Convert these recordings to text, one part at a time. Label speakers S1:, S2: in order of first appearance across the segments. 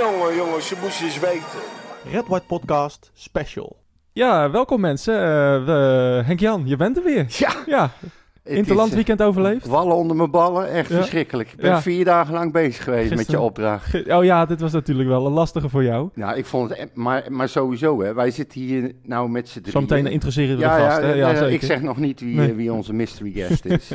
S1: Oh, jongens, je moest eens weten.
S2: Red White Podcast Special.
S3: Ja, welkom mensen. Eh, we- Henk-Jan, je bent er weer.
S4: Ja,
S3: Ja,
S4: het
S3: Interland
S4: is, eh,
S3: weekend overleefd.
S4: Wallen onder mijn ballen, echt
S3: Ja.
S4: verschrikkelijk. Ik ben
S3: Ja.
S4: vier dagen lang bezig geweest met
S3: Gisteren.
S4: je opdracht.
S3: Ge- Oh ja, dit was natuurlijk wel een lastige voor jou.
S4: Nou, ik vond het, e- maar, maar sowieso, hè, wij zitten hier nou met z'n drieën.
S3: Zometeen interesseren we de
S4: ja, ja,
S3: gasten. Ja,
S4: eh,
S3: zeker.
S4: ik zeg nog niet wie,
S3: Nee.
S4: eh, wie onze mystery guest is.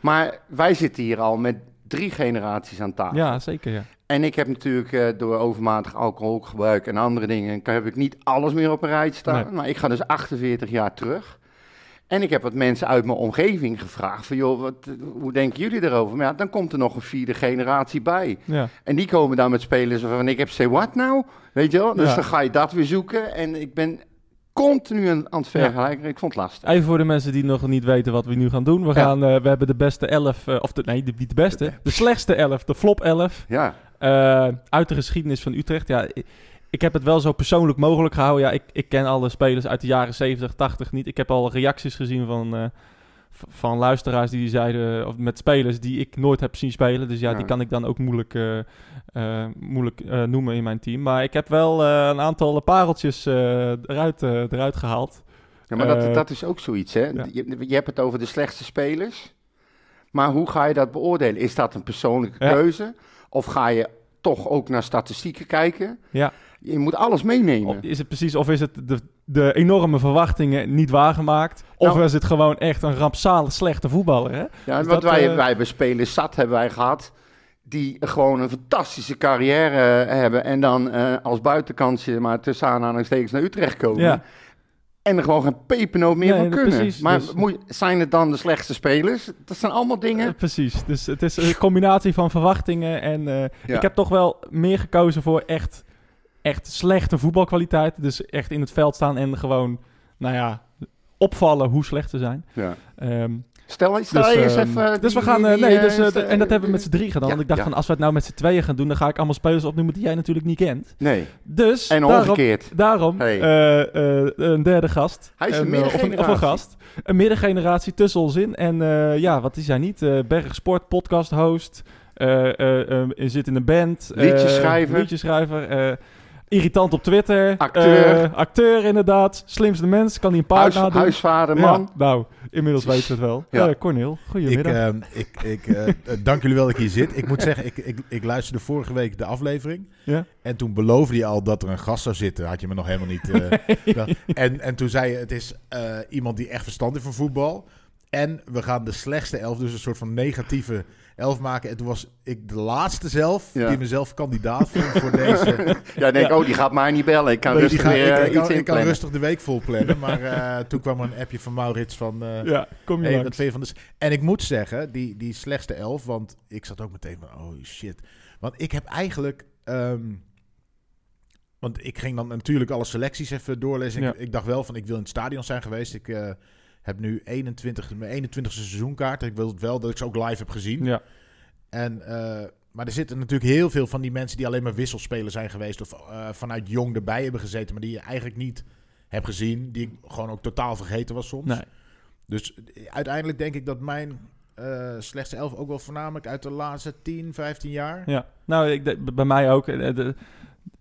S4: maar wij zitten hier al met drie generaties aan tafel.
S3: ja, zeker. Ja.
S4: En ik heb natuurlijk eh, door overmatig alcoholgebruik en andere dingen, k- heb ik niet alles meer op een rijtje staan.
S3: Nee.
S4: Maar ik ga dus 48 jaar terug. En ik heb wat mensen uit mijn omgeving gevraagd van, joh, wat, eh, hoe denken jullie erover? Maar ja, dan komt er nog een vierde generatie bij.
S3: Ja.
S4: En die komen dan met spelers van, ik heb say what nou? Weet je wel? Dus
S3: Ja.
S4: dan ga je dat weer zoeken. En ik ben continu aan, aan het vergelijken. Ik vond het lastig.
S3: Even voor de mensen die nog niet weten wat we nu gaan doen. We,
S4: Ja.
S3: gaan, eh, we hebben de beste elf, eh, of de, nee, de, niet de beste, de slechtste elf, de flop elf.
S4: Ja,
S3: Eh, uit de geschiedenis van Utrecht. Ja, ik, ik heb het wel zo persoonlijk mogelijk gehouden. Ja, ik, ik ken alle spelers uit de jaren 70, 80 niet. Ik heb al reacties gezien van, eh, v- van luisteraars die zeiden, of met spelers die ik nooit heb zien spelen. Dus ja,
S4: Ja.
S3: die kan ik dan ook moeilijk, eh, eh, moeilijk eh, noemen in mijn team. Maar ik heb wel eh, een aantal pareltjes eh, eruit, eh, eruit gehaald.
S4: ja maar
S3: Eh,
S4: dat, dat is ook zoiets, hè?
S3: ja.
S4: Je, je hebt het over de slechtste spelers. Maar hoe ga je dat beoordelen? Is dat een persoonlijke
S3: Ja.
S4: keuze? Of ga je toch ook naar statistieken kijken?
S3: Ja.
S4: Je moet alles meenemen.
S3: Of is het precies, of is het de, de enorme verwachtingen niet waargemaakt? Of
S4: Nou-
S3: is het gewoon echt een rampzalig slechte voetballer? Hè?
S4: Ja,
S3: is dat,
S4: want wij,
S3: eh,
S4: wij hebben spelers zat hebben wij gehad. Die gewoon een fantastische carrière eh, hebben. En dan eh, als buitenkantje maar tussen aanhalingstekens naar Utrecht komen.
S3: Ja.
S4: En er gewoon geen pepernoot meer
S3: Nee,
S4: van
S3: dat-
S4: kunnen.
S3: precies,
S4: maar
S3: dus-
S4: moet- zijn het dan de slechtste spelers? Dat zijn allemaal dingen.
S3: Eh, precies. Dus het is een combinatie van verwachtingen. En eh,
S4: Ja.
S3: ik heb toch wel meer gekozen voor echt, echt slechte voetbalkwaliteit. Dus echt in het veld staan en gewoon, nou ja, opvallen hoe slecht ze zijn.
S4: Ja.
S3: Ehm,
S4: Stel, stel je eens
S3: ehm,
S4: even.
S3: dus we
S4: die-
S3: gaan, eh,
S4: die,
S3: nee,
S4: eh,
S3: dus, eh,
S4: stel-
S3: en dat hebben we met z'n drie gedaan.
S4: Ja,
S3: want ik dacht
S4: ja.
S3: van, als we het nou met z'n tweeën gaan doen, dan ga ik allemaal spelers opnoemen die jij natuurlijk niet kent.
S4: Nee,
S3: Dus,
S4: en
S3: daarom,
S4: omgekeerd.
S3: daarom
S4: Hey.
S3: eh, eh, een derde gast.
S4: Hij is een
S3: En, eh, of Of een
S4: middengeneratie.
S3: gast. Een middengeneratie tussen ons in. En eh, ja, wat is hij niet? Eh Berg Sport, podcast host. eh, eh, eh, zit in een band. eh,
S4: Liedjeschrijver.
S3: liedjeschrijver. eh, irritant op Twitter.
S4: Acteur.
S3: eh, acteur inderdaad. Slimste mens. Kan hij een paard
S4: Huis,
S3: nadoen.
S4: huisvader,
S3: Ja,
S4: man.
S3: nou, inmiddels weten we het wel.
S4: Ja.
S3: Eh, Cornel,
S5: Ik,
S3: goedemiddag.
S5: ehm, ik, ik eh, eh, dank jullie wel dat ik hier zit. Ik moet zeggen, ik, ik, ik luisterde vorige week de aflevering.
S3: Ja.
S5: En toen beloofde je al dat er een gast zou zitten. Had je me nog helemaal niet. eh, wel- en, en toen zei je, het is eh, iemand die echt verstand heeft van voetbal. En we gaan de slechtste elf, dus een soort van negatieve elf maken. En toen was ik de laatste zelf,
S4: Ja.
S5: die mezelf kandidaat vond voor deze.
S4: Ja, ik denk oh, die gaat mij niet bellen. Ik kan
S5: Nee, die
S4: rustig
S5: ga-
S4: weer
S5: ik,
S4: eh,
S5: ik
S4: iets
S5: kan, ik kan
S4: inplannen.
S5: rustig de week vol plannen. Maar eh, toen kwam er een appje van Maurits van... eh,
S3: ja, kom je
S5: Hey, wat
S3: langs.
S5: vind je van de s- En ik moet zeggen, die, die slechtste elf, want ik zat ook meteen van, oh shit. Want ik heb eigenlijk, ehm, want ik ging dan natuurlijk alle selecties even doorlezen.
S3: Ja.
S5: Ik, ik dacht wel van, ik wil in het stadion zijn geweest. Ik eh, heb nu 21, mijn 21ste seizoenkaart. Ik wil wel dat ik ze ook live heb gezien.
S3: Ja,
S5: En, eh, maar er zitten natuurlijk heel veel van die mensen die alleen maar wisselspeler zijn geweest. Of eh, vanuit jong erbij hebben gezeten, maar die je eigenlijk niet hebt gezien. Die ik gewoon ook totaal vergeten was soms.
S3: Nee.
S5: Dus eh, uiteindelijk denk ik dat mijn eh, slechtste elf ook wel voornamelijk uit de laatste 10, 15 jaar.
S3: Ja, nou, ik, de- bij mij ook. eh, de-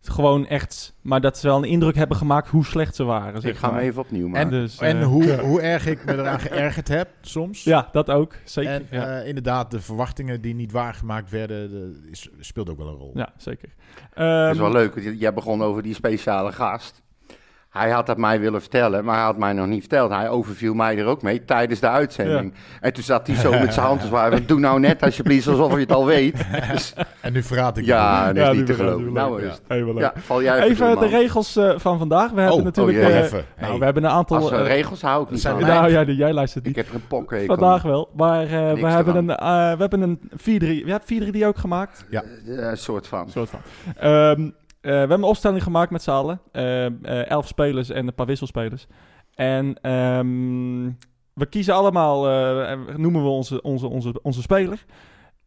S3: gewoon echt, maar dat ze wel een indruk hebben gemaakt hoe slecht ze waren. Zeg
S4: Ik ga
S3: maar.
S4: hem even opnieuw maken.
S3: En, dus,
S5: En
S3: eh,
S5: hoe, hoe erg ik me eraan geërgerd heb soms.
S3: Ja, dat ook, zeker.
S5: En
S3: ja.
S5: eh, inderdaad, de verwachtingen die niet waargemaakt werden, de, is, speelt ook wel een rol.
S3: ja, zeker.
S4: dat
S3: Ehm,
S4: is wel leuk. want Jij begon over die speciale gast. Hij had dat mij willen vertellen, maar hij had mij nog niet verteld. Hij overviel mij er ook mee tijdens de uitzending. En toen zat hij zo met zijn hand te zwaaien. Doe nou net alsjeblieft alsof je het al weet. Dus,
S5: En nu verraad ik
S4: ja,
S5: het.
S4: dat is
S3: die
S4: niet te
S3: begrijp ik
S4: geloven.
S3: wel.
S4: Nou, is het.
S3: Hey, wel leuk.
S4: ja, val jij even,
S3: Even
S4: door,
S3: de
S4: man.
S3: regels eh, van vandaag. We hebben
S5: Oh,
S3: natuurlijk...
S4: oh jee.
S3: eh,
S5: even.
S3: nou,
S5: Hey.
S3: we hebben een aantal...
S4: Als er
S3: eh,
S4: regels hou ik niet
S5: zijn
S4: van.
S5: wij-
S3: nou ja, jij luistert
S4: Ik
S3: niet.
S4: heb er een pok
S3: Vandaag wel. Maar eh, we,
S4: Niks
S3: hebben een,
S4: eraan.
S3: eh, we hebben een 4-3. Je hebt 4-3 ook gemaakt.
S4: Een soort van.
S3: soort van. Ehm, eh, we hebben een opstelling gemaakt met z'n allen. Ehm, eh, elf spelers en een paar wisselspelers. En ehm, we kiezen allemaal, eh, en noemen we onze, onze, onze, onze speler.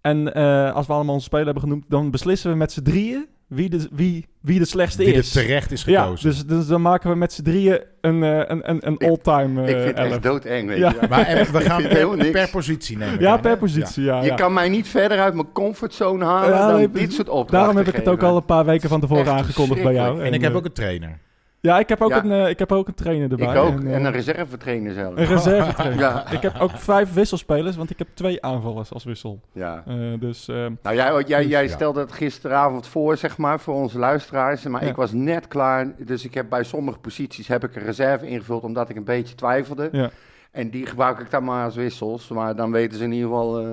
S3: En eh, als we allemaal onze speler hebben genoemd, dan beslissen we met z'n drieën wie de, wie, wie de slechtste
S5: Die er
S3: is.
S5: terecht is
S3: ja,
S5: gekozen.
S3: dus, dus dan maken we met z'n drieën een, eh, een, een, een all-time eh,
S4: ik vind het echt
S3: elf.
S4: doodeng, weet
S3: Ja.
S4: je.
S5: Maar en we gaan
S4: vind helemaal
S5: per,
S4: niks.
S5: per positie nemen.
S3: Ja, per positie, ja.
S4: Je
S3: ja.
S4: kan mij niet verder uit mijn comfortzone halen
S3: Ja,
S4: dan
S3: nee,
S4: dit soort opdrachten
S3: Daarom heb ik het ook
S4: geven.
S3: al een paar weken van tevoren
S4: echt
S3: aangekondigd bij jou.
S5: En ik heb
S3: eh,
S5: ook een trainer.
S3: ja, ik heb ook,
S4: Ja.
S3: Een, eh, ik heb ook een trainer erbij.
S4: Ik ook.
S3: eh,
S4: En een reservetrainer
S3: een
S4: zelf.
S3: reservetrainer.
S4: Ja.
S3: Ik heb ook vijf wisselspelers, want ik heb twee aanvallers als wissel.
S4: ja.
S3: Eh, dus ehm,
S4: Nou, jij, jij, jij
S5: Ja.
S4: stelde het gisteravond voor, zeg maar, voor onze luisteraars. Maar
S3: Ja.
S4: ik was net klaar. Dus ik heb bij sommige posities heb ik een reserve ingevuld, omdat ik een beetje twijfelde.
S3: Ja.
S4: En die gebruik ik dan maar als wissels. Maar dan weten ze in ieder geval eh,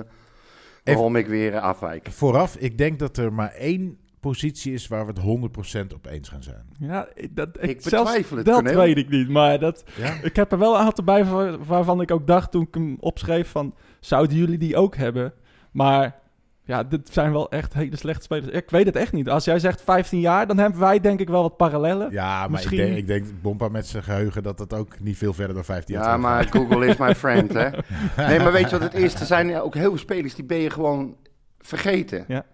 S4: waarom ik weer eh, afwijk.
S5: Vooraf, ik denk dat er maar één positie is waar we het 100% op eens gaan zijn.
S3: ja, ik- dat,
S4: Ik
S3: zelfs
S4: betwijfel het,
S3: Dat
S4: Cornel.
S3: weet ik niet, maar dat,
S5: Ja?
S3: ik heb er wel een aantal bij waar- waarvan ik ook dacht toen ik hem opschreef van... Zouden jullie die ook hebben? Maar ja, dit zijn wel echt hele slechte spelers. Ik weet het echt niet. Als jij zegt 15 jaar, dan hebben wij denk ik wel wat parallellen.
S5: Ja, maar
S3: Misschien-
S5: ik denk, ik denk Bompa met zijn geheugen dat dat ook niet veel verder dan 15 jaar
S4: Ja,
S5: terug gaat.
S4: maar Google is my friend, hè. Nee, maar weet je wat het is? Er zijn ook heel veel spelers die ben je gewoon vergeten.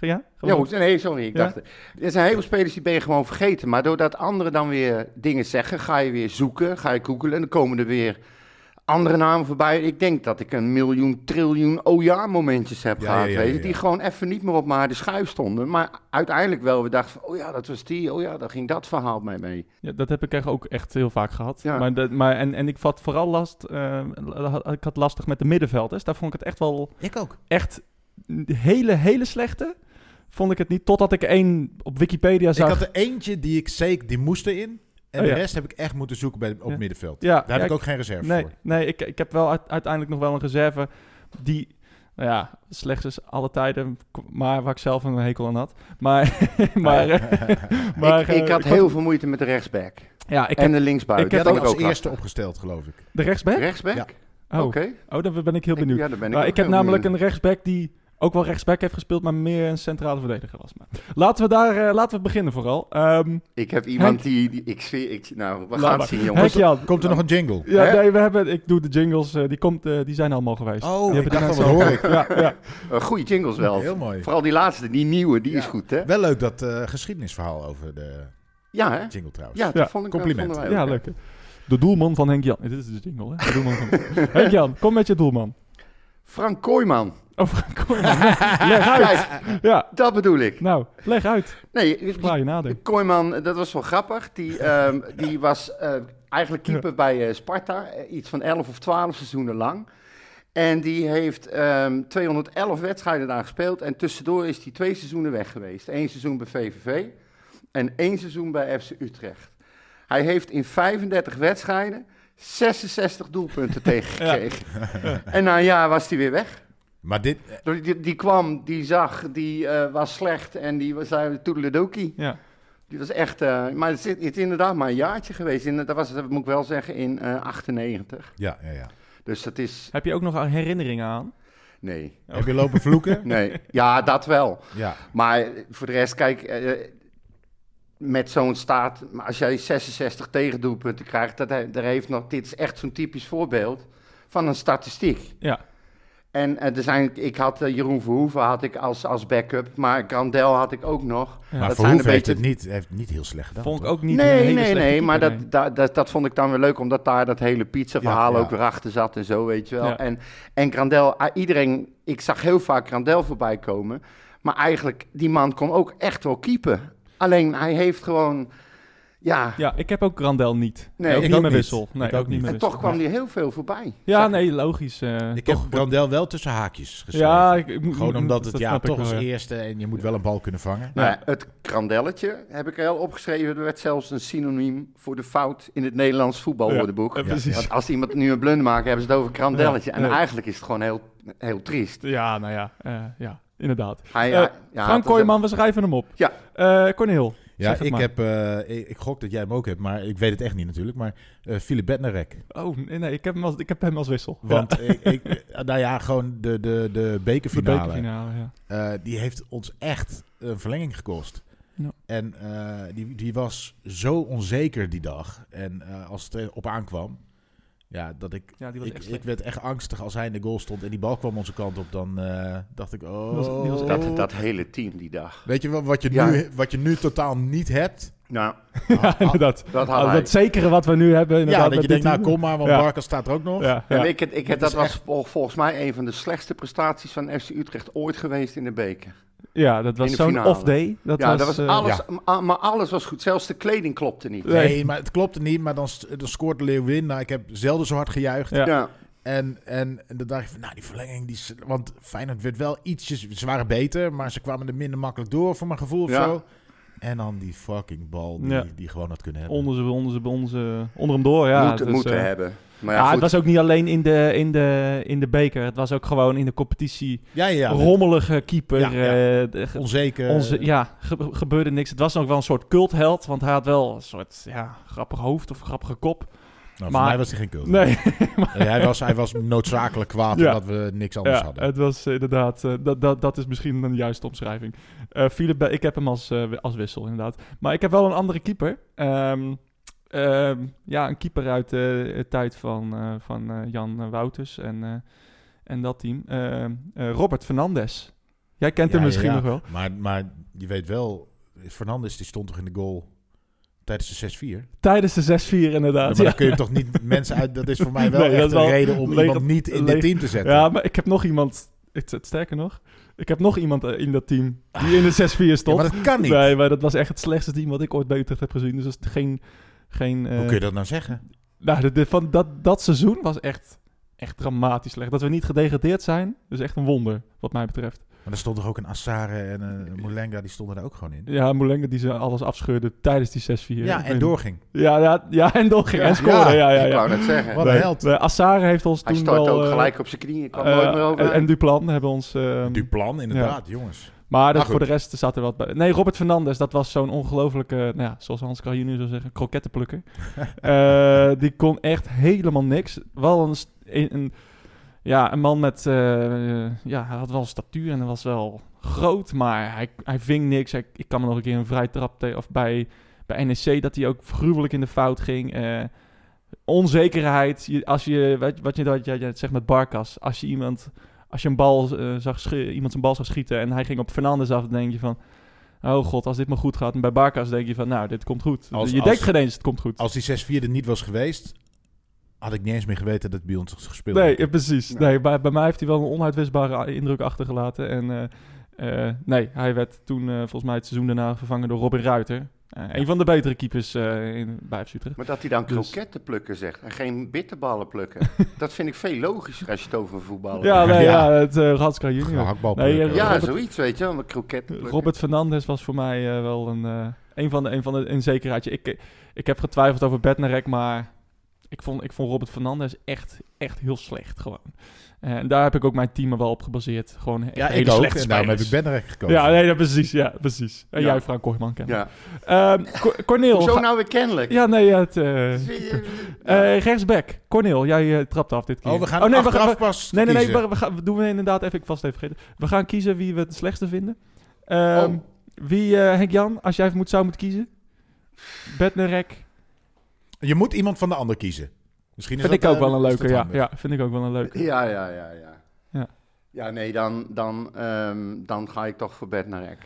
S3: Ja,
S4: Ja,
S3: gewoon.
S4: goed. nee, sorry, ik
S3: Ja.
S4: dacht... Er zijn heel veel spelers die ben je gewoon vergeten. Maar doordat anderen dan weer dingen zeggen, ga je weer zoeken, ga je googlen... en dan komen er weer andere namen voorbij. Ik denk dat ik een miljoen, triljoen oh ja momentjes heb
S5: Ja,
S4: gehad,
S5: ja, ja,
S4: weet je,
S5: ja, ja.
S4: Die gewoon even niet meer op mijn harde schuif stonden. Maar uiteindelijk wel, we dachten van, oh ja, dat was die, oh ja, daar ging dat verhaal mee mee.
S3: Ja, dat heb ik echt ook echt heel vaak gehad.
S4: Ja.
S3: Maar dat, maar, en, en ik vat vooral last... eh, ik had lastig met de middenvelders. Daar vond ik het echt wel...
S5: Ik ook.
S3: echt hele, hele slechte. Vond ik het niet. Totdat ik één op Wikipedia
S5: Ik
S3: zag.
S5: had er eentje die ik zeker, die moest erin. En
S3: Oh, ja.
S5: de rest heb ik echt moeten zoeken bij, op
S3: Ja.
S5: middenveld.
S3: ja,
S5: Daar heb
S3: ja,
S5: ik ook geen reserve
S3: nee,
S5: voor.
S3: nee ik, ik heb wel uit- uiteindelijk nog wel een reserve die. Nou ja, slechts is alle tijden, maar waar ik zelf een hekel aan had. Maar, maar, eh, maar
S4: ik,
S3: eh,
S4: ik had
S3: was-
S4: heel veel moeite met de rechtsback
S3: Ja, ik
S4: en
S3: heb
S4: de linksbuiten.
S3: ik
S5: Ik
S3: heb
S5: heb ook
S4: Dat vond
S5: als
S4: ik
S5: eerste
S4: lastig.
S5: opgesteld, geloof ik.
S3: de rechtsback.
S4: Rechtsback?
S5: Ja.
S3: Oh,
S4: Oké.
S3: oh, dan ben ik heel
S4: Ik-
S3: benieuwd.
S4: Ja, daar ben ik
S3: Nou,
S4: ook
S3: ik heb
S4: heel
S3: namelijk
S4: benieuwd.
S3: een rechtsback die ook wel rechtsback heeft gespeeld, maar meer een centrale verdediger was. Maar laten we daar, eh, laten we beginnen vooral. Ehm
S4: Ik heb iemand die, die... Ik zweer... Ik, nou, we gaan
S3: maar.
S4: het zien,
S3: Henk
S4: jongens.
S3: Jan,
S5: Komt er nog een jingle?
S3: Ja,
S4: Hè?
S3: nee, we hebben, ik doe de jingles, eh, die, komt, eh, die zijn allemaal geweest.
S5: Oh,
S3: Die
S5: ik
S3: hebben de
S5: dacht al,
S3: mensen
S5: wat hoor
S3: al-
S5: ik?
S3: Ja, ja.
S4: Eh, goeie jingles wel.
S5: Heel mooi.
S4: Vooral die laatste, die nieuwe, die
S5: Ja.
S4: is goed, hè?
S5: Wel leuk dat eh, geschiedenisverhaal over de
S4: Ja, hè?
S5: jingle trouwens.
S4: Ja, dat
S3: Ja,
S4: vond ik
S5: compliment.
S4: vonden wij ook,
S3: ja,
S4: hè.
S3: leuk. hè. De doelman van Henk Jan. Dit is de jingle, hè? De doelman van Henk Jan, kom met je doelman.
S4: Frank Kooijman.
S3: Oh, kom maar. Leg uit.
S4: Kijk,
S3: Ja,
S4: dat bedoel ik.
S3: nou, leg uit.
S4: Nee, die-
S3: Klaar je nadenken.
S4: Kooijman, dat was wel grappig. Die, ehm, die was eh, eigenlijk keeper bij eh, Sparta, eh, iets van 11 of 12 seizoenen lang. En die heeft ehm, 211 wedstrijden daar gespeeld. En tussendoor is hij twee seizoenen weg geweest. Eén seizoen bij VVV en één seizoen bij FC Utrecht. Hij heeft in 35 wedstrijden 66 doelpunten tegengekregen. En na een jaar was hij weer weg.
S5: Maar dit, eh,
S4: Die, die- die kwam, die zag, die eh, was slecht en die was zei toedeledokie.
S3: Ja,
S4: Dit was echt, eh, maar het is, het is inderdaad maar een jaartje geweest. In, dat was het, moet ik wel zeggen, in eh, 98.
S5: ja, ja, ja.
S4: Dus dat is,
S3: heb je ook nog herinneringen aan?
S4: nee,
S3: Oh.
S5: Heb je lopen vloeken?
S4: nee. Ja, dat wel.
S5: ja.
S4: Maar eh, voor de rest, kijk, eh, met zo'n staat, maar als jij 66 tegendoelpunten krijgt, dat, he- daar heeft nog, dit is echt zo'n typisch voorbeeld van een statistiek.
S3: Ja.
S4: En eh, er zijn, ik had eh, Jeroen Verhoeven had ik als, als backup, maar Grandel had ik ook nog.
S5: Maar
S4: dat
S5: voor
S4: zijn
S5: heeft
S4: een beetje-
S5: het niet, heeft het niet heel slecht gedaan.
S3: Vond ik
S5: toch?
S3: ook niet een
S4: nee,
S3: hele
S4: nee,
S3: slechte
S4: nee,
S3: keeper,
S4: maar dat, dat, dat, dat vond ik dan weer leuk, omdat daar dat hele pizza-verhaal
S5: Ja, ja.
S4: ook weer achter zat en zo, weet je wel.
S3: Ja.
S4: En, en Grandel, ah, iedereen, ik zag heel vaak Grandel voorbij komen, maar eigenlijk, die man kon ook echt wel keepen. Alleen hij heeft gewoon, ja,
S3: Ja, ik heb ook Grandel niet. ook
S4: Nee, ik
S3: niet
S5: ook
S3: mijn
S5: niet.
S3: wissel. Nee,
S5: Ik ook
S3: ook niet
S5: niet.
S3: mijn
S4: en toch
S3: wissel.
S4: kwam hij heel veel voorbij.
S3: Ja,
S4: Zag-
S3: nee, logisch. eh,
S5: Ik heb
S3: toch-
S5: Brandel wel tussen haakjes geschreven.
S3: Ja, ik- ik moet-
S5: Gewoon omdat het
S3: dat
S5: ja,
S3: snap ik
S5: toch
S3: wel,
S5: als
S3: ja.
S5: eerste en je moet wel een bal kunnen vangen.
S4: Nou ja, het krandelletje heb ik er al opgeschreven. Er werd zelfs een synoniem voor de fout in het Nederlands voetbalwoordenboek.
S3: Ja, precies.
S4: Want als iemand nu een blunder maakt, hebben ze het over krandelletje. En
S3: Ja.
S4: eigenlijk is het gewoon heel, heel triest.
S3: Ja, nou ja, eh, ja, inderdaad.
S4: Hij,
S3: Eh,
S4: hij- ja,
S3: Frank
S4: dat is-
S3: Kooijman, we schrijven hem op.
S4: Ja.
S3: Eh, Corneel. zeg
S5: Ja,
S3: het
S5: ik,
S3: maar.
S5: heb, eh, ik, ik gok dat jij hem ook hebt, maar ik weet het echt niet natuurlijk. Maar eh Philip Bednarek.
S3: Oh, nee, nee ik, heb hem als, ik heb hem als wissel.
S5: Want ik, ik, eh, nou ja, gewoon de, de, de
S3: de
S5: bekerfinale.
S3: bekerfinale, ja.
S5: eh, die heeft ons echt een verlenging gekost.
S3: Ja.
S5: En eh, die, die was zo onzeker die dag. En eh, als het er op aankwam. Ja, dat ik,
S3: Ja, die was
S5: ik,
S3: echt
S5: ik
S3: slecht.
S5: werd echt angstig als hij in de goal stond en die bal kwam onze kant op. Dan eh, dacht ik, oh.
S3: was- die was
S4: Dat, dat hele team die dag.
S5: Weet je wel, wat je,
S4: Ja.
S5: nu, wat je nu totaal niet hebt.
S4: Nou,
S3: Ja, inderdaad.
S4: dat had
S3: Ah,
S4: hij.
S3: dat zekere wat we nu hebben.
S5: Ja,
S3: inderdaad,
S5: dat je
S3: met
S5: denkt,
S3: dit
S5: nou
S3: team.
S5: kom maar, want
S3: Ja.
S5: Barkas staat er ook nog.
S3: Ja, ja.
S4: En ik, ik, ik,
S5: Dit
S4: dat
S5: is
S4: was
S5: echt-
S4: vol- volgens mij een van de slechtste prestaties van FC Utrecht ooit geweest in de beker.
S3: Ja, dat was
S4: de
S3: zo'n
S4: finale.
S3: off day. Dat
S4: ja,
S3: was,
S4: dat was
S3: eh,
S4: alles, ma- maar alles was goed. Zelfs de kleding klopte niet.
S3: Nee.
S5: Nee, maar het klopte niet, maar dan, st- dan scoort Leeuwin. Nou, ik heb zelden zo hard gejuicht.
S3: Ja.
S4: Ja.
S5: En, en, en dan dacht ik van, nou, die verlenging, die, is- want Feyenoord werd wel ietsjes, ze waren beter, maar ze kwamen er minder makkelijk door, voor mijn gevoel of
S4: Ja.
S5: zo. En dan die fucking bal die,
S3: Ja.
S5: die gewoon had kunnen hebben.
S3: onder, ze, onder, ze, onder, ze, onder hem door. Ja,
S4: moeten
S3: dus,
S4: moeten
S3: eh,
S4: hebben. Maar ja,
S3: Ja, het
S4: goed.
S3: was ook niet alleen in de, in, de, in de beker. Het was ook gewoon in de competitie.
S5: Ja, ja, ja.
S3: Rommelige keeper.
S5: Ja,
S3: Ja,
S5: ja. Eh, onzeker. Nou,
S3: onze, ja ge- gebeurde niks. Het was nog wel een soort cultheld. Want hij had wel een soort ja, grappig hoofd of grappige kop.
S5: Nou, voor
S3: maar-
S5: mij was hij geen cult.
S3: Nee,
S5: Nee, hij, was, hij was noodzakelijk kwaad
S3: Ja.
S5: omdat we niks anders
S3: ja,
S5: hadden.
S3: het was inderdaad... eh, dat, dat, dat is misschien een juiste omschrijving. Eh Philip, Be- ik heb hem als, eh, als wissel inderdaad. Maar ik heb wel een andere keeper. Ehm, ehm, ja, een keeper uit de tijd van, eh, van eh, Jan eh, Wouters en, eh, en dat team. Ehm, eh, Robert Fernandes. Jij kent hem
S5: Ja,
S3: misschien
S5: ja, ja.
S3: nog wel.
S5: Maar, maar je weet wel, Fernandes die stond toch in de goal tijdens de 6-4?
S3: Tijdens de 6-4
S5: Ja,
S3: inderdaad.
S5: maar
S3: Ja,
S5: dan kun je toch niet mensen uit... Dat is voor mij wel
S3: Nee,
S5: echt
S3: dat
S5: een
S3: is wel
S5: reden om
S3: lege-
S5: iemand niet in dit
S3: lege-
S5: team te zetten.
S3: Ja, maar ik heb nog iemand... het- het- Sterker nog, ik heb nog iemand eh, in dat team die in de 6-4
S5: Ja,
S3: stond.
S5: maar dat kan niet.
S3: Nee, maar dat was echt het slechtste team wat ik ooit bij Utrecht heb gezien. Dus dat is geen... geen eh,
S5: Hoe kun je dat nou zeggen?
S3: Nou, de- de- van dat, dat seizoen was echt, echt dramatisch slecht. Dat we niet gedegradeerd zijn, is echt een wonder, wat mij betreft.
S5: Maar er stond toch ook een Assare en een Moulenga, die stonden daar ook gewoon in.
S3: Ja, Molenga die ze alles afscheurde tijdens die 6-4.
S5: Ja, en doorging.
S3: Ja, ja, ja en door ging.
S4: Ja.
S3: en scoren, ja, ja. ja,
S4: Ik wou net zeggen.
S5: Wat een
S3: Nee,
S5: held.
S3: eh, Assare heeft ons
S4: Hij
S3: toen
S4: stort
S3: wel,
S4: ook
S3: eh,
S4: gelijk op zijn knieën. Kwam
S3: eh,
S4: nooit meer over.
S3: en, en Duplan hebben ons... ehm,
S5: Duplan, inderdaad, jongens.
S3: maar dat
S5: goed.
S3: voor de rest zat er wat bij. Nee, Robert Fernandes, dat was zo'n ongelofelijke, nou ja, zoals Hans Krajuni zou zeggen, krokettenplukker. Eh, die kon echt helemaal niks. Wel een, st- een, een- ja, een man met, eh, eh, ja, hij had wel een statuur en hij was wel groot, maar hij, hij ving niks. Hij- ik kan me nog een keer een vrij trap te- of bij, bij NEC dat hij ook gruwelijk in de fout ging. eh, onzekerheid, Je- als je, wat, wat je dat jij jij zegt met Barkas, als je iemand als je een bal, eh, zag schi- iemand zijn bal zag schieten en hij ging op Fernandes af, dan denk je van... Oh god, als dit maar goed gaat. En bij Barkas denk je van, nou, dit komt goed.
S5: Als-
S3: je
S5: als-
S3: denkt geen eens, het komt goed.
S5: Als die 6-4 er niet was geweest, had ik niet eens meer geweten dat het bij ons gespeeld
S3: nee,
S5: werd.
S3: eh, precies.
S4: Ja.
S3: Nee, bij, bij mij heeft hij wel een onuitwisbare a- indruk achtergelaten. En eh, eh, nee, hij werd toen eh, volgens mij het seizoen daarna vervangen door Robin Ruiter. Eh, Een van de betere keepers eh, in, bij FC Utrecht.
S4: Maar dat hij dan
S3: Dus-
S4: kroketten plukken zegt en geen bitterballen plukken. dat vind ik veel logischer als je het over een voetballer
S3: Ja,
S4: hebt.
S3: nee,
S5: Ja.
S3: ja. het eh Radska junior.
S5: Gehaktbal
S3: Nee,
S5: plukken.
S4: ja,
S3: Robert-
S4: zoiets, weet je wel. Maar kroketten plukken.
S3: Robert Fernandes was voor mij eh, wel een, eh, een van de, een van de een zekerheidje. Ik, ik heb getwijfeld over Bednarek, maar ik vond, ik vond Robert Fernandes echt, echt heel slecht gewoon. Eh, en daar heb ik ook mijn team wel op gebaseerd. Gewoon echt
S5: ja, ik
S3: hele
S5: ook.
S3: slechte
S5: En daarom heb
S3: spelers.
S5: ik Bennerek gekozen.
S3: Ja, nee, dat, precies. Ja, precies. En
S4: Ja.
S3: jij, Frank Koijman, kennen.
S4: Ja.
S3: Ehm, Co- Cornel.
S4: Hoezo
S3: ga-
S4: nou weer kennelijk?
S3: Ja, nee, ja, het... eh,
S4: Dus, eh, ja.
S3: eh, rechtsback. Cornel, jij eh, trapt af dit keer.
S5: Oh, we gaan
S3: nee, we
S5: achteraf
S3: gaan- we-
S5: pas
S3: Nee, nee, nee,
S5: kiezen.
S3: we, we gaan, we doen we inderdaad even, ik was het even vergeten. We gaan kiezen wie we het slechtste vinden. Ehm,
S4: Oh.
S3: Wie, eh Henk-Jan, als jij even moet, zou moeten kiezen? Bednarek.
S5: Je moet iemand van de ander kiezen. Misschien is
S3: Vind ik
S5: dat,
S3: ook
S5: eh,
S3: wel een
S5: is
S3: leuke,
S5: dat
S3: ja.
S5: handig.
S3: Ja, vind ik ook wel een leuke.
S4: ja, ja, ja, ja.
S3: Ja.
S4: Ja, nee, dan, dan, ehm, dan ga ik toch voor Bednarek.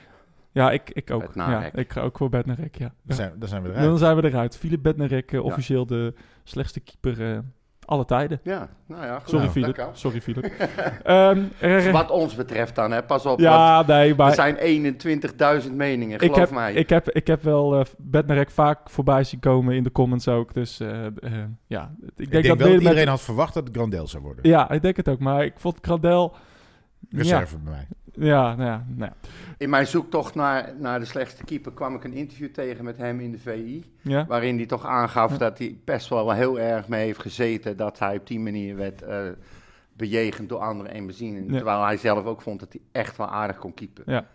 S3: Ja, ik, ik ook. Ja,
S4: Bednarek.
S3: ik ga ook voor Bednarek, ja.
S5: Dan
S3: Ja.
S5: zijn, dan zijn we eruit.
S3: Dan zijn we eruit. Philip Bednarek, eh, officieel de slechtste keeper eh alle tijden.
S4: Ja, nou ja, goed.
S3: Sorry,
S4: Nou, dat
S3: Philip.
S4: kan.
S3: Sorry, Philip. Ehm, eh,
S4: Wat ons betreft dan, hè. Pas op, want
S3: ja, nee, maar...
S4: er zijn 21.000 meningen,
S3: ik
S4: geloof
S3: heb,
S4: mij.
S3: Ik heb, ik heb wel eh Bednarek vaak voorbij zien komen in de comments ook. Dus eh, eh, ja, ik denk,
S5: Ik denk, wel
S3: dat
S5: dat
S3: dit met-
S5: iedereen had verwacht dat het Grandel zou worden.
S3: Ja, ik denk het ook. Maar ik vond Krandel... Ja,
S5: Reserve bij mij.
S3: ja, nou ja, nou ja.
S4: In mijn zoektocht naar, naar de slechtste keeper kwam ik een interview tegen met hem in de VI.
S3: ja.
S4: Waarin hij toch aangaf
S3: Ja.
S4: dat hij best wel heel erg mee heeft gezeten. Dat hij op die manier werd eh, bejegend door anderen en bezien.
S3: Ja.
S4: Terwijl hij zelf ook vond dat hij echt wel aardig kon keepen.
S3: Ja.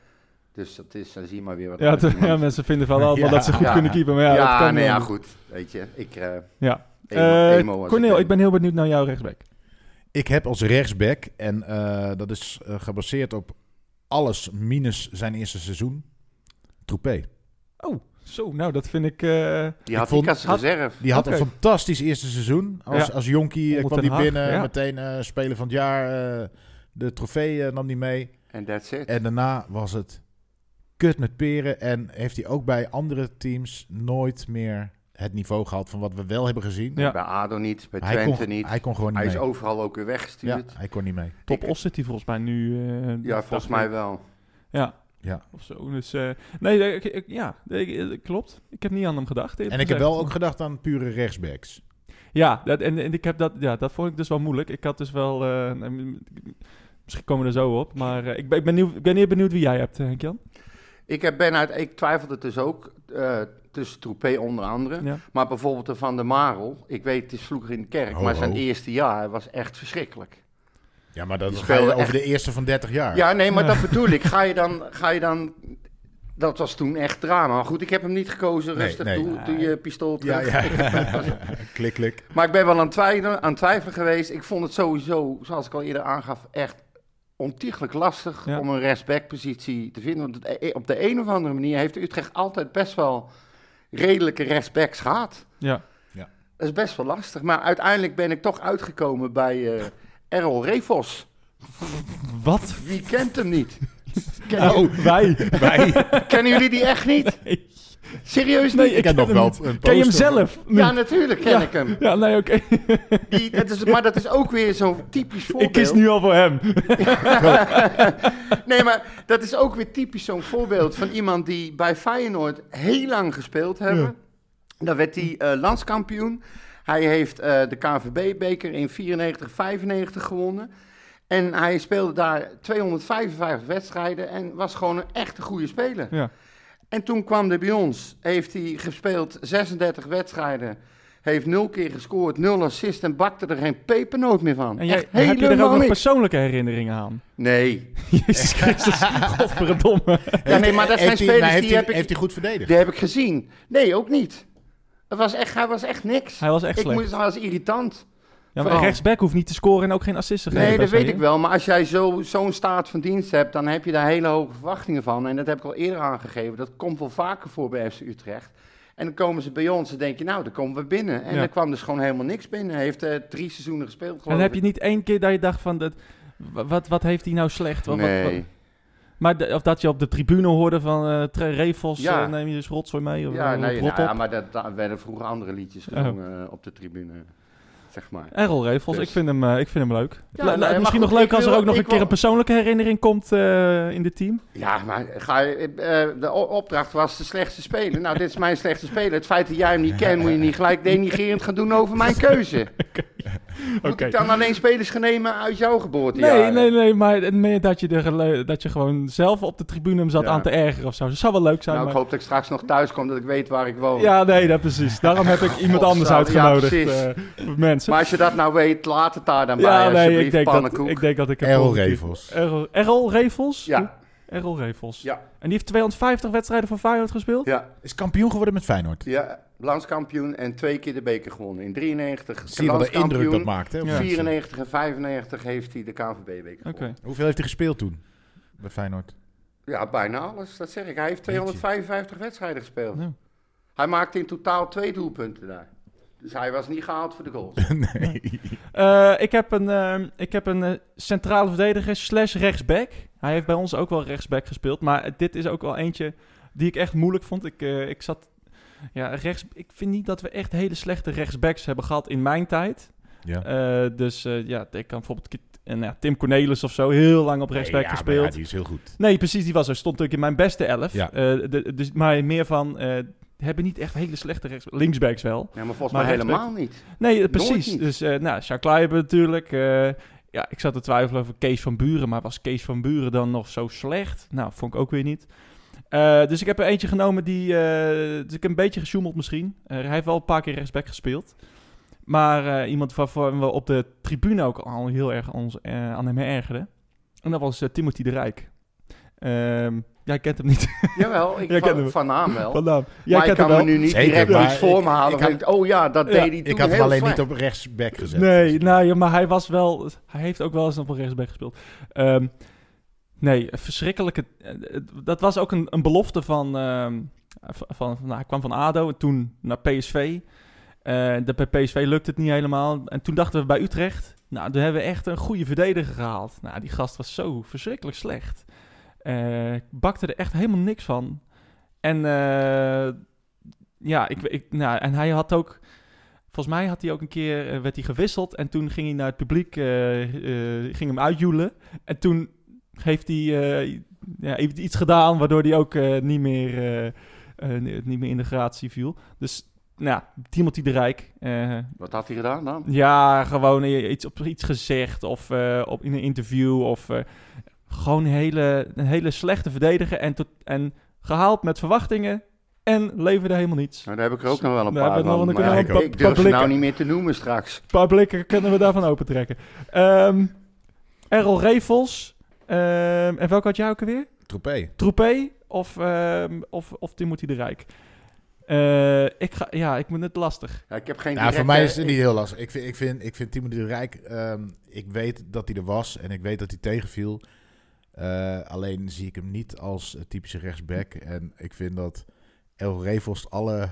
S4: Dus dat is, dan zie je maar weer wat.
S3: Ja,
S4: dat
S3: het-
S4: iemand-
S3: ja, mensen vinden wel allemaal
S5: Ja.
S3: dat ze goed
S4: Ja.
S3: kunnen keepen. Maar ja,
S4: Ja,
S3: dat kan
S4: nee,
S3: wel.
S4: ja, goed. Weet je, ik... eh
S3: Ja.
S4: emo-
S3: Eh,
S4: emo als
S3: Cornel, ik ben heel benieuwd naar jouw rechtsback.
S5: Ik heb als rechtsback, en eh, dat is eh, gebaseerd op alles minus zijn eerste seizoen, Troepé.
S3: Oh, zo, nou dat vind ik... eh,
S4: Die had
S5: vond-
S4: ik als
S3: had-
S4: reserve.
S5: Die had
S3: Oké.
S5: een fantastisch eerste seizoen. Als,
S3: Ja.
S5: als jonkie eh,
S3: Onder
S5: kwam
S3: Ten
S5: hij
S3: Hag,
S5: binnen.
S3: ja.
S5: Meteen eh speler van het jaar. eh, de trofee eh, nam hij mee.
S4: En that's it.
S5: En daarna was het kut met peren. En heeft hij ook bij andere teams nooit meer het niveau gehad van wat we wel hebben gezien.
S3: Ja.
S4: Bij ADO niet, bij
S5: Maar hij,
S4: Twente
S5: kon,
S4: niet.
S5: hij kon gewoon niet
S4: Hij is
S5: mee.
S4: overal ook weer
S5: ja,
S4: weggestuurd.
S5: hij kon niet mee.
S3: Top
S4: Ik-
S3: Os zit hij volgens mij nu. eh,
S4: Ja, volgens
S3: dacht
S4: mij
S3: ik.
S4: wel.
S3: Ja.
S5: Ja.
S3: Of zo. Dus, eh, nee, ik, ik- ja, ik- ik- klopt. Ik heb niet aan hem gedacht. eerlijk
S5: En ik heb
S3: gezegd.
S5: wel ook gedacht aan pure rechtsbacks.
S3: Ja, dat, en, en ik heb dat, ja, dat vond ik dus wel moeilijk. Ik had dus wel... eh, mm, misschien komen we er zo op. Maar eh, ik, ben, ik, ben nieuw, ik ben heel benieuwd wie jij hebt, eh, Henk-Jan.
S4: Ik heb Ben uit, ik twijfelde dus ook eh, tussen Troepé onder andere.
S3: Ja.
S4: Maar bijvoorbeeld de Van der Marel. Ik weet, het is vroeger in de kerk,
S5: Ho,
S4: maar zijn
S5: ho.
S4: eerste jaar was echt verschrikkelijk.
S5: Ja, maar dat
S4: Die
S5: ga je
S4: speelde
S5: over de eerste van 30 jaar.
S4: Ja, nee, maar dat bedoel ik. Ga je dan, ga je dan... Dat was toen echt drama. Maar goed, ik heb hem niet gekozen.
S5: Nee,
S4: Rustig
S5: nee.
S4: toe, doe je pistool
S5: ja.
S4: terug.
S5: ja. klik, klik.
S4: Maar ik ben wel aan het twijfelen, aan het twijfelen geweest. Ik vond het sowieso, zoals ik al eerder aangaf, echt ontiegelijk lastig
S3: Ja.
S4: om een rechtsbackpositie te vinden. Want het- eh, op de een of andere manier heeft Utrecht altijd best wel redelijke rechtsbacks gehad.
S3: Ja.
S4: Dat is best wel lastig. Maar uiteindelijk ben ik toch uitgekomen bij eh Errol Revos.
S3: Wat?
S4: Wie kent hem niet? Ken-
S3: Oh, wij.
S5: Wij,
S4: Kennen jullie die echt niet?
S3: Nee.
S4: Serieus niet?
S3: Nee, ik
S5: ken
S3: ken
S5: nog
S3: hem
S5: wel
S3: niet.
S5: een
S3: Ken je hem
S5: poster.
S3: zelf?
S4: Ja,
S3: niet?
S4: natuurlijk ken ik hem.
S3: Ja, nee, oké.
S4: Die, dat is, maar dat is ook weer zo'n typisch voorbeeld.
S3: ik kies nu al voor hem.
S4: Nee, maar dat is ook weer typisch zo'n voorbeeld van iemand die bij Feyenoord heel lang gespeeld hebben. Dan werd hij eh, landskampioen. Hij heeft eh, de KVB-beker in 94-95 gewonnen. En hij speelde daar 255 wedstrijden en was gewoon een echte goede speler.
S3: Ja.
S4: En toen kwam hij bij ons. Heeft hij gespeeld 36 wedstrijden. Heeft nul keer gescoord, nul assist en bakte er geen pepernoot meer van.
S3: En jij,
S4: Echt
S3: heb je er ook
S4: helemaal
S3: nog
S4: niks.
S3: persoonlijke herinneringen aan?
S4: Nee,
S3: Jezus Christus, godverdomme.
S4: Ja, nee, maar dat zijn
S5: heeft hij-
S4: spelers
S5: maar heeft
S4: die
S5: hij-
S4: heb ik-
S5: Heeft hij goed verdedigd?
S4: Die heb ik gezien. Nee, ook niet. Het was echt, hij was echt niks.
S3: Hij was echt
S4: ik
S3: slecht.
S4: moest, hij was irritant.
S3: Ja, maar
S4: Vooral.
S3: rechtsback hoeft niet te scoren en ook geen assist te geven.
S4: Nee,
S3: bij
S4: dat weet
S3: Spanje.
S4: ik wel. Maar als jij zo- zo'n staat van dienst hebt, dan heb je daar hele hoge verwachtingen van. En dat heb ik al eerder aangegeven. Dat komt wel vaker voor bij FC Utrecht. En dan komen ze bij ons en denk je, nou, dan komen we binnen. En
S3: Ja.
S4: er kwam dus gewoon helemaal niks binnen. Hij heeft eh, drie seizoenen gespeeld,
S3: En
S4: geloof
S3: heb
S4: ik.
S3: je niet één keer dat je dacht van, dat, wa- wat, wat heeft hij nou slecht? Wat, wat-
S4: Nee.
S3: wat- maar de- of dat je op de tribune hoorde van eh, Tre Refos,
S4: Ja.
S3: eh, neem je dus rotzooi mee of
S4: ja,
S3: ja,
S4: nee,
S3: rot
S4: nou ja,
S3: op.
S4: maar dat, daar werden vroeger andere liedjes
S3: Oh.
S4: gezongen eh, op de tribune, zeg maar.
S3: Errol Refos,
S4: Dus.
S3: ik, vind hem, eh, ik vind hem leuk.
S4: Ja,
S3: Le- le-
S4: nee, maar
S3: misschien
S4: goed,
S3: nog leuk
S4: ik
S3: als er
S4: wil-
S3: ook nog
S4: ik
S3: een keer
S4: wil-
S3: een persoonlijke herinnering komt eh, in dit team.
S4: Ja, maar ga je, eh, de o- opdracht was de slechtste speler. Nou, dit is mijn slechtste speler. Het feit dat jij hem niet kent, moet je niet gelijk denigerend gaan doen over mijn keuze. Moet
S3: Oké.
S4: ik dan alleen spelers gaan nemen uit jouw
S3: Nee,
S4: geboortejaar?
S3: nee, nee, maar het meer dat je, er, gele- dat je gewoon zelf op de tribune hem zat
S4: Ja.
S3: aan te ergeren of zo. Dat zou wel leuk zijn,
S4: Nou, ik
S3: maar...
S4: hoop dat ik straks nog thuis kom, dat ik weet waar ik woon.
S3: Ja, nee, dat precies. Daarom heb ik iemand
S4: God,
S3: anders
S4: zou- ja,
S3: uitgenodigd,
S4: precies.
S3: eh, voor mensen.
S4: Maar als je dat nou weet, laat het daar dan
S3: ja,
S4: bij,
S3: nee,
S4: alsjeblieft,
S3: ik denk, dat,
S4: pannenkoek.
S3: ik denk dat ik... een
S5: Errol
S3: positief-
S5: Revels.
S3: Errol, Errol Revels?
S4: Ja,
S3: Errol Revels.
S4: Ja.
S3: En die heeft 250 wedstrijden voor Feyenoord gespeeld?
S4: ja,
S5: Is kampioen geworden met Feyenoord.
S4: ja, landskampioen en twee keer de beker gewonnen. In 93
S5: Zie je wat de indruk dat
S4: landskampioen,
S5: maakt. Hè, op
S3: Ja.
S5: mensen.
S4: 94 en 95 heeft hij de KNVB-beker
S3: Oké.
S4: gewonnen.
S5: Hoeveel heeft hij gespeeld toen? Bij Feyenoord.
S4: Ja, bijna alles, dat zeg ik. Hij heeft 255 wedstrijden gespeeld.
S3: Ja.
S4: Hij maakte in totaal twee doelpunten daar. Dus hij was niet gehaald voor de goals.
S5: nee.
S3: Eh, ik heb een, eh, ik heb een eh, centrale verdediger slash rechtsback. Hij heeft bij ons ook wel rechtsback gespeeld. Maar dit is ook wel eentje die ik echt moeilijk vond. Ik, eh, ik zat... Ja, rechts, ik vind niet dat we echt hele slechte rechtsbacks hebben gehad in mijn tijd.
S5: Ja.
S3: Eh, dus eh, ja, ik kan bijvoorbeeld Kit- en, ja, Tim Cornelis of zo heel lang op rechtsback
S5: Nee, ja, maar
S3: gespeeld.
S5: Ja, die is heel goed.
S3: Nee, precies, die was er. Stond natuurlijk in mijn beste elf.
S5: Ja.
S3: Eh, de- dus, maar meer van, eh, hebben niet echt hele slechte rechts linksbacks wel.
S4: Ja, maar volgens
S3: Maar
S4: mij
S3: rechtsback-
S4: helemaal niet.
S3: Nee, eh,
S4: Nooit
S3: precies.
S4: niet.
S3: Dus eh nou, Jacques Leiber natuurlijk. eh, ja, ik zat te twijfelen over Kees van Buren. Maar was Kees van Buren dan nog zo slecht? Nou, vond ik ook weer niet. Eh, dus ik heb er eentje genomen die... eh, dus ik heb een beetje gesjoemeld misschien. Eh, hij heeft wel een paar keer rechtsback gespeeld. Maar eh, iemand waarvan we op de tribune ook al heel erg aan ons, eh, aan hem ergerden. En dat was eh, Timothy de Rijk. Ehm, jij kent hem niet
S4: Jawel, ik
S3: Jij kent
S4: van,
S3: hem.
S4: van naam wel.
S3: van naam. Jij
S4: maar ik
S3: kent
S4: kan
S3: hem
S4: me
S3: wel.
S4: nu niet
S5: Zeker,
S4: direct
S5: maar
S4: iets voor
S5: ik-
S4: me halen.
S5: ik
S4: van
S5: had-
S4: ik- oh ja, dat
S3: Ja,
S4: deed hij toen
S5: Ik had hem
S4: heel
S5: alleen
S4: slecht.
S5: niet op rechtsback gezet.
S3: Nee, nou ja, maar hij was wel. Hij heeft ook wel eens op een rechtsback gespeeld. Ehm, nee, een verschrikkelijke. eh, eh, Dat was ook een, een belofte van. ehm, Van, van, nou, hij kwam van ADO en toen naar PSV. Eh, de, bij PSV lukte het niet helemaal. En toen dachten we bij Utrecht, nou, toen hebben we echt een goede verdediger gehaald. Nou, die gast was zo verschrikkelijk slecht. Eh, Ik bakte er echt helemaal niks van. En, eh, ja, ik, ik, nou, en hij had ook... Volgens mij had hij ook een keer, eh, werd hij gewisseld en toen ging hij naar het publiek, eh, eh, ging hem uitjoelen. En toen heeft hij eh, ja, heeft iets gedaan waardoor hij ook eh, niet, meer, eh, eh, ni- niet meer in de gratie viel. Dus nou, Timothy de Rijk, eh,
S4: Wat had hij gedaan dan?
S3: ja, gewoon i- iets, op, iets gezegd of eh, op, in een interview of eh, gewoon een hele, een hele slechte verdediger en, tot, en gehaald met verwachtingen en leverde helemaal niets.
S4: Nou, daar heb ik er ook nog wel een
S3: Daar
S4: paar
S3: hebben we nog-
S4: van.
S3: dan
S4: maar
S5: we
S3: kunnen
S4: ik,
S5: nog een
S4: ik
S3: paar-
S4: durf
S3: paar
S4: ze nou
S3: blikken.
S4: niet meer te noemen straks.
S3: paar blikken kunnen we daarvan opentrekken. Ehm Errol Revels. ehm, en welke had jij ook alweer?
S5: Troepé.
S3: Troepé of, ehm of, of Timothy de Rijk? Eh, ik ga, ja, ik moet het lastig.
S4: Ja, ik heb geen eh,
S5: Nou,
S4: directe-
S5: voor mij is het niet heel lastig. Ik vind, ik vind, ik vind Timo de Rijk... ehm, ik weet dat hij er was en ik weet dat hij tegenviel. Eh, alleen zie ik hem niet als eh, typische rechtsback. En ik vind dat El Revels alle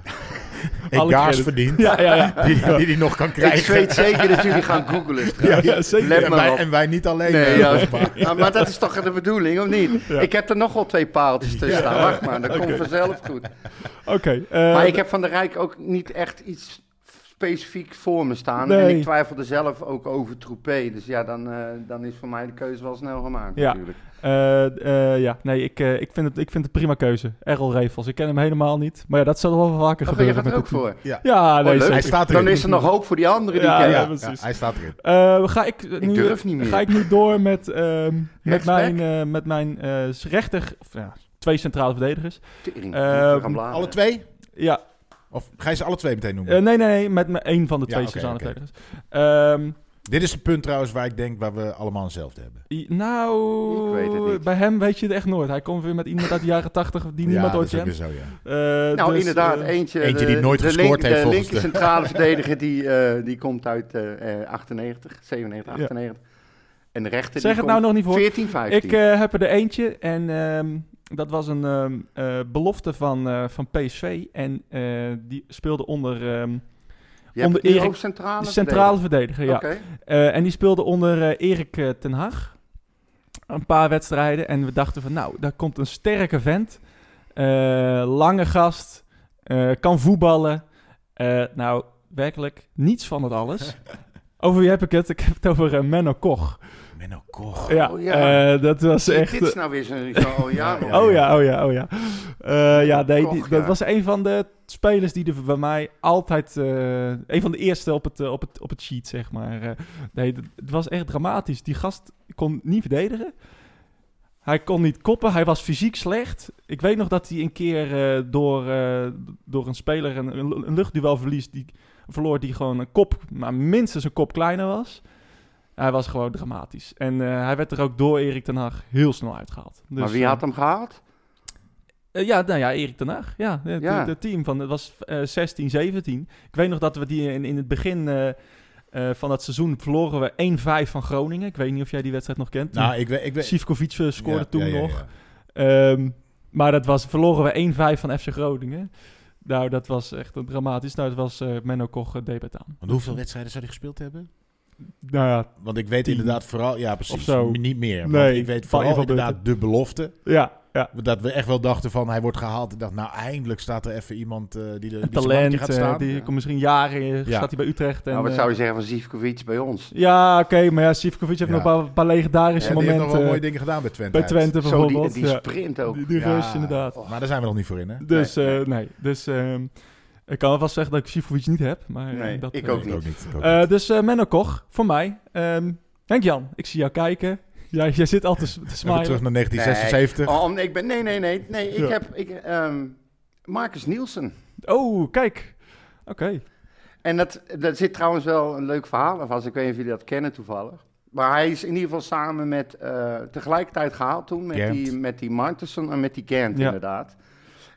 S3: Alle
S5: egaars
S3: credit.
S5: verdient
S3: Ja, ja, ja.
S5: die die hij nog kan
S4: Ik
S5: krijgen.
S4: weet zeker dat jullie gaan googelen straks.
S3: ja, ja, zeker.
S4: Let
S5: en,
S4: maar
S5: wij,
S4: op.
S5: en wij niet alleen.
S4: Nee,
S5: eh,
S4: ja.
S5: Bosma.
S4: Maar, maar dat is toch de bedoeling, of niet? Ik heb er nog wel twee paaltjes tussen staan. Wacht maar, dat komt vanzelf goed.
S3: Oké. eh,
S4: Maar ik heb van de Rijk ook niet echt iets specifiek voor me staan. En
S3: Nee.
S4: ik twijfelde zelf ook over Troepé. Dus ja, dan, eh, dan is voor mij de keuze wel snel gemaakt
S3: Ja.
S4: natuurlijk.
S3: eh, eh, ja, nee, ik, eh, ik, vind het, ik vind het prima keuze. Errol Revels. Ik ken hem helemaal niet. Maar ja, dat zal wel vaker
S4: Oh, je
S3: gebeuren.
S4: gaat er
S3: met
S4: ook
S3: dit team.
S4: voor. Oh,
S3: Ja, nee,
S4: leuk.
S3: zeker.
S5: Hij staat erin.
S4: Dan is er nog hoop voor die anderen die
S3: Ja,
S4: ik
S5: Ja,
S4: heb.
S5: ja,
S3: precies.
S5: hij staat erin.
S3: Eh, ga ik, nu,
S4: durf niet meer.
S3: Ga ik nu door met, ehm, met
S4: Rechtsback?
S3: mijn, eh, met mijn eh, rechter... Of, ja, twee centrale verdedigers.
S4: Tering,
S3: Eh,
S4: we gaan bladeren.
S5: Alle twee?
S3: Ja,
S5: Of ga je ze alle twee meteen noemen?
S3: eh, nee, nee, nee. Met mijn- één van de
S5: Ja,
S3: twee
S5: oké,
S3: centrale
S5: oké.
S3: verdedigers. Ehm,
S5: Dit is het punt trouwens waar ik denk waar we allemaal hetzelfde hebben.
S3: i- nou,
S4: Ik weet het niet.
S3: bij hem weet je het echt nooit. Hij komt weer met iemand uit de jaren tachtig die niemand
S5: dus dat
S3: ooit
S5: is ook weer
S3: kent.
S5: zo, ja.
S3: Eh,
S4: Nou,
S3: dus,
S4: inderdaad.
S3: eh,
S4: Eentje,
S5: Eentje
S4: de-
S5: die nooit
S4: de
S5: gescoord
S4: link-
S5: heeft,
S4: De
S5: volgens
S4: linker centrale verdediger die, eh, die komt uit eh, eh, 98, 97,
S3: Ja.
S4: 98. En de rechter
S3: Zeg
S4: die
S3: het nou nog niet voor.
S4: 14, 15.
S3: Ik eh, heb er de eentje en ehm, dat was een ehm, eh, belofte van, eh, van PSV. En eh, die speelde onder ehm,
S4: Je hebt
S3: onder
S4: die
S3: Erik-
S4: ook centrale
S3: de centrale verdediger. Ja.
S4: verdediger? Oké.
S3: Eh, en die speelde onder eh, Erik eh, ten Hag een paar wedstrijden. En we dachten van, nou, daar komt een sterke vent. Eh, lange gast, eh, kan voetballen. Eh, nou, werkelijk niets van dat alles. over wie heb ik het? Ik heb het over eh, Menno Koch.
S5: Menno Koch.
S3: Ja,
S4: Oh, ja.
S3: eh, dat was
S4: Zie je,
S3: echt...
S4: Dit is nou weer zo'n zo, oh ja,
S5: Ja,
S4: hoor.
S3: Oh ja, oh ja, oh ja. Eh, ja, nee,
S4: Koch,
S3: die-
S4: ja.
S3: dat was een van de spelers die er bij mij altijd... eh, een van de eerste op het, eh, op het, op het sheet, zeg maar. Eh, nee, dat- het was echt dramatisch. Die gast kon niet verdedigen. Hij kon niet koppen. Hij was fysiek slecht. Ik weet nog dat hij een keer eh, door, eh, door een speler een, een lu- een luchtduel verliest. Die verloor die gewoon een kop, maar minstens een kop kleiner was. Hij was gewoon dramatisch. En eh, hij werd er ook door Erik ten Hag heel snel uitgehaald. Dus,
S4: maar wie
S3: eh,
S4: had hem gehaald?
S3: eh, ja, nou ja, Erik ten Hag. Ja, het,
S4: Ja.
S3: het team van, het was eh, 16, 17. Ik weet nog dat we die in, in het begin eh, eh, van dat seizoen verloren we 1-5 van Groningen. Ik weet niet of jij die wedstrijd nog kent.
S5: Nou, ik weet... Ik weet
S3: Sivkovic eh, scoorde
S5: Ja,
S3: toen
S5: ja, ja, ja.
S3: nog. Ehm, maar dat was, verloren we 1-5 van FC Groningen. Nou, dat was echt een dramatisch. Nou, dat was eh, Menno Koch uh, debuut aan.
S5: Want hoeveel wedstrijden zou hij gespeeld hebben?
S3: Nou ja,
S5: Want ik weet
S3: Tien.
S5: inderdaad vooral... Ja, precies.
S3: Of zo.
S5: Niet meer. want
S3: Nee,
S5: ik weet
S3: van
S5: vooral
S3: Ivan Buten.
S5: inderdaad de belofte.
S3: ja, ja.
S5: Dat we echt wel dachten van hij wordt gehaald. Ik dacht, nou eindelijk staat er even iemand eh, die, de,
S3: Een
S5: die zijn mannetje
S3: talent.
S5: gaat
S3: eh,
S5: staan.
S3: die
S4: Ja.
S3: komt misschien jaren, eh,
S5: Ja.
S3: staat hij bij Utrecht. En,
S4: nou, wat
S3: eh,
S4: zou je zeggen van Zivkovic bij ons?
S3: Ja, oké, maar ja, Sivkovic heeft
S5: Ja.
S3: nog een paar, paar legendarische
S5: Ja, die heeft nog
S3: momenten.
S5: wel
S3: eh,
S5: mooie dingen gedaan bij Twente.
S3: bij
S5: uit.
S3: Twente
S4: Zo,
S3: bijvoorbeeld.
S4: die, die
S3: ja.
S4: sprint ook.
S3: Die, die
S5: Ja,
S3: rush, inderdaad.
S5: Maar daar zijn we nog niet voor in, hè?
S3: Dus eh,
S4: Nee,
S3: nee, dus ehm, ik kan alvast zeggen dat ik Sivkovic niet heb. Maar, eh,
S4: Nee,
S3: dat,
S4: ik
S3: eh,
S4: ook
S5: Ik ook niet. ik ook
S3: eh,
S5: niet.
S3: dus eh Menno Koch, voor mij. Ehm Henk-Jan, ik zie jou kijken. Jij, jij zit al te, s- te
S5: Even terug
S3: smilen.
S5: naar 1976.
S4: Oh, nee, ik ben, nee, nee, nee. nee ik
S3: Ja.
S4: heb ik, ehm, Marcus Nielsen.
S3: Oh, kijk. Oké.
S4: En dat, dat zit trouwens wel een leuk verhaal af, als ik weet niet of jullie dat kennen toevallig. Maar hij is in ieder geval samen met, eh, tegelijkertijd gehaald toen, met
S5: Gent.
S4: die, met die Martensen en met die Gent
S3: Ja.
S4: inderdaad.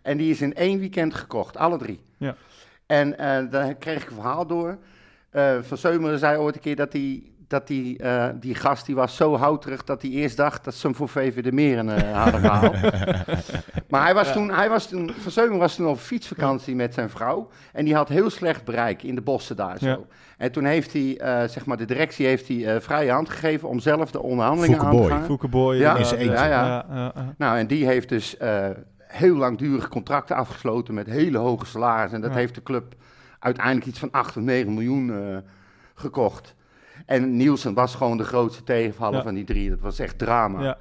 S4: En die is in één weekend gekocht, alle drie.
S3: Ja.
S4: En eh, daar kreeg ik een verhaal door. Eh, van Seumeren zei ooit een keer dat hij dat die, eh, die gast die was zo houterig dat hij eerst dacht dat ze hem voor VV de Meren eh, hadden gehaald. maar hij was, toen, hij was toen, Van Zeumen was toen op fietsvakantie met zijn vrouw en die had heel slecht bereik in de bossen daar zo.
S3: Ja.
S4: En toen heeft hij, eh, zeg maar, de directie heeft hij eh, vrije hand gegeven om zelf de onderhandelingen
S5: Foukeboy.
S4: aan te gaan.
S3: Foukeboy.
S4: Ja,
S3: inderdaad.
S5: is eentje.
S4: Ja, ja.
S3: ja, ja.
S4: Nou, en die heeft dus eh, heel langdurige contracten afgesloten met hele hoge salarissen. En dat
S3: Ja.
S4: heeft de club uiteindelijk iets van 8 of 9 miljoen eh, gekocht. En Nielsen was gewoon de grootste tegenvaller
S3: Ja.
S4: van die drie. Dat was echt drama.
S3: Ja.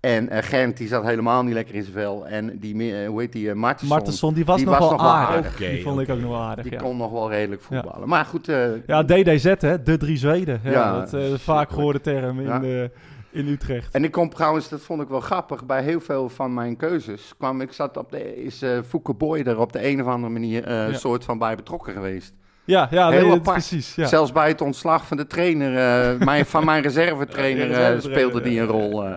S4: En eh, Gent, die zat helemaal niet lekker in zijn vel. En die, me- eh, hoe heet die, eh, Martensson,
S3: Martensson, die was
S4: Die
S3: nog
S4: was
S3: wel
S4: nog wel
S3: aardig.
S4: aardig.
S5: Oké,
S3: die vond ik ook nog wel aardig,
S4: die
S3: ja.
S4: kon nog wel redelijk voetballen. Maar goed, eh,
S3: Ja, DDZ, hè, de drie Zweden. Ja,
S4: Ja,
S3: dat eh,
S4: zeker.
S3: vaak gehoorde term in,
S4: Ja.
S3: eh, in Utrecht.
S4: En ik kom trouwens, dat vond ik wel grappig, bij heel veel van mijn keuzes kwam ik, zat op de, is eh Fouke Boy er op de een of andere manier eh,
S3: Ja.
S4: soort van bij betrokken geweest.
S3: Ja, ja
S4: Heel
S3: nee, dat-
S4: apart.
S3: precies. Ja.
S4: Zelfs bij het ontslag van de trainer, eh, mijn, van mijn reservetrainer
S3: Ja,
S4: eh,
S3: reservetrainer,
S4: speelde die
S3: ja.
S4: een rol. eh.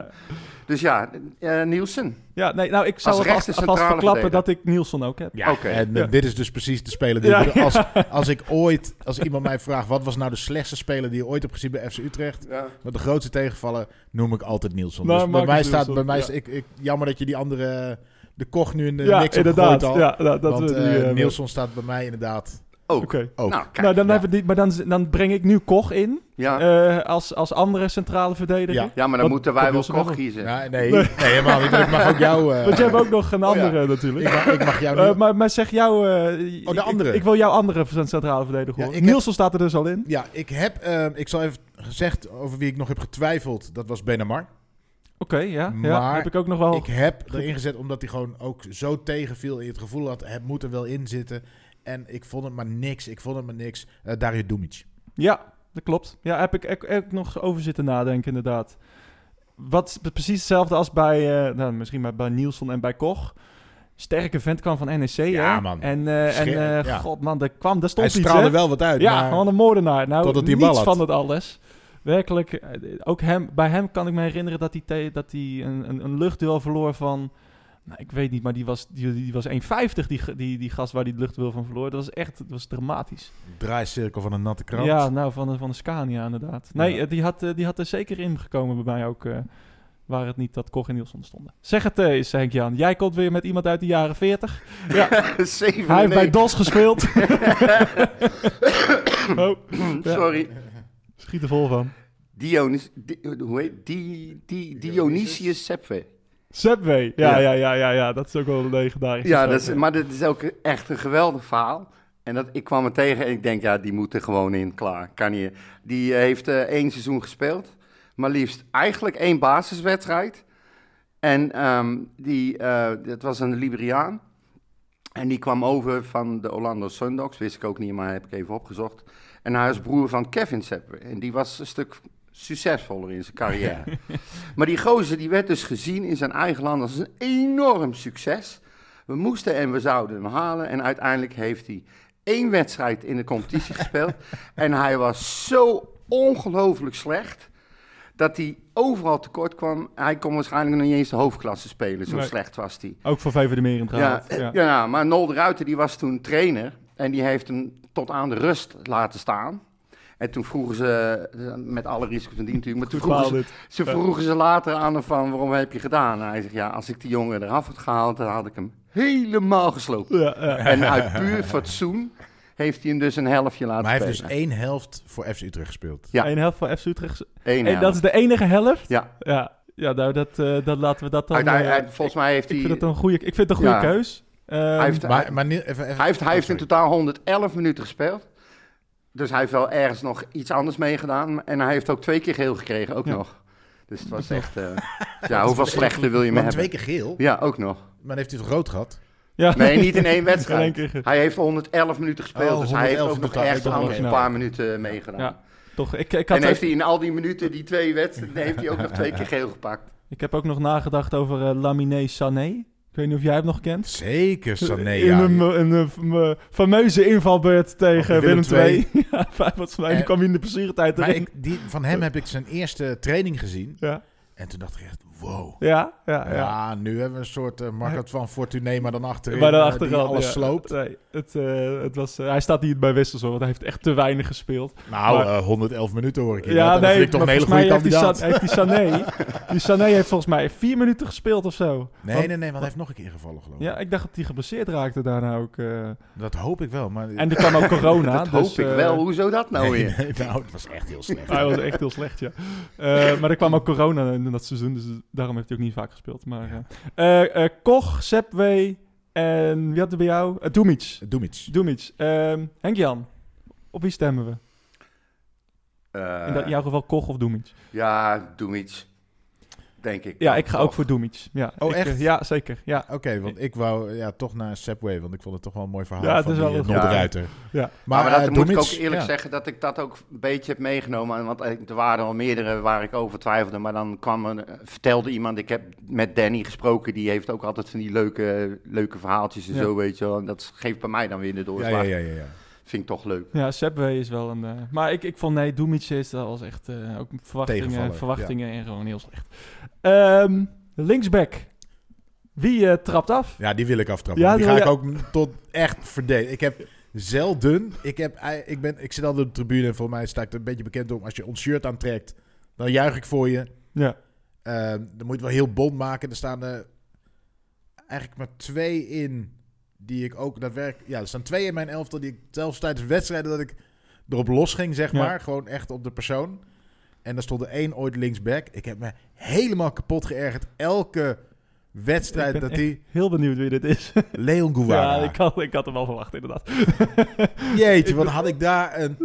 S4: Dus ja, eh Nielsen.
S3: Ja, nee, nou, ik zou
S4: Als
S3: het alvast, alvast
S4: rechter centrale
S3: verklappen dat
S4: verdediger.
S3: ik Nielsen ook heb.
S5: Ja,
S4: Oké.
S5: en eh,
S3: Ja.
S5: dit is dus precies de speler die...
S3: Ja,
S5: Als, als ik ooit, als iemand mij vraagt... wat was nou de slechtste speler die je ooit hebt gezien bij FC Utrecht... met de grootste tegenvaller noem ik altijd Nielsen.
S3: Nou,
S5: dus bij
S3: Marcus
S5: mij staat...
S3: Nielsen,
S5: Bij mij
S3: ja.
S5: is, ik, ik, jammer dat je die andere... eh, de Koch nu in de
S3: Ja,
S5: niks hebt
S3: inderdaad.
S5: gegooid al.
S3: Ja, nou, dat
S5: want
S3: we die,
S5: eh,
S3: eh,
S5: Nielsen staat bij mij inderdaad
S4: Ook.
S3: Oké.
S5: ook.
S4: Nou, kijk.
S3: Nou, dan
S5: ja.
S3: hebben we die, maar dan, dan breng ik nu Koch in
S4: ja.
S3: eh, als, als andere centrale verdediger.
S5: Ja.
S4: ja, maar dan
S3: wat-
S4: moeten
S3: wat
S4: wij wel
S3: Nielsen
S4: Koch
S3: wel?
S4: kiezen.
S5: Ja, nee, nee, helemaal niet. Ik mag ook jou... eh,
S3: Want jij hebt ook nog een
S4: Oh, ja.
S3: andere natuurlijk.
S5: ik, mag, ik mag jou
S3: Eh,
S5: niet...
S3: maar, maar zeg jou... eh,
S5: Oh, de
S3: ik-
S5: andere.
S3: Ik, wil jouw andere centrale verdediger
S5: Ja,
S3: horen.
S5: ik heb-
S3: Nielsen staat er dus al in.
S5: Ja, ik heb, eh, ik zal even gezegd over wie ik nog heb getwijfeld. Dat was Benamar.
S3: Oké, ja, ja.
S5: Maar
S3: Heb ik ook nog wel...
S5: Ik heb erin gezet omdat hij gewoon ook zo tegenviel. En je het gevoel had, het moet er wel in zitten. En ik vond het maar niks. Ik vond het maar niks. Eh Dario Dumic.
S3: Ja, dat klopt. Ja, heb ik, heb, heb ik nog over zitten nadenken, inderdaad. Wat is precies hetzelfde als bij, eh, nou, misschien bij, bij Nielsen en bij Koch. Sterke vent kwam van NEC,
S5: Ja,
S3: hè?
S5: man.
S3: En, eh, en
S5: Scher-
S3: eh,
S5: ja.
S3: god man, daar kwam, daar
S5: Hij
S3: stond iets,
S5: straalde
S3: hè?
S5: wel wat uit.
S3: Ja,
S5: maar
S3: gewoon een moordenaar. Nou,
S5: Totdat hij een
S3: niets
S5: bal had.
S3: van het alles. Werkelijk, eh, ook hem, bij hem kan ik me herinneren dat hij, te- dat hij een, een, een luchtduel verloor van... Nou, ik weet niet, maar die was, die, die was 1,50, die, ge- die, die gast waar die het luchtduel van verloor. Dat was echt dat was dramatisch.
S5: draaicirkel van een natte krant.
S3: Ja, nou, van de, van de Scania inderdaad. Nee,
S5: Ja.
S3: eh, die, had, eh, die had er zeker in gekomen bij mij ook. eh, waar het niet dat Koch en Nielsen stonden. Zeg het eh, eens, Henk-Jan. Jij komt weer met iemand uit de jaren 40.
S4: Zeven,
S3: Hij heeft bij
S4: nee.
S3: DOS gespeeld. oh,
S4: Sorry.
S3: schiet er vol van.
S4: Dionis, Di- hoe heet die, die, Dionysius Sepwe.
S3: Subway. Ja,
S4: Ja.
S3: ja, ja, ja, ja. Dat is ook wel een legendarische
S4: Ja,
S3: zaak,
S4: dat is, maar dat is ook echt een geweldig verhaal. En dat, ik kwam er tegen en ik denk, ja, die moet er gewoon in, klaar, kan niet. Die eh, heeft eh, één seizoen gespeeld, maar liefst eigenlijk één basiswedstrijd. En ehm, die, eh, dat was een Liberiaan. En die kwam over van de Orlando Sundogs, wist ik ook niet, maar heb ik even opgezocht. En hij is broer van Kevin Sepper. En die was een stuk succesvoller in zijn carrière. maar die gozer die werd dus gezien in zijn eigen land als een enorm succes. We moesten en we zouden hem halen. En uiteindelijk heeft hij één wedstrijd in de competitie gespeeld. En hij was zo ongelooflijk slecht. Dat hij overal tekort kwam. Hij kon waarschijnlijk nog niet eens de hoofdklasse spelen. Zo
S3: Nee.
S4: slecht was hij.
S3: Ook voor VV de Meren
S4: Ja,
S3: trouwens.
S4: ja. nou, maar Nol de Ruiter die was toen trainer en die heeft hem tot aan de rust laten staan. En toen vroegen ze, eh, met alle risico's van dien natuurlijk, maar toen
S3: Verhaal
S4: vroegen ze,
S3: dit.
S4: ze vroegen ze later aan hem van waarom heb je gedaan? En hij zegt ja, als ik die jongen eraf had gehaald, dan had ik hem helemaal gesloopt.
S3: Ja, ja.
S4: En uit puur fatsoen heeft hij hem dus een helftje laten
S5: Maar hij heeft dus
S4: spelen.
S5: één helft voor FC Utrecht gespeeld.
S4: Ja.
S3: Eén helft van FC Utrecht.
S4: Eén
S3: En dat
S4: helft.
S3: is de enige helft?
S4: Ja,
S3: Ja, ja nou, dat, eh, dat laten we dat dan...
S4: Uiteindelijk-
S3: eh,
S4: hij- volgens mij
S3: ik
S4: heeft
S3: vind
S4: hij...
S3: het een goede, ik vind het een goede
S4: Ja.
S3: keus. Ehm,
S4: Hij heeft-
S5: Maar, maar Niel- even, even-
S4: Hij heeft, hij heeft in
S5: oh, sorry.
S4: totaal 111 minuten gespeeld. Dus hij heeft wel ergens nog iets anders meegedaan. En hij heeft ook twee keer geel gekregen, ook
S3: Ja.
S4: nog. Dus het was echt... eh, ja, hoeveel slechter wil je me
S5: Maar twee
S4: hebben?
S5: keer geel.
S4: Ja, ook nog.
S5: Maar heeft hij het rood gehad?
S3: ja.
S4: Nee, niet in
S3: In
S4: één
S3: één
S4: wedstrijd.
S3: keer.
S4: Hij heeft 111 minuten gespeeld.
S5: Oh,
S4: dus hij heeft
S5: 111
S4: ook nog
S5: totaal.
S4: echt
S5: Ik dacht
S4: anders
S5: wel,
S4: een
S5: ja.
S4: paar minuten eh, meegedaan.
S3: Ja. Toch, ik, ik, had
S4: En heeft
S3: even-
S4: hij in al die minuten, die twee wedstrijden, heeft hij ook nog twee keer geel gepakt.
S3: ik heb ook nog nagedacht over eh, Lamine Sané. Ik weet niet of jij hem nog kent.
S5: Zeker, Sané.
S3: in
S5: ja.
S3: een, een, een fameuze invalbeurt tegen
S5: Tegen
S3: Willem
S5: Willem
S3: II. ja, volgens mij
S5: Eh,
S3: kwam hij in de pleziertijd
S5: Maar
S3: erin.
S5: ik, die, van hem heb ik zijn eerste training gezien.
S3: Ja.
S5: En toen dacht ik echt, wow.
S3: Ja, ja,
S5: Ja,
S3: ja.
S5: nu hebben we een soort eh market van Fortuné, maar dan achterin.
S3: Maar dan
S5: eh,
S3: achteraf,
S5: die alles
S3: ja.
S5: sloopt.
S3: Nee, het, eh, het was, eh, hij staat niet bij Wessels, hoor, want hij heeft echt te weinig gespeeld.
S5: Nou,
S3: Maar-
S5: eh, 111 minuten hoor ik hier.
S3: ja,
S5: dat
S3: nee,
S5: vind ik toch een
S3: maar
S5: hele
S3: volgens
S5: goede
S3: mij heeft die,
S5: kandidaat.
S3: San- heeft die Sané, die Sané heeft volgens mij vier minuten gespeeld of zo.
S5: Nee,
S3: Want-
S5: nee, nee, want hij heeft nog een keer gevallen geloof ik.
S3: Ja, ik dacht dat hij geblesseerd raakte daarna ook. eh.
S5: Dat hoop ik wel. Maar...
S3: En er kwam ook corona.
S4: dat hoop
S3: dus,
S4: ik
S3: eh,
S4: wel. Hoezo dat nou
S5: nee,
S4: weer?
S5: nee, nou, het was echt heel slecht.
S3: Hij was echt heel slecht, ja. Eh, maar er kwam ook corona in dat seizoen, dus daarom heeft hij ook niet vaak gespeeld. Maar, eh eh, eh, Koch, Sepway en wie had er bij jou? Eh, Doemits.
S5: Doe iets.
S3: Doemits. Ehm, Henk-Jan, op wie stemmen we?
S4: Eh,
S3: In, dat, in jouw geval Koch of Doemits?
S4: Ja, doe iets. Denk ik.
S3: Ja, ik ga
S4: Toch.
S3: ook voor Doemits. Ja,
S5: Oh,
S3: ik,
S5: echt?
S3: eh, ja, zeker. Ja.
S5: Oké, want ik wou ja, toch naar Subway, want ik vond het toch wel een mooi verhaal
S3: Ja, het
S5: van
S3: is wel
S5: die
S3: een
S5: eh,
S3: goed-
S5: Noordruiter.
S3: Ja.
S5: Maar,
S4: Maar, dat
S5: eh,
S4: moet ik ook
S5: Doemits,
S4: eerlijk
S5: ja.
S4: zeggen dat ik dat ook een beetje heb meegenomen. Want eh, er waren al meerdere waar ik over twijfelde. Maar dan kwam er, eh, vertelde iemand, ik heb met Danny gesproken. Die heeft ook altijd van die leuke, leuke verhaaltjes en
S3: Ja.
S4: zo, weet je wel. En dat geeft bij mij dan weer de doorslag.
S5: Ja, ja, ja, ja, ja.
S4: Vind ik toch leuk.
S3: Ja, Sepway is wel een... eh, maar ik, ik vond, nee, Doemits is dat was echt eh, ook verwachtingen,
S5: Tegenvaller,
S3: verwachtingen en gewoon heel slecht. Ehm, linksback. Wie eh, trapt af?
S5: Ja, die wil ik aftrappen.
S3: Ja,
S5: want die ga
S3: die
S5: ik
S3: wil
S5: ook tot echt verdedigen. Ik heb zelden... Ik, heb, ei- ik, ben, ik zit altijd op de tribune en voor mij sta ik er een beetje bekend om. Als je ons shirt aantrekt, dan juich ik voor je.
S3: Ja.
S5: Ehm, dan moet je het wel heel bond maken. Er staan eh, eigenlijk maar twee in die ik ook daadwerkelijk... Ja, er staan twee in mijn elftal die ik zelfs tijdens wedstrijden dat ik erop los ging, zeg
S3: Ja.
S5: maar. Gewoon echt op de persoon. En daar stond er één ooit linksback. Ik heb me helemaal kapot geërgerd. Elke wedstrijd
S3: Ik ben
S5: dat die...
S3: Heel benieuwd wie dit is.
S5: Leon Guevara.
S3: Ja, ik had, ik had hem al verwacht, inderdaad.
S5: Jeetje, wat had ik daar een...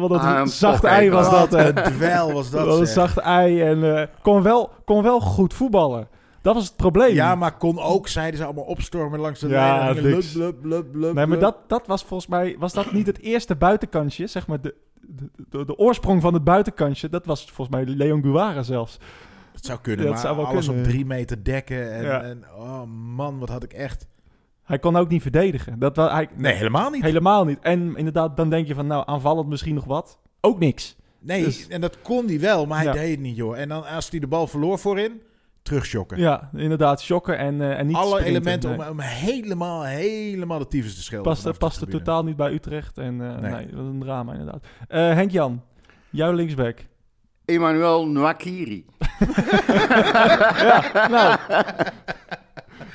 S3: Wat een
S4: Ah, een
S3: zacht
S4: pokker,
S3: ei
S4: ik
S3: was dat. hè.
S5: Een duel was dat,
S3: Wat een
S5: zeg.
S3: zacht ei. En eh, kon, wel, kon wel goed voetballen. Dat was het probleem.
S5: Ja, maar kon ook, zeiden ze allemaal, opstormen langs de
S3: Ja,
S5: lijn. en gingen
S3: niks.
S5: Blub, blub, blub, blub,
S3: nee, maar
S5: blub.
S3: dat, dat was volgens mij... Was dat niet het eerste buitenkantje? Zeg maar de, de, de, de oorsprong van het buitenkantje. Dat was volgens mij Leon Guara zelfs.
S5: Het zou kunnen,
S3: Ja,
S5: maar
S3: het zou wel
S5: alles
S3: kunnen.
S5: op drie meter dekken. En,
S3: Ja.
S5: en oh man, wat had ik echt...
S3: Hij kon ook niet verdedigen. Dat, wa- hij,
S5: Nee, helemaal niet.
S3: helemaal niet. En inderdaad, dan denk je van... Nou, aanvallend misschien nog wat. Ook niks.
S5: Nee,
S3: Dus-
S5: en dat kon hij wel, maar hij
S3: Ja.
S5: deed het niet, joh. En dan als hij de bal verloor voorin, terugschokken.
S3: Ja, inderdaad. Shocken en, eh, en niet
S5: Alle
S3: sprinten.
S5: elementen
S3: Nee.
S5: om, om helemaal, helemaal de tyfus te schelden.
S3: Paste,
S5: vanaf de
S3: paste
S5: tribune.
S3: totaal niet bij Utrecht. En eh, nee.
S5: Nee.
S3: dat was een drama inderdaad. Eh, Henk-Jan, jouw linksback.
S4: Emmanuel Nwakiri.
S3: nou,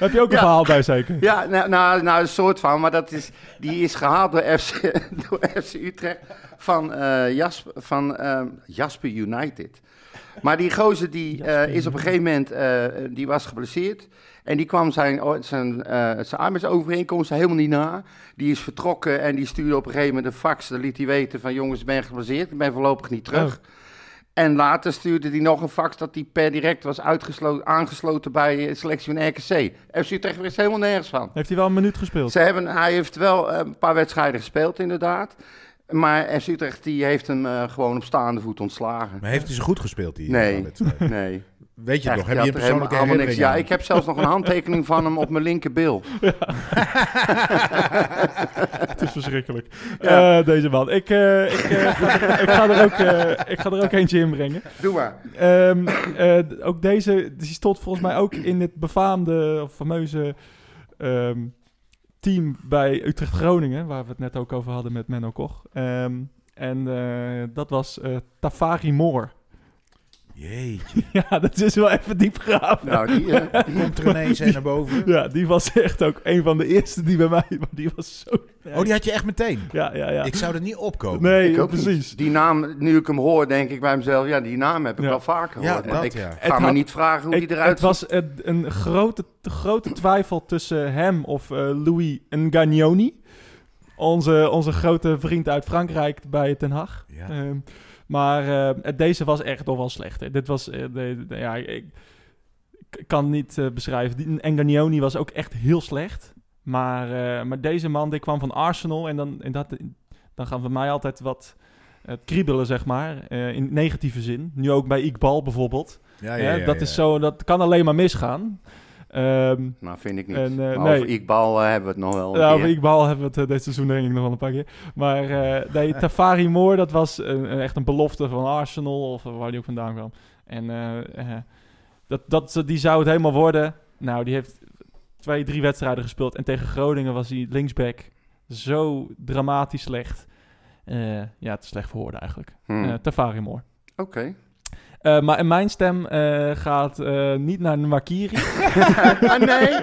S3: heb je ook een verhaal bij zeker?
S4: Ja, nou, nou, nou, een soort van, maar dat is, die is gehaald door FC, door FC Utrecht van, eh, Jasp, van ehm, Jasper United. Maar die gozer die eh, is op een gegeven moment, eh, die was geblesseerd. En die kwam zijn, o- zijn, eh zijn arbeidsovereenkomst helemaal niet na. Die is vertrokken en die stuurde op een gegeven moment een fax. Dan liet hij weten van jongens, ik ben geblesseerd, ik ben voorlopig niet terug. En later stuurde hij nog een fax dat hij per direct was uitgeslo- aangesloten bij eh, selectie van RKC. FC Utrecht wist helemaal nergens van.
S3: Heeft hij wel een minuut gespeeld?
S4: Ze hebben, hij heeft wel eh, een paar wedstrijden gespeeld, inderdaad. Maar FC Utrecht die heeft hem eh, gewoon op staande voet ontslagen.
S5: Maar heeft hij ze goed gespeeld, die
S4: Nee.
S5: die wedstrijd?
S4: Nee.
S5: Weet je het
S4: Echt,
S5: nog? Heb je een
S4: die had er helemaal-
S5: persoonlijke
S4: allemaal niks.
S5: herinnering
S4: Ja,
S5: aan?
S4: ik heb zelfs nog een handtekening van hem op mijn linkerbil.
S3: Het is verschrikkelijk.
S4: Ja.
S3: Eh, deze man. Ik, eh, ik, eh, ik, ga er ook, eh, ik ga er ook eentje inbrengen.
S4: Doe maar.
S3: Ehm, eh, d- ook deze, die stond volgens mij ook in het befaamde of fameuze ehm, team bij Utrecht-Groningen, waar we het net ook over hadden met Menno Koch. Ehm, en eh, dat was eh Tafari Moor.
S5: Jeetje,
S3: ja, dat is wel even diep graven.
S4: Nou, die, eh,
S5: komt er ineens een naar boven.
S3: Ja, die was echt ook een van de eerste die bij mij, maar die was zo...
S5: Oh, die had je echt meteen.
S3: Ja, ja, ja.
S5: Ik zou er niet opkomen.
S3: nee,
S4: ik ook niet.
S3: precies.
S4: die naam, nu ik hem hoor, denk ik bij mezelf, ja, die naam heb ik
S3: Ja.
S4: wel vaker gehoord.
S5: Ja,
S4: Want
S5: dat,
S4: ik
S5: ja.
S4: ga
S3: Het
S4: me
S3: had-
S4: niet vragen hoe
S3: Ik-
S4: die eruit
S3: het was eh, een grote, grote twijfel tussen hem of eh, Louis Ngagnoni. Onze, onze grote vriend uit Frankrijk bij Den Haag.
S5: Ja.
S3: Ehm, maar eh, het- deze was echt nog wel slecht. hè. Dit was... eh, de- de- ja, ik ik kan niet eh, beschrijven. Die Ngagnoni was ook echt heel slecht. Maar, eh, maar deze man die kwam van Arsenal. En dan, en dat, dan gaan we mij altijd wat eh, kriebelen, zeg maar. eh, in negatieve zin. Nu ook bij Iqbal bijvoorbeeld.
S5: Ah, Ja,
S3: Hè, dat, Is zo, dat kan alleen maar misgaan. Ehm
S4: Nou, vind ik niet.
S3: En, eh,
S4: maar
S3: nee.
S4: over Iqbal eh, hebben we het nog wel een
S3: nou,
S4: keer.
S3: over Iqbal hebben we het eh, dit seizoen denk ik nog wel een paar keer. Maar eh, nee, Tafari Moore, dat was een- een- echt een belofte van Arsenal of eh, waar die ook vandaan kwam. En eh, eh, Dat, dat, die zou het helemaal worden. Nou, die heeft twee, drie wedstrijden gespeeld. En tegen Groningen was hij linksback zo dramatisch slecht. Eh, ja, te slecht verhoorde eigenlijk.
S4: Hmm.
S3: Eh, Tafari Moore.
S4: Oké.
S3: Eh, maar en mijn stem eh, gaat eh, niet naar Makiri.
S4: ah, nee.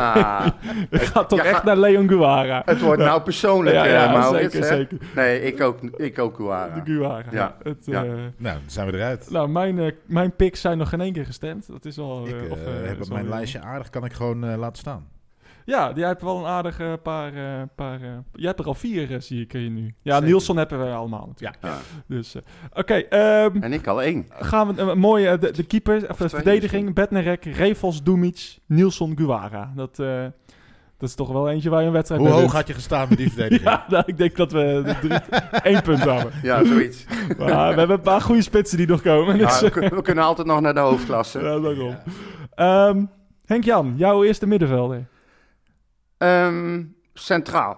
S4: Ah,
S3: gaat toch
S4: ja,
S3: echt
S4: ga-
S3: naar Leon Guara.
S4: het wordt nou persoonlijk, ja, Maurits.
S3: zeker,
S4: hè?
S3: zeker.
S4: Nee, ik ook, ik ook Guara.
S3: De Guara.
S4: Ja,
S3: Het,
S4: ja.
S3: eh,
S5: Nou, dan zijn we eruit.
S3: nou, mijn, eh, mijn picks zijn nog geen één keer gestemd. Dat is al...
S5: Ik
S3: eh,
S5: eh,
S3: of, eh,
S5: heb
S3: is
S5: op
S3: al
S5: mijn
S3: heel-
S5: lijstje aardig, kan ik gewoon eh, laten staan.
S3: Ja, jij hebt wel een aardige paar... eh, paar eh, jij hebt er al vier, eh, zie ik hier nu. Ja,
S5: Zeker.
S3: Nielsen hebben we allemaal natuurlijk.
S4: Ja.
S3: Dus, eh, Oké, ehm,
S4: En ik al één.
S3: gaan we... eh, mooi, eh, de, de keeper, of de
S4: twee
S3: verdediging, Bednarek, Revels, Dumic, Nielsen, Guara. Dat, eh, dat is toch wel eentje waar je een
S4: Eh,
S3: wedstrijd
S5: Hoe
S3: mee
S5: hoog
S3: wint.
S5: had je gestaan met die verdediging?
S3: Ja, nou, ik denk dat we de drie, één punt hebben.
S4: Ja, zoiets.
S3: Maar we hebben een paar goede spitsen die nog komen.
S4: Ja,
S3: Dus,
S4: we, kun- we kunnen altijd nog naar de hoofdklasse.
S3: Ja, daarom. Ehm, Henk-Jan, jouw eerste middenvelder.
S4: Ehm, centraal.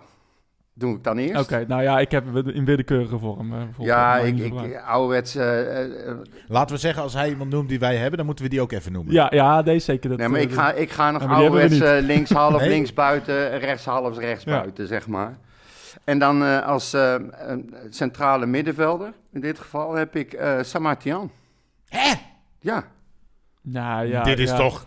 S4: Doe ik dan eerst?
S3: Oké, nou ja, ik heb hem in willekeurige vorm. eh, bijvoorbeeld.
S4: Ja,
S3: Maar
S4: ik,
S3: niet zo
S4: ik,
S3: belangrijk.
S4: ouderwets... eh, eh, eh,
S5: Laten we zeggen, als hij iemand noemt die wij hebben, dan moeten we die ook even noemen.
S3: Ja, ja, nee, zeker. Dat,
S4: nee, maar
S3: eh,
S4: ik ga, ik ga nog
S3: Ja, maar die hebben we
S4: ouderwets eh, links half,
S5: Nee.
S4: links buiten, rechts half, rechts
S3: Ja.
S4: buiten, zeg maar. En dan eh, als eh, een centrale middenvelder, in dit geval, heb ik eh Samartian.
S5: Hè?
S4: Ja,
S3: Nou, ja,
S5: Dit is
S3: ja.
S5: toch...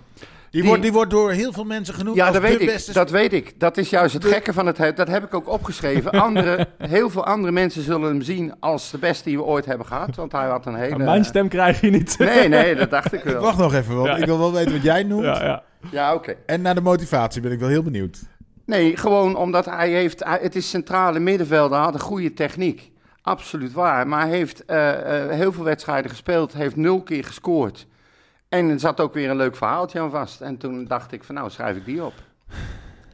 S5: Die,
S4: Die-
S5: Wordt, die wordt door heel veel mensen genoemd
S4: ja
S5: als
S4: dat,
S5: de
S4: weet
S5: beste
S4: ik, dat weet ik. Dat is juist het
S5: De-
S4: gekke van het... he- Dat heb ik ook opgeschreven. Andere, heel veel andere mensen zullen hem zien als de beste die we ooit hebben gehad. Want hij had een hele...
S3: Maar Mijn stem krijg je niet.
S4: Nee, nee, dat dacht ik wel.
S5: Wacht nog even, want
S3: Ja.
S5: ik wil wel weten wat jij noemt.
S3: ja, ja.
S4: Ja, oké.
S5: En naar de motivatie ben ik wel heel benieuwd.
S4: Nee, gewoon omdat hij heeft... hij- het is centrale middenvelder, hij had een goede techniek. Absoluut waar. Maar hij heeft eh, eh, heel veel wedstrijden gespeeld. Heeft nul keer gescoord. En er zat ook weer een leuk verhaaltje aan vast. En toen dacht ik van nou, schrijf ik die op.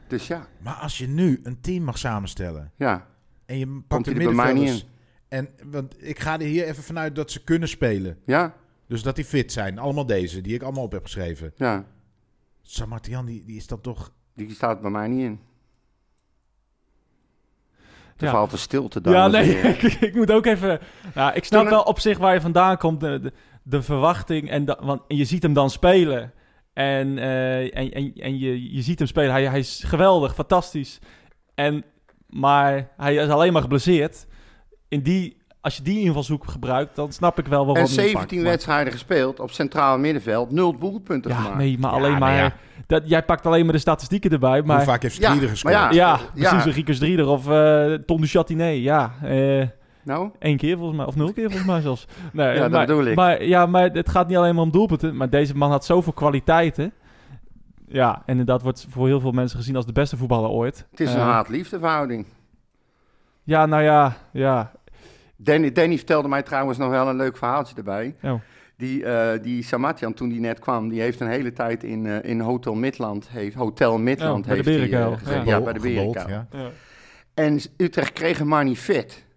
S4: Dus ja,
S5: Maar als je nu een team mag samenstellen
S4: ja.
S5: en je pakt
S4: Komt
S5: de
S4: hij er bij mij
S5: middenvelders...
S4: niet in?
S5: En, want ik ga er hier even vanuit dat ze kunnen spelen.
S4: Ja,
S5: Dus dat die fit zijn. Allemaal deze, die ik allemaal op heb geschreven.
S4: ja.
S5: Samartian, die, die is dat toch...
S4: Die staat bij mij niet in. Er
S3: Ja.
S4: valt een stilte dan.
S3: Ja, nee, ik, ik moet ook even... Nou, ik snap
S4: Toen-
S3: wel op zich waar je vandaan komt, de, de, de verwachting. En, da- want, en je ziet hem dan spelen. En, eh, en, en, en je, je ziet hem spelen. Hij, hij is geweldig, fantastisch. En, maar hij is alleen maar geblesseerd. In die, als je die invalshoek gebruikt, dan snap ik wel waarom
S4: En
S3: je hem pakt,
S4: 17
S3: maar-
S4: wedstrijden gespeeld op centraal middenveld. Nul doelpunten
S3: Ja,
S4: gemaakt.
S3: nee, maar
S5: Ja,
S3: alleen
S5: maar
S3: maar...
S5: ja.
S3: Dat, jij pakt alleen maar de statistieken erbij, maar...
S5: Hoe vaak heeft
S4: Ja,
S5: Strieder gescoord?
S4: maar
S3: Ja,
S4: Ja.
S3: precies, een Riekers Drieder of eh Tom Chatinet, ja. eh,
S4: Nou,
S3: Eén keer volgens mij, of nul keer volgens mij zelfs. Nee,
S4: Ja, dat
S3: maar,
S4: bedoel ik.
S3: Maar, ja, maar het gaat niet alleen maar om doelpunten, maar deze man had zoveel kwaliteiten. Ja, en dat wordt voor heel veel mensen gezien als de beste voetballer ooit.
S4: het is een
S3: Eh,
S4: haat-liefde verhouding.
S3: Ja, nou ja, ja.
S4: Danny, Danny vertelde mij trouwens nog wel een leuk verhaaltje erbij.
S3: Oh.
S4: Die, eh, die Samatian, toen die net kwam, die heeft een hele tijd in, eh, in Hotel Midland, heeft, Hotel Midland
S3: Oh, bij de
S4: heeft hij, eh,
S3: Berenkuil,
S4: gezeten.
S5: Gebol-
S4: Ja, bij de
S5: gebold,
S4: Berenkuil.
S5: ja.
S3: ja.
S4: En Utrecht kreeg hem maar niet fit.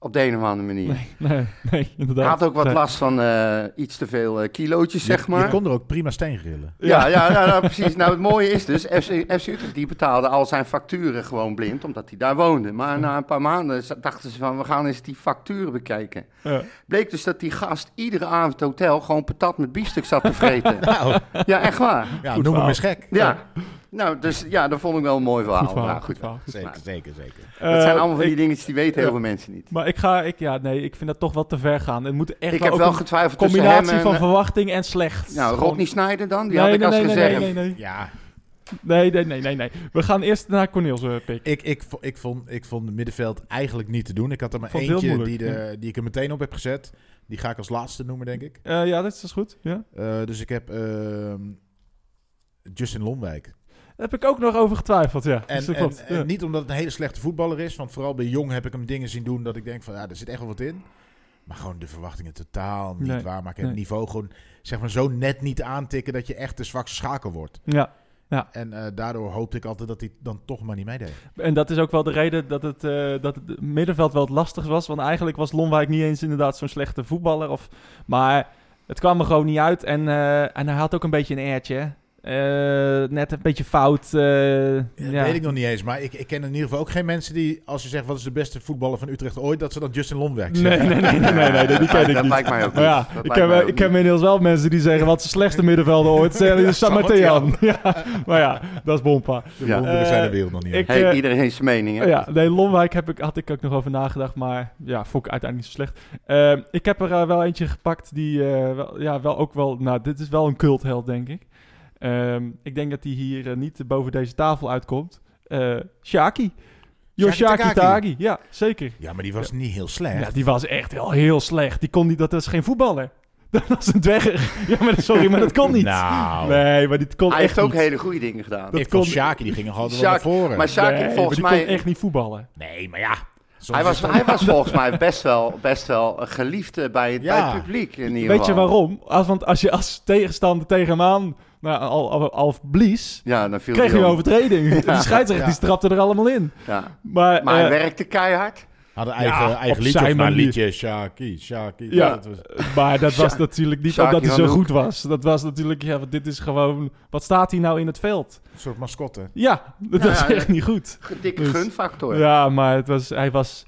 S4: Op de een of andere manier.
S3: Nee, nee, nee, inderdaad.
S4: Hij had ook wat
S3: Nee.
S4: last van eh, iets te veel eh, kilootjes,
S5: Je-
S4: zeg maar.
S5: Je kon er ook prima steen grillen.
S4: Ja, ja nou, nou, precies. Nou, het mooie is dus, FC, FC Utrecht die betaalde al zijn facturen gewoon blind, omdat hij daar woonde. Maar na een paar maanden z- dachten ze van, we gaan eens die facturen bekijken.
S3: Ja.
S4: Bleek dus dat die gast iedere avond het hotel gewoon patat met biefstuk zat te vreten.
S5: Nou,
S4: ja, echt waar.
S5: ja, noem
S3: Goed verhaal.
S5: hem eens gek.
S4: Ja. Nou, dus ja, dat vond ik wel een mooi verhaal.
S3: Goed verhaal,
S4: Nou,
S3: goed
S4: goed.
S3: verhaal.
S5: Zeker, zeker, zeker.
S4: Dat zijn allemaal van die
S3: Eh,
S4: dingetjes die weten heel
S3: ja.
S4: veel mensen niet.
S3: ik- maar ik ga, ik, ja, nee, ik vind dat toch wel te ver gaan. Het moet echt
S4: Ik heb
S3: ook
S4: wel
S3: een
S4: getwijfeld tussen hem
S3: combinatie
S4: en... eh,
S3: van verwachting en slecht.
S4: nou,
S3: Gewoon-
S4: Rodney Snyder dan, die
S3: Nee,
S4: had ik
S3: nee,
S4: als
S3: nee, nee,
S4: gezegd.
S3: Nee, nee,
S5: Ja,
S3: nee, nee, nee, nee, nee. We gaan eerst naar Corneels eh, pick.
S5: ik, ik, vo- ik, vond, ik vond het middenveld eigenlijk niet te doen. Ik had er maar
S3: Vond het heel
S5: eentje die,
S3: moeilijk,
S5: de, die ik er meteen op heb gezet. Die ga ik als laatste noemen, denk ik.
S3: Eh, ja, dat is, dat is goed. Ja.
S5: Eh, dus ik heb ehm, Justin Lomwijk.
S3: Daar heb ik ook nog over getwijfeld, ja.
S5: En,
S3: Dus dat
S5: en,
S3: klopt,
S5: en
S3: ja.
S5: niet omdat het een hele slechte voetballer is. Want vooral bij Jong heb ik hem dingen zien doen dat ik denk van ja, er zit echt wel wat in. Maar gewoon de verwachtingen totaal niet
S3: Nee,
S5: waarmaken.
S3: nee.
S5: Het niveau gewoon zeg maar, zo net niet aantikken dat je echt de zwakste schakel wordt.
S3: ja.
S5: En eh, daardoor hoopte ik altijd dat hij dan toch maar niet meedeed.
S3: En dat is ook wel de reden dat het, eh, dat het middenveld wel het lastig was. Want eigenlijk was Lonwijk niet eens inderdaad zo'n slechte voetballer. Of, maar het kwam er gewoon niet uit. En, eh, en hij had ook een beetje een airtje. hè. eh, net een beetje fout. eh,
S5: Dat
S3: ja.
S5: weet ik nog niet eens. Maar ik, ik ken in ieder geval ook geen mensen die, als je zegt wat is de beste voetballer van Utrecht ooit, dat ze dan Justin Lomberg
S3: Nee,
S5: zeggen.
S3: nee, nee, nee, nee, nee, nee, die ken
S4: dat
S3: ik
S4: Dat
S3: niet.
S4: lijkt mij ook
S3: Maar
S4: niet.
S3: ja,
S4: Dat
S3: ik
S4: lijkt
S3: heb, eh,
S4: mij ook
S3: ik ken inmiddels wel mensen die zeggen wat is de slechtste middenvelder ooit. Ze hebben San Martian. Ja, maar ja, dat is bompa.
S5: De
S4: Ja.
S5: wonderen zijn de wereld nog
S3: Eh,
S5: niet. Ik,
S3: ik-
S4: Hey,
S3: eh,
S4: iedereen heeft zijn mening, hè?
S3: Ja, nee, Lomwijk heb ik, had ik ook nog over nagedacht, maar ja, vond ik uiteindelijk niet zo slecht. Ehm, ik heb er eh, wel eentje gepakt die eh, wel, ja, wel ook wel, nou, dit is wel een cultheld, denk ik. Ehm, ik denk dat die hier eh, niet boven deze tafel uitkomt. Eh Shaki. Yoshaki
S5: Shaki Takagi.
S3: Tagi, ja, zeker.
S5: ja, maar die was niet heel slecht.
S3: Ja, die was echt heel, heel slecht. Die kon niet, dat was geen voetballer. Dat was een dwerg. Ja, maar dat- sorry, maar dat kon niet.
S5: Nou,
S3: Nee, maar dit kon
S4: Hij
S3: echt
S4: heeft ook
S3: niet.
S4: hele goede dingen gedaan.
S3: Dat
S5: ik vond
S3: kon-
S5: Sjaki, die ging nog altijd wel
S4: Sjaki-
S5: naar voren.
S4: Maar Sjaak
S3: Nee, maar
S4: volgens
S3: die
S4: mij...
S3: kon echt niet voetballen.
S5: nee, maar ja. soms
S4: Hij was,
S5: is dat-
S4: hij was volgens mij best wel, best wel geliefd eh, bij, bij
S5: Ja.
S4: het publiek in ieder
S3: Weet je
S4: geval.
S3: waarom? Als, want als je als tegenstander tegen hem aan nou, al, al, al blies,
S4: Ja, dan viel
S3: kreeg je
S4: hij
S3: een
S4: om.
S3: overtreding. De scheidsrechter
S5: Ja.
S3: die strapte er allemaal in.
S4: Ja.
S3: Maar,
S4: Maar hij
S3: eh,
S4: werkte keihard.
S5: Had een eigen,
S3: Ja,
S5: eigen
S3: op
S5: liedje.
S3: zijn
S5: Of nou, een
S3: manier.
S5: liedje. Sjaki, Sjaki.
S3: Ja.
S5: Dat was-
S3: maar dat was
S4: Sja-
S3: natuurlijk niet
S4: Sjaak
S3: omdat hij
S4: Jan
S3: zo
S4: Hoek.
S3: goed was. Dat was natuurlijk, ja, want dit is gewoon... Wat staat hij nou in het veld?
S5: Een soort mascotte.
S3: Ja, dat
S4: Ja,
S3: was
S4: ja,
S3: echt
S4: ja.
S3: niet goed.
S4: Dikke
S3: Dus-
S4: gunfactor.
S3: Ja, maar het was, hij was...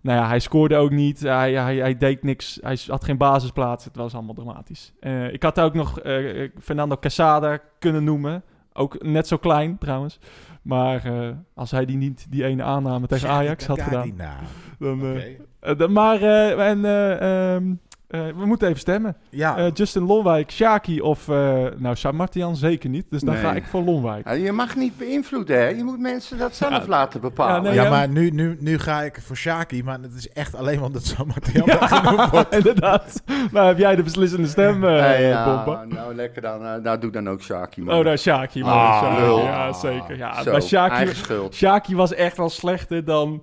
S3: Nou ja, hij scoorde ook niet. Hij, hij, hij deed niks. Hij had geen basisplaats. Het was allemaal dramatisch. Eh, ik had ook nog eh, eh, Fernando Casada kunnen noemen. Ook net zo klein trouwens. Maar eh, als hij die niet, die ene aanname tegen
S5: Sjaki
S3: Ajax had
S5: Takagi,
S3: gedaan.
S5: Nou,
S3: Dan, eh,
S5: oké.
S3: eh, dan- maar, eh, en, eh, ehm, eh, we moeten even stemmen.
S5: Ja,
S3: Eh, Justin Lonwijk, Shaki of, eh, nou, Sam Martian zeker niet. Dus dan
S4: Nee.
S3: ga ik voor Lonwijk.
S4: Ja, Je mag niet beïnvloeden, hè? Je moet mensen dat zelf
S3: Ja.
S4: laten bepalen.
S3: Ja, nee,
S5: ja, maar nu, nu, nu ga ik voor Sjaki, maar het is echt alleen omdat San Martijn
S3: inderdaad. Nou, heb jij de beslissende stem, eh
S4: Eh, ja,
S3: Pompa?
S4: nou lekker dan. eh, nou, doe dan ook Shaki, man.
S3: Oh, daar Shaki. man.
S5: Ah,
S3: Shaki,
S4: lul.
S3: Ja, zeker. Ja,
S4: Zo,
S3: maar Shaki,
S4: eigen schuld.
S3: Shaki was echt wel slechter dan,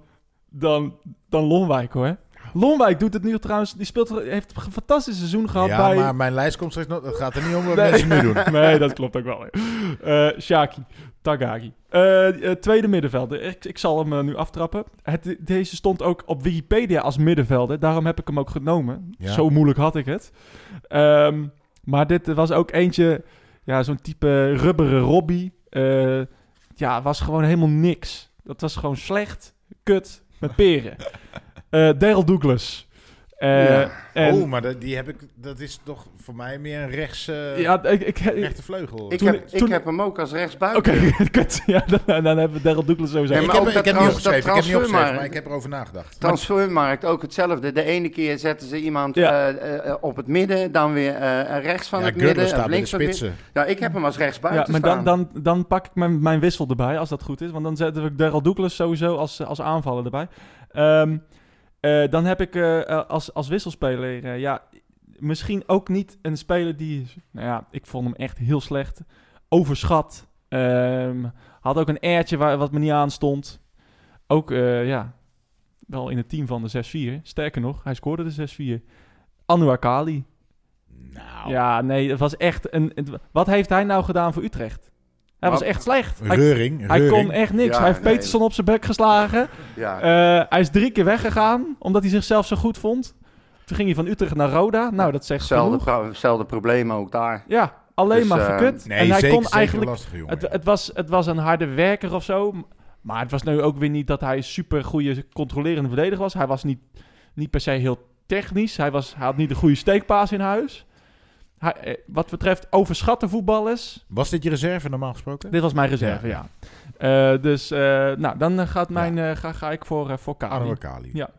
S3: dan, dan Lonwijk, hoor. Lonwijk doet het nu trouwens. Die speelt, heeft een fantastisch seizoen gehad
S5: Ja,
S3: bij...
S5: maar mijn lijst komt straks nog. Het gaat er niet om wat
S3: Nee.
S5: mensen nu doen.
S3: Nee, dat klopt ook wel. Eh Shaki, Tagagi. Eh, eh, tweede middenvelder. Ik, ik zal hem eh, nu aftrappen. Het, deze stond ook op Wikipedia als middenvelder. Daarom heb ik hem ook genomen.
S5: Ja.
S3: Zo moeilijk had ik het. Ehm, maar dit was ook eentje... Ja, zo'n type rubberen Robbie. Eh, ja, was gewoon helemaal niks. Dat was gewoon slecht. Kut. Met peren. Eh Daryl Douglas. Eh,
S4: Ja.
S3: en,
S5: oh, maar dat, die heb ik, dat is toch voor mij meer een rechts, eh
S3: ja, ik, ik,
S5: rechte vleugel.
S4: Ik,
S5: Ik,
S3: Toen-
S4: heb, ik
S3: toen-
S4: heb hem ook als rechtsbuiten.
S3: Oké, kut. Ja, dan, dan hebben we Daryl Douglas sowieso.
S4: Nee, maar
S5: heb,
S4: ook
S5: ik
S4: dat
S5: heb niet
S4: trans-
S5: opgeschreven, ik
S4: dat
S5: heb niet opgeschreven,
S4: transfermarkt-
S5: maar ik heb erover nagedacht.
S4: Transfermarkt ook hetzelfde. De ene keer zetten ze iemand
S3: Ja.
S4: eh, eh, eh, op het midden, dan weer eh, rechts van
S5: ja,
S4: het
S5: Gürtler
S4: midden,
S5: staat
S4: of
S5: bij de
S4: links van het midden.
S5: spitsen.
S4: Ja, ik heb hem als rechtsbuiten
S3: ja, maar
S4: staan.
S3: dan, dan, dan pak ik mijn, mijn wissel erbij, als dat goed is. Want dan zetten we Daryl Douglas sowieso als, eh, als aanvaller erbij. Ehm, eh, dan heb ik eh, eh, als, als wisselspeler, eh, ja, misschien ook niet een speler die... Nou ja, ik vond hem echt heel slecht. Overschat. Ehm, had ook een airtje waar, wat me niet aanstond. Ook, eh, ja, wel in het team van de 6-4. Sterker nog, hij scoorde de 6-4. Anouar Kali.
S5: Nou,
S3: Ja, nee, het was echt een. het- wat heeft hij nou gedaan voor Utrecht? Hij was
S4: Wat?
S3: echt slecht. Hij,
S5: Nou, Reuring,
S3: hij kon
S5: Reuring.
S3: echt niks.
S4: Ja,
S3: hij heeft
S4: nee.
S3: Peterson op zijn bek geslagen.
S4: ja.
S3: Eh, hij is drie keer weggegaan omdat hij zichzelf zo goed vond. Toen ging hij van Utrecht naar Roda. Nou, dat zegt
S4: Hetzelfde,
S3: genoeg.
S4: pro- hetzelfde probleem ook daar.
S3: Ja, alleen
S4: Dus,
S3: maar
S4: eh,
S3: gekut.
S5: nee,
S3: en hij
S5: zeker,
S3: kon
S5: zeker
S3: eigenlijk.
S5: lastig, jongen.
S3: Het, het, was, het was een harde werker of zo. Maar het was nu ook weer niet dat hij een super goede controlerende verdediger was. Hij was niet, niet per se heel technisch. Hij, was, hij had niet de goede steekpaas in huis. Hij, eh, wat betreft overschatte voetballers.
S5: was dit je reserve normaal gesproken?
S3: Dit was mijn reserve, ja.
S5: Ja.
S3: Eh, dus eh, nou, dan eh, gaat mijn, eh, ga, ga ik voor, eh voor Kali.
S5: Arno Kali.
S3: Ja.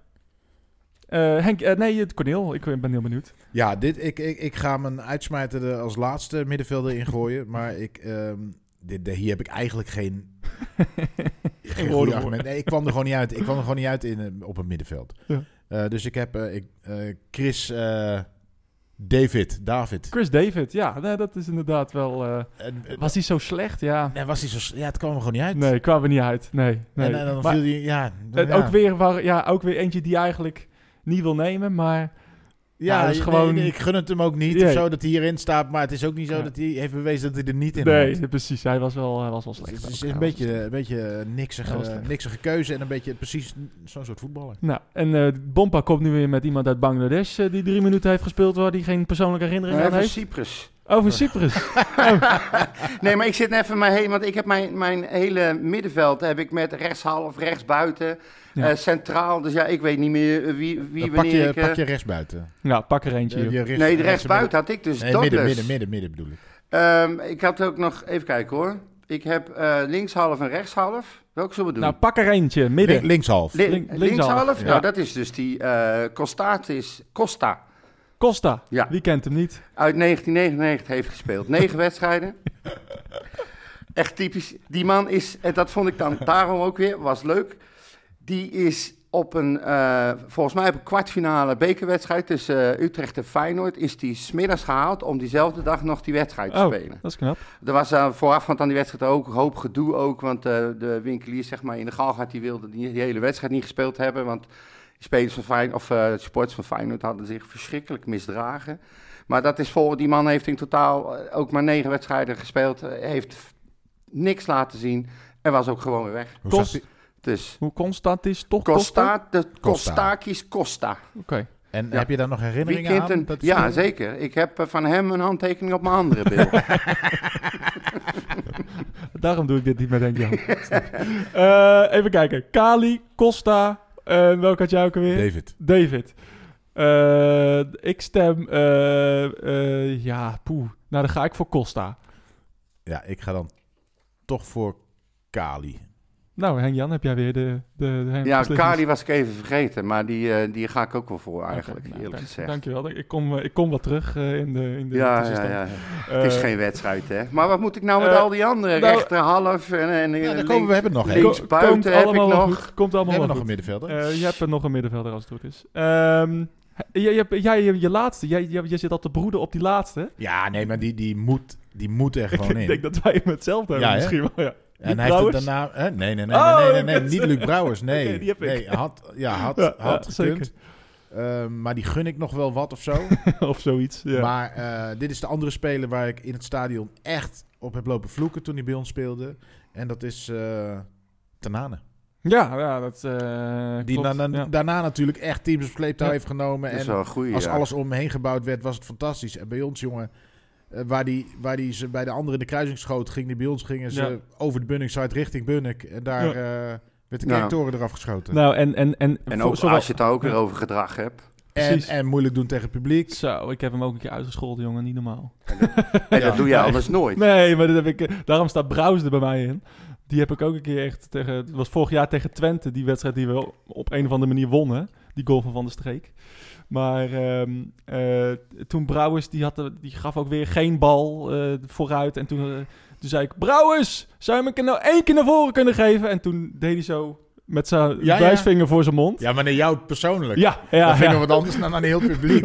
S3: Eh, Henk, eh, nee, het Cornel. Ik ben heel benieuwd.
S5: Ja, dit, ik, ik, ik ga mijn uitsmijter er als laatste middenvelder in gooien. Maar ik, ehm, dit, de- hier heb ik eigenlijk geen, geen
S3: woorden
S5: goede
S3: voor.
S5: argument. Nee, ik kwam er gewoon niet uit. Ik kwam er gewoon niet uit in, eh, op het middenveld.
S3: Ja.
S5: Eh, dus ik heb eh, ik, eh, Chris eh, David. David.
S3: Chris David, ja, nee, dat is inderdaad wel... eh,
S5: En, eh,
S3: was hij zo slecht? Ja.
S5: nee, was hij zo, s- ja, het kwam er gewoon niet uit.
S3: Nee, kwamen we niet uit. Nee, nee.
S5: En, eh, dan
S3: Maar-
S5: viel hij, ja, dan-
S3: Het
S5: Nou ja.
S3: Ook, weer waar, ja, ook weer eentje die eigenlijk niet wil nemen, maar
S5: Ja,
S3: Ja, dat is
S5: nee,
S3: gewoon-
S5: nee, ik gun het hem ook niet.
S3: Nee.
S5: Of zo dat hij hierin staat. Maar het is ook niet zo
S3: Ja.
S5: dat hij heeft bewezen dat hij er niet in hoort.
S3: nee, precies, hij was wel, hij was wel
S5: Het
S3: slecht. dus-
S5: is- Dus het
S3: ook.
S5: is
S3: Hij
S5: een
S3: was
S5: beetje, een beetje
S3: Dat
S5: niksige,
S3: was slecht.
S5: niksige keuze en een beetje precies zo'n soort voetballer.
S3: Nou, en eh Bompa komt nu weer met iemand uit Bangladesh eh, die drie minuten heeft gespeeld waar die geen persoonlijke herinnering aan
S4: Even
S3: heeft.
S4: Cyprus.
S3: Over Cyprus.
S4: Nee, maar ik zit even mijn hele... Want ik heb mijn, mijn hele middenveld heb ik met rechtshalf, rechtsbuiten,
S3: Ja.
S4: eh, centraal. Dus ja, ik weet niet meer eh, wie, wie
S5: Dan pak,
S4: wanneer
S5: je,
S4: ik... eh,
S5: pak je rechtsbuiten.
S3: nou, pak er eentje. joh.
S5: Je rechts-
S4: nee, de
S5: rechts-
S4: rechtsbuiten had ik dus.
S5: Nee,
S4: Douglas.
S5: midden, midden, midden, midden bedoel ik.
S4: Ehm, ik had ook nog... Even kijken hoor. Ik heb eh linkshalf en rechtshalf. Welke zullen we doen?
S3: Nou, pak er eentje. Midden.
S5: Link- linkshalf.
S4: Li-
S3: link-
S4: linkshalf?
S3: linkshalf, ja.
S4: Nou, dat is dus die eh Costatis, Costa
S3: Costa.
S4: Ja.
S3: Wie kent hem niet?
S4: uit 1999 heeft gespeeld. Negen wedstrijden. Echt typisch. Die man is, en dat vond ik dan daarom ook weer, was leuk. Die is op een, eh, volgens mij op een kwartfinale bekerwedstrijd tussen eh, Utrecht en Feyenoord, is die smiddags gehaald om diezelfde dag nog die wedstrijd te
S3: Oh,
S4: spelen.
S3: dat is knap.
S4: Er was eh, voorafgaand aan die wedstrijd ook een hoop gedoe ook, want eh, de winkelier zeg maar, in de Galgaard die wilde die, die hele wedstrijd niet gespeeld hebben, want de spelers van Feyenoord, of eh, de supporters van Feyenoord hadden zich verschrikkelijk misdragen. Maar dat is voor die man heeft in totaal eh, ook maar negen wedstrijden gespeeld, eh, heeft f- niks laten zien en was ook gewoon weer weg.
S5: Hoe
S3: Kost-
S5: zag die-
S4: Dus
S3: Hoe constant is toch Costa?
S4: Costa, de
S5: Costa.
S4: Costakis Costa.
S3: Oké.
S5: En
S4: Ja.
S5: heb je daar nog
S4: Wie
S5: herinneringen
S4: kent
S5: aan?
S4: een,
S5: dat hij
S4: ja,
S5: speelde?
S4: zeker. Ik heb eh, van hem een handtekening op mijn andere beeld.
S3: Daarom doe ik dit niet meer, denk ik. Eh, even kijken. Kali, Costa. en welke had jij ook alweer?
S5: David.
S3: David. Eh, ik stem... eh, eh, ja, poeh. Nou, dan ga ik voor Costa.
S5: Ja, ik ga dan toch voor Kali.
S3: Nou, Henk-Jan, heb jij weer de... de, de
S4: Ja,
S3: beslissings?
S4: Kali was ik even vergeten, maar die, eh, die ga ik ook wel voor eigenlijk,
S3: Oké, nou,
S4: eerlijk
S3: dank-
S4: gezegd.
S3: Dankjewel. Ik kom, eh, ik kom wat terug eh, in de, in de
S4: Ja, ja,
S3: tussenstand.
S4: ja.
S3: Eh,
S4: het is geen wedstrijd, hè. Maar wat moet ik nou met
S3: eh,
S4: al die anderen?
S3: nou,
S4: Rechter, half en, en
S5: Ja, daar
S4: links-
S5: komen we, we hebben nog
S3: ko-
S5: één.
S4: links-
S5: We
S4: buiten
S3: komt
S4: heb ik
S3: allemaal wel
S4: nog.
S3: goed. Komt allemaal
S5: hebben
S3: wel
S5: nog een
S3: goed.
S5: middenvelder.
S3: Eh, je hebt er nog een middenvelder als het goed is. Ehm, je- je hebt- jij, je, je laatste. Jij, jij, jij zit al te broeden op die laatste. hè?
S5: ja, nee, maar die, die, moet, die moet er gewoon
S3: ik
S5: in.
S3: denk dat wij hem hetzelfde hebben
S5: Ja, hè?
S3: misschien wel. Ja.
S5: en
S3: Niet
S5: hij heeft het
S3: Brouwers?
S5: daarna... Hè? Nee, nee, nee,
S3: Oh,
S5: nee, nee, nee,
S3: kut.
S5: niet Luc Brouwers, nee.
S3: Oké, die heb ik.
S5: Nee, had, ja, had,
S3: Ja,
S5: had
S3: ja,
S5: gekund.
S3: zeker.
S5: Eh, maar die gun ik nog wel wat of zo.
S3: of zoiets. Ja.
S5: Maar eh, dit is de andere speler waar ik in het stadion echt op heb lopen vloeken toen hij bij ons speelde. En dat is eh Tanane.
S3: ja, ja, dat eh
S5: Die
S3: klopt.
S5: na- na-
S3: ja.
S5: daarna natuurlijk echt teams op sleeptouw
S3: Ja.
S5: heeft genomen.
S4: Dat is
S5: En
S4: wel een goeie,
S5: als
S4: ja.
S5: alles om hem heen gebouwd werd, was het fantastisch. En bij ons, jongen, eh, waar, die, waar die ze bij de anderen in de kruising schoot, ging die bij ons gingen ze
S3: Ja.
S5: over de Bunningside richting Bunnik. En daar
S3: Ja.
S5: eh, werd de
S4: Ja.
S5: kerktoren eraf geschoten.
S3: Nou, en... En, en,
S4: En
S3: voor-
S4: ook
S3: zowel-
S4: als je het daar ook weer over gedrag hebt.
S5: en,
S3: precies.
S5: en moeilijk doen tegen het publiek.
S3: Zo, ik heb hem ook een keer uitgescholden, jongen. Niet normaal.
S4: En
S5: Ja.
S4: dat doe je anders nooit.
S3: Nee, maar dat heb ik, eh, daarom staat Brouws er bij mij in. Die heb ik ook een keer echt tegen... Het was vorig jaar tegen Twente, die wedstrijd die we op een of andere manier wonnen. Die goal van Van der Streek. Maar ehm, eh, toen Brouwers, die, had, de- die gaf ook weer geen bal eh, vooruit. En toen, eh, toen zei ik, Brouwers, zou je me een keer nou één keer naar voren kunnen geven? En toen deed hij zo met zijn
S5: Ja, ja.
S3: wijsvinger voor zijn mond.
S5: Ja, maar naar jou persoonlijk.
S3: ja,
S5: dat
S3: ja.
S5: vinden
S3: ja.
S5: we wat anders dan aan heel publiek.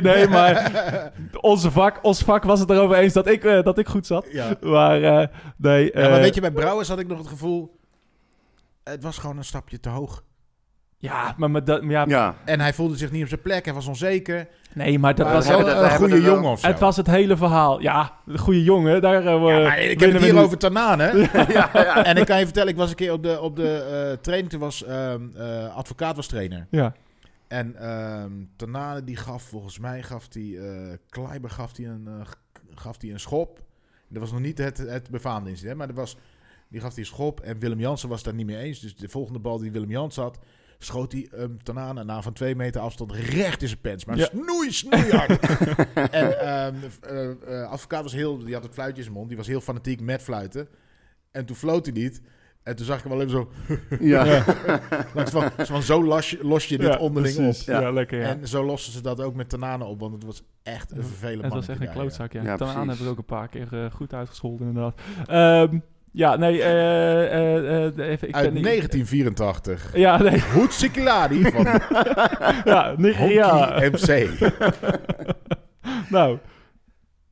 S3: nee, maar onze vak, ons vak was het erover eens dat ik, eh, dat ik goed zat.
S5: Ja.
S3: Maar eh, nee.
S5: Ja, maar
S3: eh,
S5: weet je, bij Brouwers had ik nog het gevoel... Het was gewoon een stapje te hoog.
S3: Ja, maar, maar dat, maar ja,
S4: Ja,
S5: En hij voelde zich niet op zijn plek. Hij was onzeker.
S3: nee, maar dat
S4: Maar
S3: was
S4: we hebben
S3: wel,
S5: Wel
S4: dat-
S5: een
S4: hebben
S5: goede
S4: dat wel.
S5: jongen of zo.
S3: het was het hele verhaal. Ja, de goede jongen, daar eh,
S5: Ja, maar ik heb
S3: winnen
S5: het
S3: we
S5: hier
S3: niet.
S5: over Tanane.
S4: ja, ja.
S5: en ik kan je vertellen, ik was een keer op de, op de eh, training. Toen was ehm, eh, advocaat was trainer.
S3: Ja,
S5: En ehm Tanane die gaf, volgens mij gaf die... eh, Kleiber gaf die een, eh, gaf die een schop. Dat was nog niet het, het befaamde incident. Maar er was, die gaf die een schop. En Willem Jansen was het daar niet mee eens. Dus de volgende bal die Willem Jansen had... schoot hij ehm Tanane na van twee meter afstand recht in zijn pens. Maar
S3: Ja.
S5: snoei, snoeihard. en ehm eh, eh, advocaat was heel... Die had het fluitje in zijn mond. Die was heel fanatiek met fluiten. En toen floot hij niet... En toen zag ik hem wel even zo
S4: ja.
S5: langs van, zo van zo los je, los je dit
S3: ja,
S5: onderling op.
S3: precies. Ja,
S4: Ja.
S3: lekker. Ja.
S5: En zo lossen ze dat ook met Tanane op, want het was echt een vervelend
S3: het was
S5: mannetje
S3: echt een
S5: daar, ja.
S3: klootzak. Ja.
S4: Ja,
S3: Daaraan
S4: precies.
S3: heb ik ook een paar keer eh, goed uitgescholden, inderdaad. Ehm, ja, nee. eh, eh, eh, even, ik
S5: Uit
S3: ben niet-
S5: 1984.
S3: Ja, nee.
S5: Hoed Sikiladi van
S3: Ja,
S5: Honky
S3: Nigeria.
S5: MC.
S3: Nou,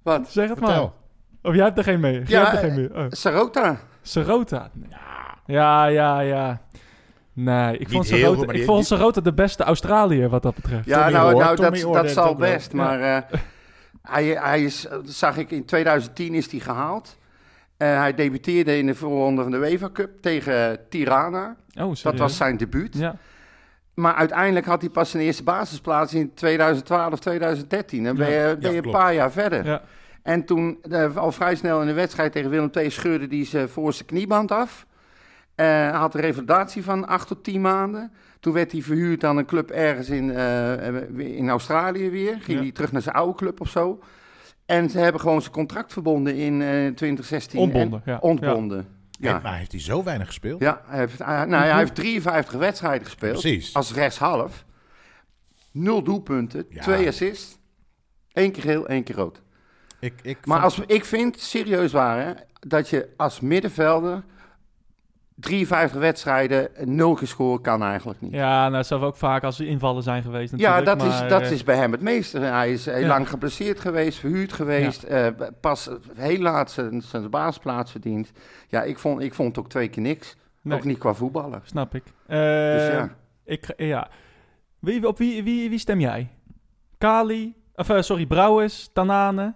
S4: Wat?
S3: zeg het maar.
S5: Vertel.
S3: Of jij hebt er geen mee. Jij
S4: Ja,
S3: hebt er
S4: eh,
S3: geen mee. Oh.
S4: Sarota.
S3: Sarota. Ja, ja, ja. Nee, ik
S5: Niet
S3: vond,
S5: heel
S3: Sarota,
S5: goed, maar
S3: ik
S5: die-
S3: vond
S5: die-
S3: Sarota de beste Australiër wat dat betreft.
S4: Ja,
S5: Tommy
S4: nou,
S5: Hoare,
S4: nou
S5: Tommy
S4: dat,
S5: Hoare
S4: dat
S5: heeft
S4: zal
S5: ook wel-
S4: best. Maar eh, hij, hij is, eh, zag ik, in 2010 is hij gehaald. En hij debuteerde in de voorronde van de UEFA Cup tegen Tirana.
S3: Oh,
S4: Dat
S3: serieus?
S4: was zijn debuut.
S3: Ja.
S4: Maar uiteindelijk had hij pas zijn eerste basisplaats in 2012, 2013. Dan ben
S3: Ja,
S4: je, ben
S5: ja,
S4: je een
S5: klopt.
S4: paar jaar verder.
S3: Ja.
S4: En toen, eh, al vrij snel in de wedstrijd tegen Willem II, scheurde hij zijn voorste knieband af. Eh, had een revalidatie van 8 tot 10 maanden. Toen werd hij verhuurd aan een club ergens in, eh, in Australië weer. Ging
S3: Ja.
S4: hij terug naar zijn oude club of zo. En ze hebben gewoon zijn contract verbonden in eh 2016.
S3: Ontbonden,
S4: En-
S3: ja.
S4: Ontbonden. Ja.
S5: En- maar heeft hij zo weinig gespeeld?
S4: Ja, hij heeft, hij- nou,
S3: Mhm.
S4: ja, hij heeft 53 wedstrijden gespeeld.
S5: Precies.
S4: Als rechtshalf. Nul doelpunten,
S5: Ja.
S4: twee assists. Eén keer geel, één keer rood.
S5: Ik, ik
S4: Maar
S5: vond-
S4: als, ik vind, serieus waar, hè, dat je als middenvelder 53 wedstrijden nul keer scoren kan eigenlijk niet. Ja,
S3: Ja, nou, zelf ook vaak als er invallen zijn geweest
S4: dat,
S3: natuurlijk,
S4: is,
S3: maar,
S4: dat
S3: eh,
S4: is bij hem het meeste. Hij is heel
S3: Ja.
S4: lang geblesseerd geweest, verhuurd geweest, eh, pas heel laat zijn, zijn baasplaats verdiend. Ja, ik vond, ik vond het ook twee keer niks.
S3: nee,
S4: Ook niet qua voetballen.
S3: Snap ik.
S4: Dus
S3: Eh,
S4: ja.
S3: Ik, ga- ja. Wie, op wie, wie, wie stem jij? Kali, of eh, sorry, Brouwers, Tanane.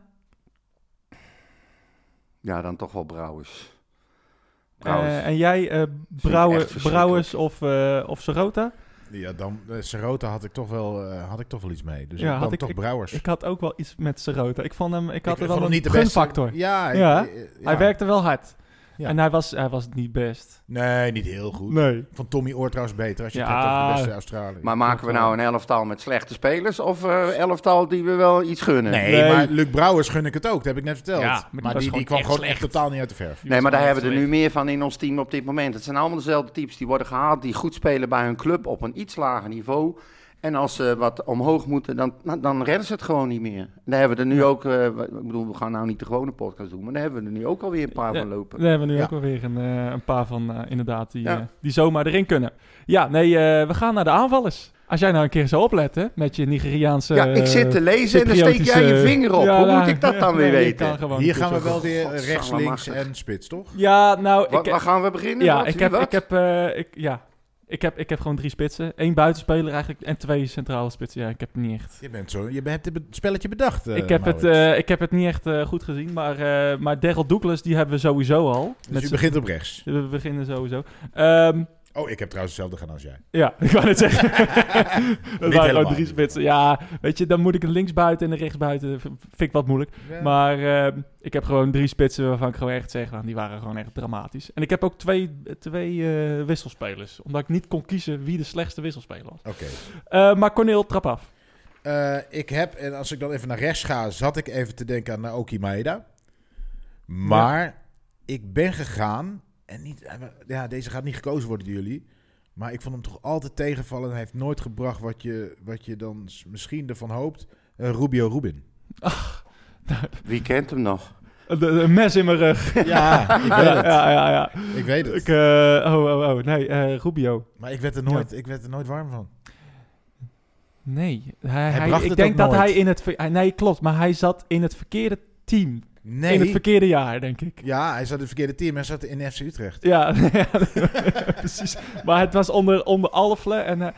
S3: eh,
S4: ja, dan toch wel Brouwers. Brouwers.
S3: eh, en jij eh, Brouwer-
S4: echt verschrikkelijk.
S3: Brouwers of, eh of Serota.
S5: ja, dan eh, Serota had ik toch wel, eh, had ik toch wel iets mee. Dus
S3: Ja,
S5: ik
S3: had
S5: had
S3: ik-
S5: toch Brouwers.
S3: Ik had ook wel iets met Serota. Ik vond hem, ik had
S5: vond
S3: er wel
S5: hem
S3: een
S5: niet de beste-
S3: gunfactor.
S5: Ja, ik-
S3: Ja,
S5: eh, eh,
S3: Hij
S5: ja.
S3: werkte wel hard.
S5: Ja.
S3: En hij was, hij was niet best.
S5: Nee, niet heel goed.
S3: Nee.
S5: Van Tommy Oort trouwens beter als je
S3: Ja.
S5: het hebt over de beste Australië.
S4: Maar maken we nou een elftal met slechte spelers of eh elftal die we wel iets gunnen?
S5: nee,
S3: Nee.
S5: maar Luc Brouwers gun ik het ook, dat heb ik net verteld.
S3: Ja, maar
S5: maar
S3: die
S5: die,
S3: was
S5: die
S3: gewoon
S5: kwam
S3: echt
S5: gewoon echt
S3: slecht.
S5: totaal niet uit de verf.
S4: Nee, maar daar hebben we er nu meer van in ons team op dit moment. Het zijn allemaal dezelfde types die worden gehaald, die goed spelen bij hun club op een iets lager niveau. En als ze wat omhoog moeten, dan, nou, dan redden ze het gewoon niet meer. Daar hebben we er nu ook, eh, w- ik bedoel, we gaan nou niet de gewone podcast doen, maar daar hebben we er nu ook alweer een paar
S3: Ja.
S4: van lopen.
S3: Daar hebben we nu
S5: Ja.
S3: ook alweer een, eh, een paar van, eh, inderdaad, die,
S4: Ja.
S3: eh, die zomaar erin kunnen. Ja, nee, eh, we gaan naar de aanvallers. Als jij nou een keer zou opletten met je Nigeriaanse...
S4: ja, ik zit te lezen en dan steek jij je
S3: Cypriotische-
S4: vinger op.
S3: eh, Ja,
S4: Hoe
S3: nou,
S4: moet ik dat dan
S3: nee,
S4: weer
S3: je
S4: weten?
S3: kan gewoon
S5: Hier
S3: een
S5: gaan we
S3: keer
S5: wel weer eh,
S4: Godsamme,
S5: rechts, links
S4: machtig.
S5: en spits, toch?
S3: zo- Ja, nou,
S4: Wa-
S3: ik,
S4: waar gaan we beginnen?
S3: ja,
S4: Wat?
S3: ik
S4: Wie
S3: heb,
S4: wat?
S3: ik heb, eh, ik, ja, ik heb, ik heb gewoon drie spitsen. Eén buitenspeler eigenlijk en twee centrale spitsen. Ja, ik heb het niet echt.
S5: Je, bent zo, je hebt het be- spelletje bedacht. eh,
S3: ik, heb het,
S5: Maurits.
S3: eh, ik heb het niet echt eh, goed gezien, maar, eh maar Daryl Douglas, die hebben we sowieso al.
S5: dus
S3: Met
S5: je
S3: z'n-
S5: begint op rechts.
S3: we beginnen sowieso. Ehm,
S5: Oh, ik heb trouwens hetzelfde gedaan als jij.
S3: Ja, ik wou net zeggen. Het waren
S5: helemaal.
S3: gewoon drie spitsen. Ja, weet je, dan moet ik een linksbuiten en een rechtsbuiten. V- Vind ik wat moeilijk. Maar ehm, ik heb gewoon drie spitsen waarvan ik gewoon echt zeg, nou, die waren gewoon echt dramatisch. En ik heb ook twee, twee eh, wisselspelers. Omdat ik niet kon kiezen wie de slechtste wisselspeler was.
S5: Oké.
S3: Eh, maar Cornel, trap af.
S5: Eh, ik heb, en als ik dan even naar rechts ga, zat ik even te denken aan Naoki Maeda. Maar ik ben gegaan, en niet, eh, ja, deze gaat niet gekozen worden door jullie. Maar ik vond hem toch altijd tegenvallen. Hij heeft nooit gebracht wat je, wat je dan s- misschien ervan hoopt. Eh, Rubio Rubin.
S4: Wie kent hem nog?
S3: Eh, de- Een mes in mijn rug.
S5: Ja, ik weet
S3: Ja,
S5: het.
S3: ja, ja. ja.
S5: Ik weet het.
S3: Ik, eh, oh, oh, oh. Nee, eh, Rubio.
S5: Maar ik werd, er nooit, ik werd er nooit warm van.
S3: Nee, hij, hij-
S5: bracht
S3: ik
S5: het
S3: denk
S5: ook
S3: dat
S5: nooit.
S3: hij in het... ver- hij- Nee, klopt. Maar hij zat in het verkeerde team.
S5: Nee.
S3: In het verkeerde jaar, denk ik.
S5: ja, hij zat in het verkeerde team. Hij zat in FC Utrecht.
S3: Ja, ja, precies. Maar het was onder, onder alle fle- En eh,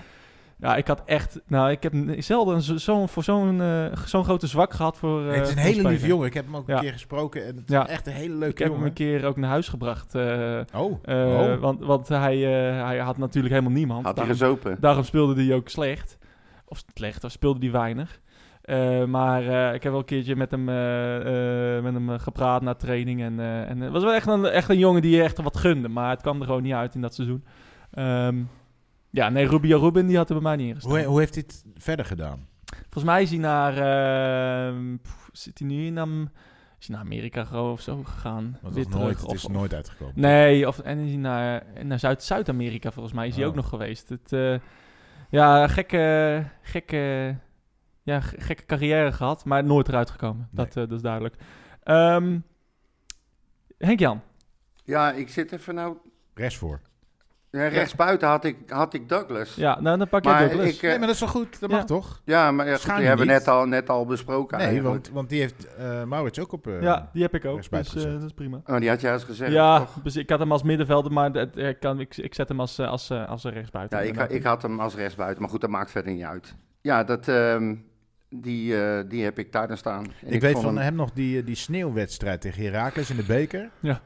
S3: ja, ik had echt... Nou, ik heb n- zelden zo- zo'n voor zo'n eh, zo'n grote zwak gehad voor... eh,
S5: Nee, het is een
S3: voor
S5: hele
S3: speler.
S5: lieve jongen. Ik heb hem ook
S3: Ja.
S5: een keer gesproken. En het
S3: Ja.
S5: is echt een hele
S3: Ik
S5: leuke
S3: heb hem
S5: jongen.
S3: een keer ook naar huis gebracht. eh, eh,
S5: Oh. oh.
S3: Want, want hij, eh, hij had natuurlijk helemaal niemand.
S4: Had hij
S3: Daarom-
S4: gezopen?
S3: Daarom speelde hij ook slecht. Of slecht, of speelde hij weinig. Eh, maar eh, ik heb wel een keertje met hem, eh, eh, met hem eh, gepraat na training. En, eh, en het was wel echt een, echt een jongen die je echt wat gunde. Maar het kwam er gewoon niet uit in dat seizoen. Ehm, ja, nee, Rubio Rubin die had er bij mij niet in gestaan.
S5: Hoe, hoe heeft hij het verder gedaan?
S3: Volgens mij is hij naar... ehm, pff, zit hij nu in... Am- is hij naar Amerika gewoon of zo gegaan?
S5: Want
S3: Weer
S5: het, is nooit,
S3: terug,
S5: het
S3: of-
S5: is
S3: of-
S5: nooit uitgekomen.
S3: Nee, of, en is hij naar, naar Zuid- Zuid-Amerika volgens mij is hij
S5: Oh.
S3: ook nog geweest. Het, eh, ja, gekke, gekke, ja, ge- gekke carrière gehad, maar nooit eruit gekomen.
S5: Nee.
S3: Dat, eh, dat is duidelijk. Ehm Henk-Jan,
S4: Ja, ik zit even nou...
S5: Rest voor.
S4: Ja, rechtsbuiten had ik, had ik Douglas.
S3: ja, nou, dan pak jij
S4: Maar
S3: Douglas.
S4: ik, eh,
S5: nee, maar dat is wel goed. Dat
S3: Ja.
S5: mag toch?
S4: Ja, maar ja, goed,
S5: Schaam
S4: die
S5: je
S4: hebben we
S5: niet.
S4: net al, net al besproken
S5: Nee,
S4: eigenlijk.
S5: want, want die heeft eh Maurits ook op... eh,
S3: ja, die heb ik ook,
S5: Rechts buiten
S3: dus eh,
S5: gezet.
S3: dat is prima.
S4: Oh, die had je juist gezegd.
S3: Ja,
S4: toch?
S3: dus ik had hem als middenvelder, maar dat, eh, ik, kan, ik, ik zet hem als, eh, als, eh, als rechtsbuiten.
S4: ja ik, ha- ik had hem als rechtsbuiten, maar goed, dat maakt verder niet uit. Ja, dat, ehm, die, eh, die heb ik daar dan staan. En
S5: Ik, weet
S4: vond
S5: van
S4: hem-
S5: hem nog die, eh, die sneeuwwedstrijd tegen Heracles in de beker.
S3: Ja.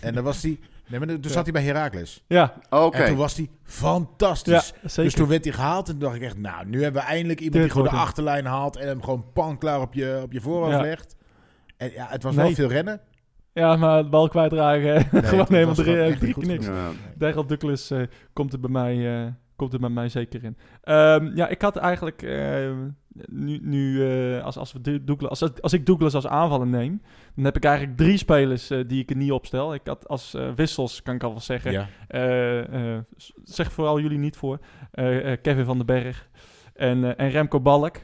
S5: En dan was hij... Nee, maar toen
S3: Ja.
S5: zat hij bij Heracles.
S3: Ja,
S4: Oké,
S5: En toen was hij
S3: ja,
S5: fantastisch.
S3: zeker.
S5: Dus toen werd hij gehaald en toen dacht ik echt, nou, nu hebben we eindelijk iemand
S3: Dit
S5: die gewoon de
S3: wordt hem.
S5: achterlijn haalt en hem gewoon panklaar op je, op je voorhoofd
S3: Ja.
S5: legt. En ja, het was
S3: Nee.
S5: wel veel rennen.
S3: Ja, maar de bal kwijtragen. gewoon
S5: het was gewoon
S3: helemaal drie,
S5: echt
S3: drie
S5: niet goed
S3: kniks.
S5: genoeg.
S4: Ja.
S3: Daryl Douglas eh, komt, er bij mij, eh, komt er bij mij zeker in. Ehm, ja, ik had eigenlijk eh, nu, nu eh, als, als, we Dou- Douglas, als, als ik Douglas als aanvaller neem, dan heb ik eigenlijk drie spelers eh, die ik er niet opstel. Ik had als eh, wissels, kan ik al wel zeggen,
S5: Ja.
S3: eh, eh, s- zeg vooral jullie niet voor, Eh, eh, Kevin van den Berg en, eh, en Remco Balk.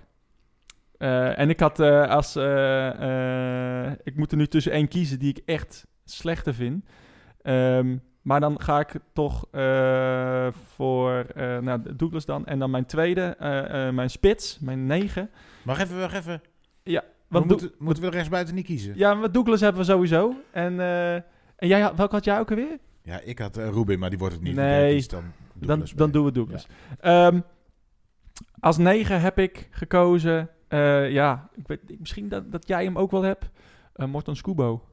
S3: Eh, en ik had eh, als, eh, eh, ik moet er nu tussen één kiezen die ik echt slechter vind. Ehm, maar dan ga ik toch eh, voor eh, nou, Douglas dan. En dan mijn tweede, eh, eh, mijn spits, mijn negen.
S5: Mag even, wacht even.
S3: Want
S5: we moeten, moeten we de rechtsbuiten niet kiezen?
S3: Doug- ja, maar Douglas hebben we sowieso. En, eh, en jij, had- welke had jij ook alweer?
S5: Ja, ik had eh, Rubin, maar die wordt het niet.
S3: Nee.
S5: want jij kiest dan
S3: dan,
S5: Douglas
S3: dan
S5: mee.
S3: doen we Douglas. Ehm, als negen heb ik gekozen. eh, ja, ik weet, ik- misschien dat, dat jij hem ook wel hebt. Eh Morton Scubo.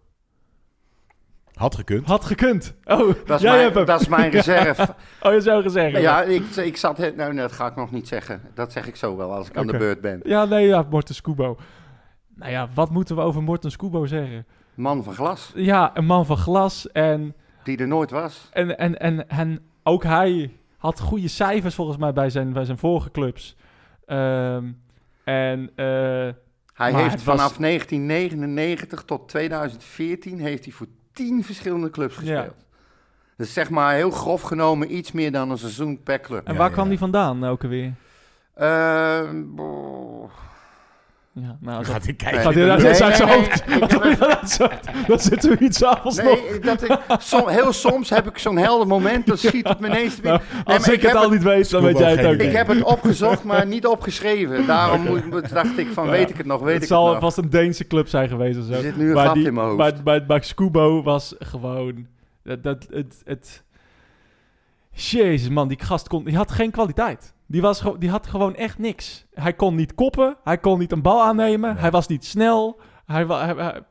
S5: Had gekund.
S3: Had gekund. Oh,
S4: Dat, is
S3: jij hebt hem.
S4: mijn, dat is mijn reserve.
S3: Oh, je zou gezegd.
S4: ja,
S3: hebben.
S4: ik, ik zat... Nou, nee, dat ga ik nog niet zeggen. Dat zeg ik zo wel als ik aan de
S3: Oké.
S4: beurt ben.
S3: ja, nee, ja, Morton Scubo. Nou ja, wat moeten we over Morton Scubo zeggen?
S4: Man van glas,
S3: Ja, een man van glas en,
S4: die er nooit was.
S3: en, en, en, en ook hij had goede cijfers volgens mij bij zijn, bij zijn vorige clubs. Ehm, en eh,
S4: Hij
S3: Maar
S4: heeft
S3: het was-
S4: vanaf 1999 tot 2014 heeft hij voor tien verschillende clubs gespeeld. Dus zeg maar heel grof genomen iets meer dan een seizoen per club.
S3: en
S5: Ja,
S3: waar
S5: ja,
S3: kwam
S5: ja.
S3: die vandaan ook alweer?
S4: Eh, boh.
S3: Ja, nou,
S5: Dan
S3: dat-
S5: gaat hij kijken.
S4: Nee,
S3: gaat hij
S4: nee,
S3: eruit uit zijn
S4: nee,
S3: hoofd.
S4: nee, ik heb het-
S3: Dat soort- Dan zitten we iets avonds nog.
S4: Nee, dat ik, som- heel soms heb ik zo'n helder moment, dan schiet het me ineens weer.
S3: Nou,
S4: maar
S3: Als ik,
S4: ik
S3: het
S4: heb
S3: al niet weet, dan weet
S5: Scuba
S3: jij het
S5: geen
S3: ook
S5: idee.
S4: Ik
S3: niet.
S4: heb het opgezocht, maar niet opgeschreven. Daarom moet- dacht ik van, weet ik het nog, weet
S3: Het
S4: ik het nog.
S3: zal vast een Deense club zijn geweest of zo.
S4: Er zit nu een
S3: Maar
S4: gat
S3: die-
S4: in mijn hoofd.
S3: Maar, maar, maar Scubo was gewoon... Dat, dat, het, het, Jezus man, die gast kon, die had geen kwaliteit. Die, was, gewoon- die had gewoon echt niks. Hij kon niet koppen, hij kon niet een bal aannemen,
S5: Nee.
S3: hij was niet snel. Hij, wa- hij- hij-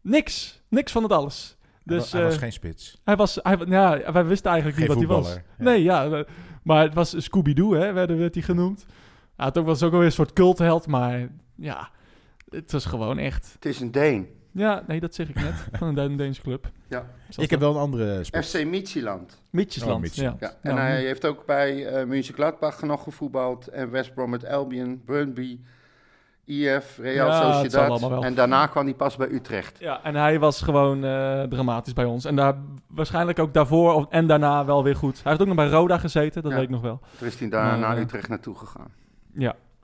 S3: niks, niks van het alles.
S5: Hij wa-
S3: Dus,
S5: hij
S3: eh,
S5: was geen spits.
S3: Hij was, hij, wa- nou ja, wij wisten eigenlijk
S5: Geen
S3: niet wat hij was.
S5: voetballer. Ja.
S3: Nee, ja, we- maar het was Scooby-Doo, hè, werd, werd hij genoemd. Hij had ook, was ook alweer een soort cultheld, maar ja, het was gewoon echt.
S4: Het is een Deen.
S3: Ja, nee, dat zeg ik net, van een Deen- Deense club.
S4: Ja.
S3: Zoals
S5: Ik heb wel een andere spits.
S4: FC Michieland.
S3: Mitjesland,
S5: Oh, Mitjes.
S3: ja.
S4: Ja, en
S3: Nou,
S4: hij heeft ook bij eh München Gladbach nog gevoetbald. En West Brom met Albion, Brøndby, IF, Real
S3: Ja, het zal allemaal wel.
S4: Sociedad. En daarna kwam hij pas bij Utrecht.
S3: ja, en hij was gewoon eh, dramatisch bij ons. En daar, waarschijnlijk ook daarvoor of- en daarna wel weer goed. Hij heeft ook nog bij Roda gezeten, dat
S4: Ja.
S3: weet ik nog wel.
S4: Toen is hij daarna
S3: Maar,
S4: naar
S3: eh,
S4: Utrecht naartoe gegaan.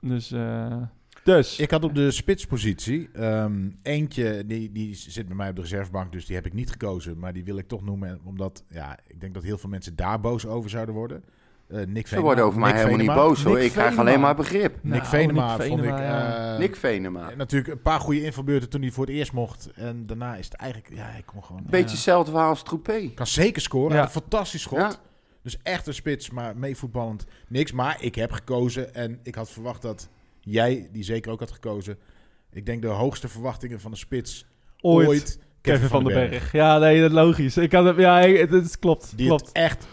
S3: Dus, eh, dus
S5: Ik had op de spitspositie ehm, eentje, die, die zit bij mij op de reservebank, dus die heb ik niet gekozen. Maar die wil ik toch noemen, omdat ja, ik denk dat heel veel mensen daar boos over zouden worden. Eh, Nick
S4: Ze
S5: Venema-
S4: worden over mij
S5: Nick
S4: helemaal niet
S5: Venema.
S4: boos hoor.
S3: Nick
S4: Ik krijg
S3: Venema.
S4: alleen maar begrip.
S3: Nou,
S5: Nick Venema
S3: Nick
S5: vond ik...
S3: Venema, ja.
S5: eh,
S4: Nick Venema.
S5: Natuurlijk een paar goede invalbeurten toen hij voor het eerst mocht. En daarna is het eigenlijk... Ja, hij kon gewoon...
S4: Beetje hetzelfde verhaal als Troepé.
S5: Kan zeker scoren.
S3: Ja.
S5: Hij had Een fantastisch schot.
S4: Ja.
S5: Dus echt een spits, maar meevoetballend niks. Maar ik heb gekozen en ik had verwacht dat jij, die zeker ook had gekozen... Ik denk de hoogste verwachtingen van een spits ooit...
S3: Kevin van, den Berg. Ja, nee, dat logisch. Ik had, hem- ja, ik- het, het klopt.
S5: Die
S3: klopt.
S5: het echt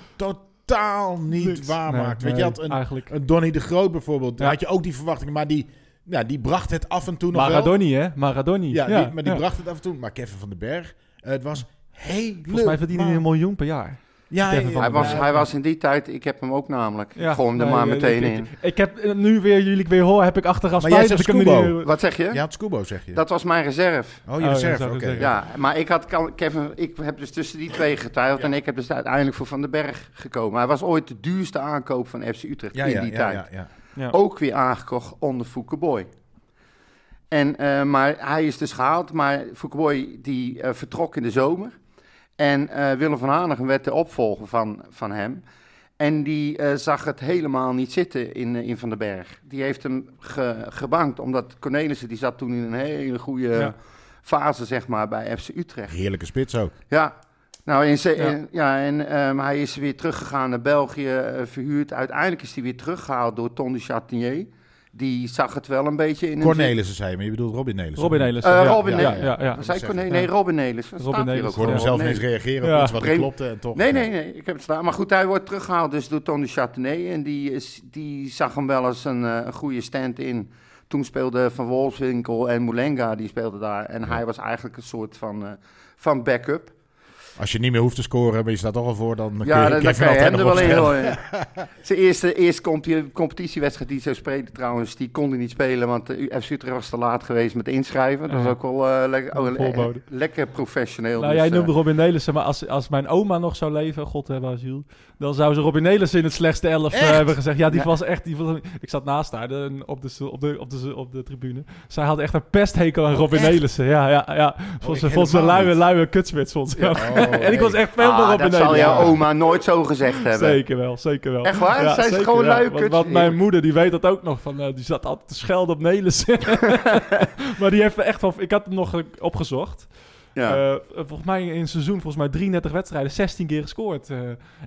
S5: totaal niet
S3: Niks.
S5: waar
S3: Nee,
S5: maakt. Weet
S3: nee,
S5: je, je had een,
S3: Eigenlijk.
S5: een Donny de Groot bijvoorbeeld. Daar
S3: Ja.
S5: had je ook die verwachtingen, maar die, ja, die bracht het af en toe nog wel.
S3: Maradoni, hè? Maradoni.
S5: Ja, die- maar die bracht het af en toe. Maar Kevin van den Berg, eh, het was helemaal...
S3: Volgens mij verdiende hij een miljoen per jaar.
S5: Ja,
S3: Kevin van
S4: Hij
S3: den
S4: was, hij was in die tijd, ik heb hem ook namelijk.
S3: Ja,
S4: Ik gooi hem er
S3: nee,
S4: maar
S3: eh,
S4: meteen
S3: ik-
S4: in.
S3: Ik, ik heb eh, nu weer, jullie ik weer hoor, heb ik achteraf
S5: Maar jij
S3: spijt dat ik
S5: zegt
S3: hem er
S5: Scubo.
S3: niet-
S4: Wat zeg je?
S5: Je had Scubo, zeg je.
S4: Dat was mijn reserve.
S5: Oh,
S3: Oh,
S5: je
S3: ja,
S5: reserve,
S3: zou ik
S5: oké.
S3: zeggen.
S4: Ja, maar ik, had, kan- Kevin, ik heb dus tussen die twee getuigd.
S5: Ja.
S4: En ik heb dus uiteindelijk voor Van den Berg gekomen. Hij was ooit de duurste aankoop van FC Utrecht
S5: Ja,
S4: in
S5: ja,
S4: die
S5: ja,
S4: tijd.
S5: ja, ja.
S3: Ja.
S4: Ook weer aangekocht onder Foukeboy. En, eh, maar hij is dus gehaald. Maar Foukeboy die eh, vertrok in de zomer. En eh, Willem van Hanegem werd de opvolger van, van hem. En die eh, zag het helemaal niet zitten in, eh, in Van den Berg. Die heeft hem ge- gebankt, omdat Cornelissen die zat toen in een hele goede
S3: Ja.
S4: fase zeg maar, bij FC Utrecht.
S5: Heerlijke spits ook.
S4: Ja, nou, in ze-
S3: Ja.
S4: in- ja. en ehm, hij is weer teruggegaan naar België, eh, verhuurd. Uiteindelijk is hij weer teruggehaald door Ton de Chatinier. Die zag het wel een beetje in
S5: Cornelissen zei je, maar je bedoelt Robin Nelissen.
S3: Robin Nelissen.
S4: Eh,
S3: ja, ja,
S4: Robin
S5: Nelissen.
S3: Ja, ja, ja.
S4: Nelissen. Zei
S5: zeggen.
S4: Corne- nee, Robin Nelissen.
S3: Robin
S4: Staat hier
S5: Ik
S3: Nelissen.
S4: ook
S5: hoorde hem
S4: gewoon.
S5: zelf niet eens
S4: Nee.
S5: reageren
S3: Ja.
S5: op iets wat niet
S4: Breem-
S5: klopte en toch...
S4: Nee, nee, nee, ik heb het staan. Maar goed, hij wordt teruggehaald dus door Ton de Chatinier. En die, is, die zag hem wel als een, eh, een goede stand-in. Toen speelde Van Wolfswinkel en Moulenga, die speelden daar. En hij was eigenlijk een soort van, eh, van backup.
S5: Als je niet meer hoeft te scoren, maar je staat toch al voor, dan kun je,
S4: Ja, dan, dan
S5: Kevin
S4: kan je
S5: altijd
S4: hem
S5: nog
S4: er wel in
S5: opstellen.
S4: gooien. Zijn eerste, eerste comp- competitiewedstrijd die hij zou spelen trouwens, die kon hij niet spelen, want de FC Utrecht was te laat geweest met inschrijven. Dat was
S3: Ja.
S4: ook wel eh, lekker- oh,
S3: Een
S4: le-
S3: voorbode.
S4: lekker professioneel.
S3: Nou,
S4: dus,
S3: jij
S4: eh,
S3: noemde Robin Nelissen, maar als, als mijn oma nog zou leven, god hebben asiel, dan zou ze Robin Nelissen in het slechtste elf eh,
S5: Echt?
S3: hebben gezegd. Ja, die
S4: Ja.
S3: was echt... Die was, ik zat naast haar de- op, de, stoel- op, de, op, de, op de tribune. Zij had echt een pesthekel aan Robin
S5: echt?
S3: Nelissen. Ja, ja, ja. Vond ze, vond ze een
S5: helemaal
S3: luie,
S5: niet.
S3: luie kutsmits, vond ze.
S5: Oh,
S3: en ik was
S5: nee.
S3: echt fan van
S4: ah,
S3: Robin
S4: dat
S3: Nelissen.
S4: zal jouw
S5: Ja.
S4: oma nooit zo gezegd hebben.
S3: Zeker wel, zeker wel.
S4: Echt waar? Zijn ze
S3: zeker
S4: gewoon
S3: wel.
S4: luie
S3: Want-
S4: kuts?
S3: Want mijn moeder, die weet dat ook nog. Van, eh, die zat altijd te schelden op Nelissen. maar die heeft me echt van... Ik had hem nog eh, opgezocht.
S4: Ja.
S3: Eh, volgens mij in een seizoen, volgens mij 33 wedstrijden, 16 keer gescoord. Eh,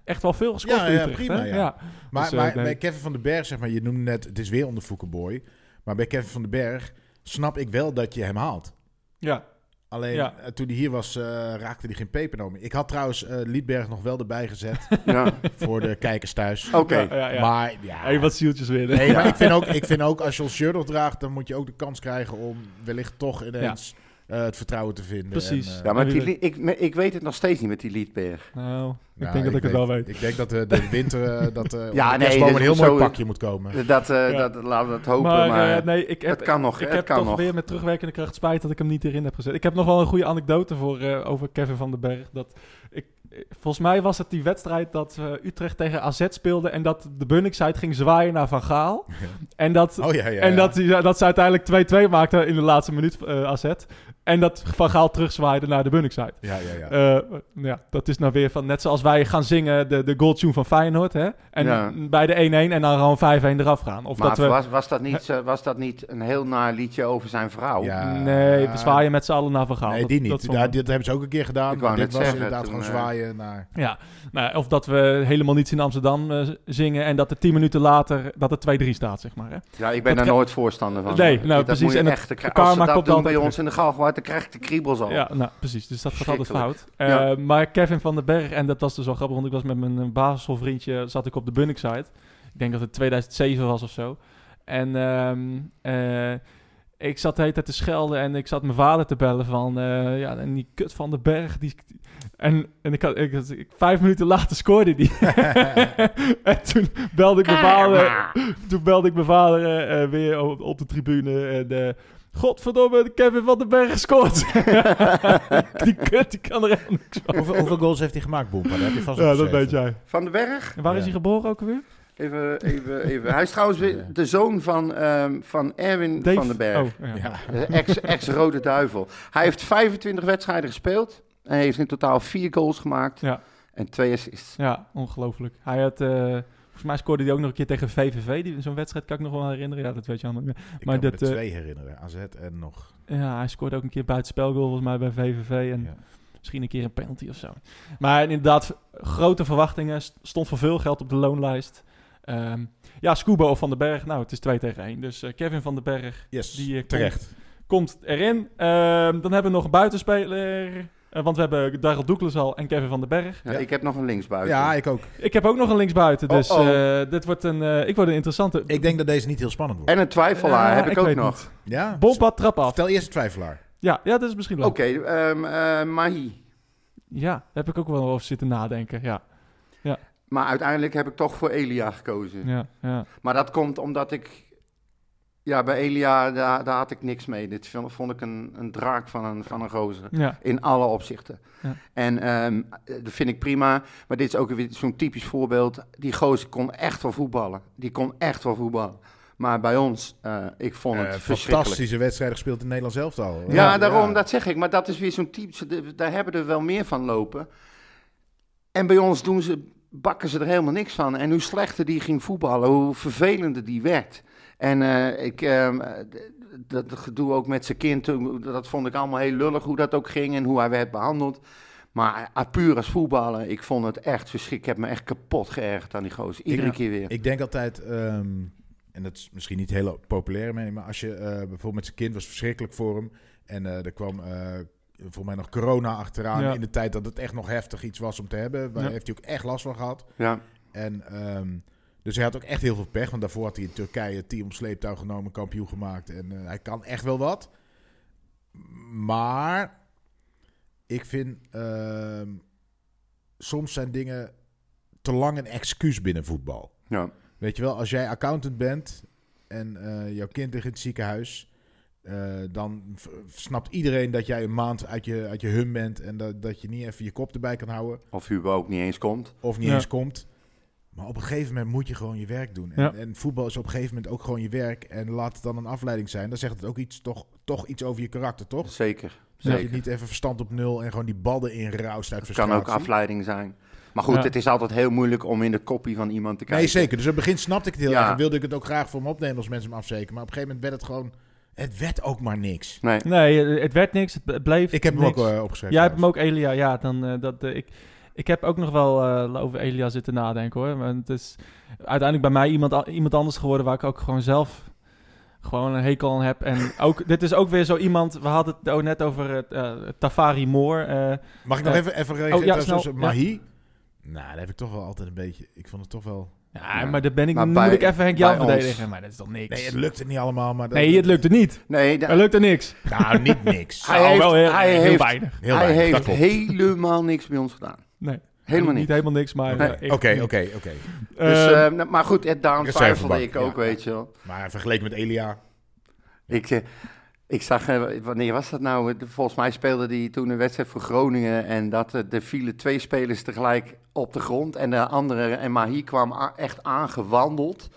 S3: echt wel veel gescoord
S5: Ja,
S3: voor
S5: ja,
S3: Utrecht,
S5: prima,
S3: hè?
S5: ja. Maar,
S3: Dus, eh,
S5: maar
S3: nee.
S5: bij Kevin van den Berg, zeg maar, je noemde net, het is weer onder Foukeboy. Maar bij Kevin van den Berg snap ik wel dat je hem haalt.
S3: Ja.
S5: Alleen
S3: Ja.
S5: eh, toen hij hier was, eh, raakte hij geen pepernoot meer. Ik had trouwens eh, Liedberg nog wel erbij gezet
S4: ja.
S5: voor de kijkers thuis.
S4: Oké.
S3: Ja, ja, ja.
S5: Maar ja.
S3: Hey, wat zieltjes winnen.
S5: Nee, maar ik vind, ook, ik vind ook als je ons shirt nog draagt, dan moet je ook de kans krijgen om wellicht toch ineens eh, het vertrouwen te vinden.
S3: Precies.
S5: En, eh,
S4: Ja, maar die, Lie- ik, me- ik weet het nog steeds niet met die Liedberg.
S3: Nou, ik
S5: nou,
S3: denk dat ik, het wel weet.
S5: Ik denk dat de, de winter eh, dat eh
S4: Ja,
S5: ja,
S4: nee,
S5: nee,
S4: dat
S5: een heel
S4: moet
S5: mooi
S4: zo-
S5: pakje moet komen.
S4: Dat, eh,
S3: Ja.
S4: dat, laten we dat hopen. Maar,
S3: maar eh, nee, ik heb,
S4: het kan nog,
S3: ik
S4: het
S3: heb
S4: kan
S3: toch
S4: nog.
S3: weer met terugwerkende kracht spijt dat ik hem niet erin heb gezet. Ik heb nog wel een goede anekdote voor, eh, over Kevin van den Berg. Dat ik, eh, volgens mij was het die wedstrijd dat eh, Utrecht tegen AZ speelde en dat de Bunningside ging zwaaien naar Van Gaal. En dat
S5: Oh ja, ja.
S3: en
S5: ja.
S3: dat, die- dat ze uiteindelijk 2-2 maakten in de laatste minuut eh AZ. En dat Van Gaal terugzwaaide naar de Bunningside.
S5: Ja, ja, ja.
S3: Eh, ja, dat is nou weer van net zoals wij gaan zingen de, de goal tune van Feyenoord. Hè? En
S4: Ja.
S3: bij de 1-1 en dan gewoon 5-1 eraf gaan. Of
S4: maar
S3: dat we,
S4: was, was, dat niet, zo- was dat niet een heel naar liedje over zijn vrouw?
S5: Ja.
S3: oh, nee, we zwaaien met z'n allen naar Van Gaal.
S5: Nee,
S3: Dat-
S5: die
S3: dat
S5: niet.
S3: soms-
S5: Ja, dit hebben ze ook een keer gedaan.
S4: Ik wou
S5: Dit
S4: net
S5: was
S4: zeggen,
S5: inderdaad
S4: toen,
S5: gewoon
S4: eh,
S5: zwaaien naar...
S3: ja. Nou, ja, of dat we helemaal niets in Amsterdam eh, z- zingen en dat er 10 minuten later dat er 2-3 staat, zeg maar. Hè?
S4: Ja,
S3: Dat
S4: ik ben daar
S3: kan-
S4: nooit voorstander van.
S3: Nee, nou,
S4: dat
S3: precies.
S4: Moet je
S3: En het-
S4: echt, de kra-
S3: karma
S4: als ze dat
S3: komt
S4: doen bij
S3: altijd
S4: ons in de Galgenwaard, dan krijg ik de kriebels al.
S3: Ja, nou precies. Dus dat gaat altijd
S4: Schrikkelijk.
S3: fout. Eh,
S4: Ja.
S3: Maar Kevin van den Berg, en dat was dus wel grappig, want ik was met mijn eh, Baselvriendje, zat ik op de Bunningside. Ik denk dat het 2007 was of zo. En ehm, eh, ik zat de hele tijd te schelden en ik zat mijn vader te bellen van, eh, ja, en die kut van den Berg, die... En, en ik had, ik, had- ik- vijf minuten later scoorde die. en toen belde ik mijn vader, toen belde ik mijn vader eh, eh, weer op, op de tribune en... eh, Godverdomme, Kevin van den Berg gescoord. die kut, die kan er echt niks van.
S5: Hoeveel, hoeveel goals heeft hij gemaakt, Boempa? Dat heb je vast
S3: Ja, dat
S5: opgeschreven.
S3: weet jij.
S4: Van den Berg?
S3: En waar is
S5: Ja.
S3: hij geboren ook alweer?
S4: Even, even, even. Hij is trouwens weer de zoon van, ehm, van Erwin van den Berg.
S3: Oh, ja.
S5: Ja.
S4: Eh, ex- Ex-Rode Duivel. Hij heeft 25 wedstrijden gespeeld. En heeft in totaal vier goals gemaakt.
S3: Ja.
S4: En twee assists.
S3: Ja, ongelooflijk. Hij had, eh, volgens mij scoorde hij ook nog een keer tegen VVV. Die, zo'n wedstrijd kan ik nog wel herinneren. Ja, dat weet je allemaal niet meer.
S5: Ik
S3: Maar
S5: kan me
S3: dat,
S5: er
S3: eh,
S5: twee herinneren. AZ en nog...
S3: Ja, hij scoorde ook een keer buitenspelgoal volgens mij bij VVV. En
S5: Ja.
S3: misschien een keer een penalty of zo. Maar inderdaad, grote verwachtingen. St- Stond voor veel geld op de loonlijst. Ehm, ja, Scuba of Van den Berg. Nou, het is 2 tegen 1. Dus eh, Kevin van den Berg
S5: Yes,
S3: Die, eh,
S5: terecht.
S3: komt erin. Ehm, dan hebben we nog een buitenspeler. Eh, want we hebben Darrell Douglas al en Kevin van den Berg.
S4: Ja,
S5: Ja.
S4: Ik heb nog een linksbuiten.
S5: Ja, ik ook.
S3: Ik heb ook nog een linksbuiten. Dus
S4: Oh, oh.
S3: eh, dit wordt een, eh, ik word een interessante.
S5: Ik denk dat deze niet heel spannend wordt.
S4: En een twijfelaar
S3: Ja,
S4: heb ik, ook
S3: weet
S4: nog.
S3: niet.
S5: Ja?
S3: Bompad trap af.
S5: Vertel eerst de twijfelaar.
S3: Ja, ja, dat is misschien wel.
S4: Oké, ehm, eh, Mahi.
S3: Ja, daar heb ik ook wel over zitten nadenken. Ja,
S4: Maar uiteindelijk heb ik toch voor Elia gekozen.
S3: ja, ja.
S4: Maar dat komt omdat ik... Ja, bij Elia, daar, daar had ik niks mee. Dit vond vond ik een, een draak van een, van een gozer.
S3: ja.
S4: In alle opzichten.
S3: Ja.
S4: En ehm, eh, dat vind ik prima. Maar dit is ook weer zo'n typisch voorbeeld. Die gozer kon echt wel voetballen. Die kon echt wel voetballen. Maar bij ons, eh, ik vond het
S5: Eh,
S4: verschrikkelijk.
S5: fantastische wedstrijd gespeeld in Nederland zelf al.
S4: Ja, daarom, dat zeg ik. Maar dat is weer zo'n typisch. de- Daar hebben er wel meer van lopen. En bij ons doen ze, bakken ze er helemaal niks van. En hoe slechter die ging voetballen, hoe vervelender die werd. En eh, ik, ehm, eh, d- dat gedoe ook met zijn kind, toen- dat vond ik allemaal heel lullig hoe dat ook ging en hoe hij werd behandeld. Maar eh, puur als voetballer, ik vond het echt verschrikkelijk. Ik heb me echt kapot geërgerd aan die gozer. Iedere
S5: Ja.
S4: keer weer.
S5: Ik denk altijd, ehm, en dat is misschien niet heel populair, mening, maar als je eh, bijvoorbeeld met zijn kind was verschrikkelijk voor hem. En eh, er kwam eh volgens mij nog corona achteraan
S3: Ja.
S5: in de tijd dat het echt nog heftig iets was om te hebben. Daar
S3: Ja.
S5: heeft hij ook echt last van gehad.
S4: Ja.
S5: En, ehm, Dus hij had ook echt heel veel pech. Want daarvoor had hij in Turkije het team op sleeptouw genomen, kampioen gemaakt. En eh, hij kan echt wel wat. Maar ik vind ehm, soms zijn dingen te lang een excuus binnen voetbal.
S4: Ja.
S5: Weet je wel, als jij accountant bent en eh, jouw kind ligt in het ziekenhuis, eh, dan v- snapt iedereen dat jij een maand uit je, uit je hum bent en dat, dat je niet even je kop erbij kan houden
S4: Of Hugo ook niet eens komt.
S5: of niet
S3: Ja.
S5: eens komt. Maar op een gegeven moment moet je gewoon je werk doen. En,
S3: Ja.
S5: en voetbal is op een gegeven moment ook gewoon je werk. En laat het dan een afleiding zijn. Dan zegt het ook iets, toch, toch iets over je karakter, toch?
S4: Zeker.
S5: Dat je
S4: Zeker.
S5: niet even verstand op nul en gewoon die ballen inraust uit
S4: Het kan ook
S5: frustratie.
S4: afleiding zijn. Maar goed,
S3: Ja.
S4: het is altijd heel moeilijk om in de kopie van iemand te kijken.
S5: Nee, zeker. Dus op het begin snapte ik het heel
S4: Ja.
S5: erg. En wilde ik het ook graag voor hem opnemen als mensen hem afzeken. Maar op een gegeven moment werd het gewoon... Het werd ook maar niks.
S4: Nee.
S3: Nee, eh, het werd niks. Het b- bleef
S5: Ik heb hem
S3: niks.
S5: ook eh, opgeschreven.
S3: Jij hebt hem
S5: trouwens.
S3: ook Elia, ja. Dan, eh, dat, eh, ik, ik heb ook nog wel eh, over Elia zitten nadenken hoor. Maar het is uiteindelijk bij mij iemand, a- iemand anders geworden waar ik ook gewoon zelf gewoon een hekel aan heb. En ook, dit is ook weer zo iemand, we hadden het ook net over het, eh, Tafari Moore. eh,
S5: Mag ik nog
S3: Eh,
S5: even, even reageren
S3: oh, ja,
S5: trouwens
S3: snel.
S5: op Mahi? Nou, daar heb ik toch wel altijd een beetje... Ik vond het toch wel...
S3: ja,
S4: Ja.
S3: maar daar ben ik,
S4: Maar
S3: moet
S4: bij-
S3: ik even Henk Jan
S4: bij ons-
S3: verdedigen. Maar dat is toch niks?
S5: Nee, het lukte niet allemaal, maar... dat-
S3: Nee, het lukte niet.
S4: Nee, da-
S3: Het lukte niks.
S5: Nou, niet niks.
S4: Hij
S3: Nou,
S4: heeft-
S3: wel heel,
S4: hij
S3: heel
S4: heeft-
S3: weinig.
S5: Heel
S4: hij
S5: weinig, dat
S4: heeft
S5: klopt.
S4: helemaal niks bij ons gedaan.
S3: Nee,
S4: Helemaal
S3: Niet
S4: niet.
S3: helemaal niks, maar...
S5: Nee,
S3: eh, echt
S5: Oké,
S3: niet.
S5: oké, oké.
S3: Eh,
S4: Dus,
S5: Ehm,
S4: eh, nou, maar goed, eh, daarom
S5: Reservebank,
S4: twijfelde ik ook,
S5: ja.
S4: weet je wel.
S5: Maar vergeleken met Elia.
S4: Ik, eh, ik zag, eh, wanneer was dat nou? Eh, Volgens mij speelde hij toen een wedstrijd voor Groningen. En dat, eh, er vielen twee spelers tegelijk op de grond. En de andere, en Mahi kwam a- echt aangewandeld.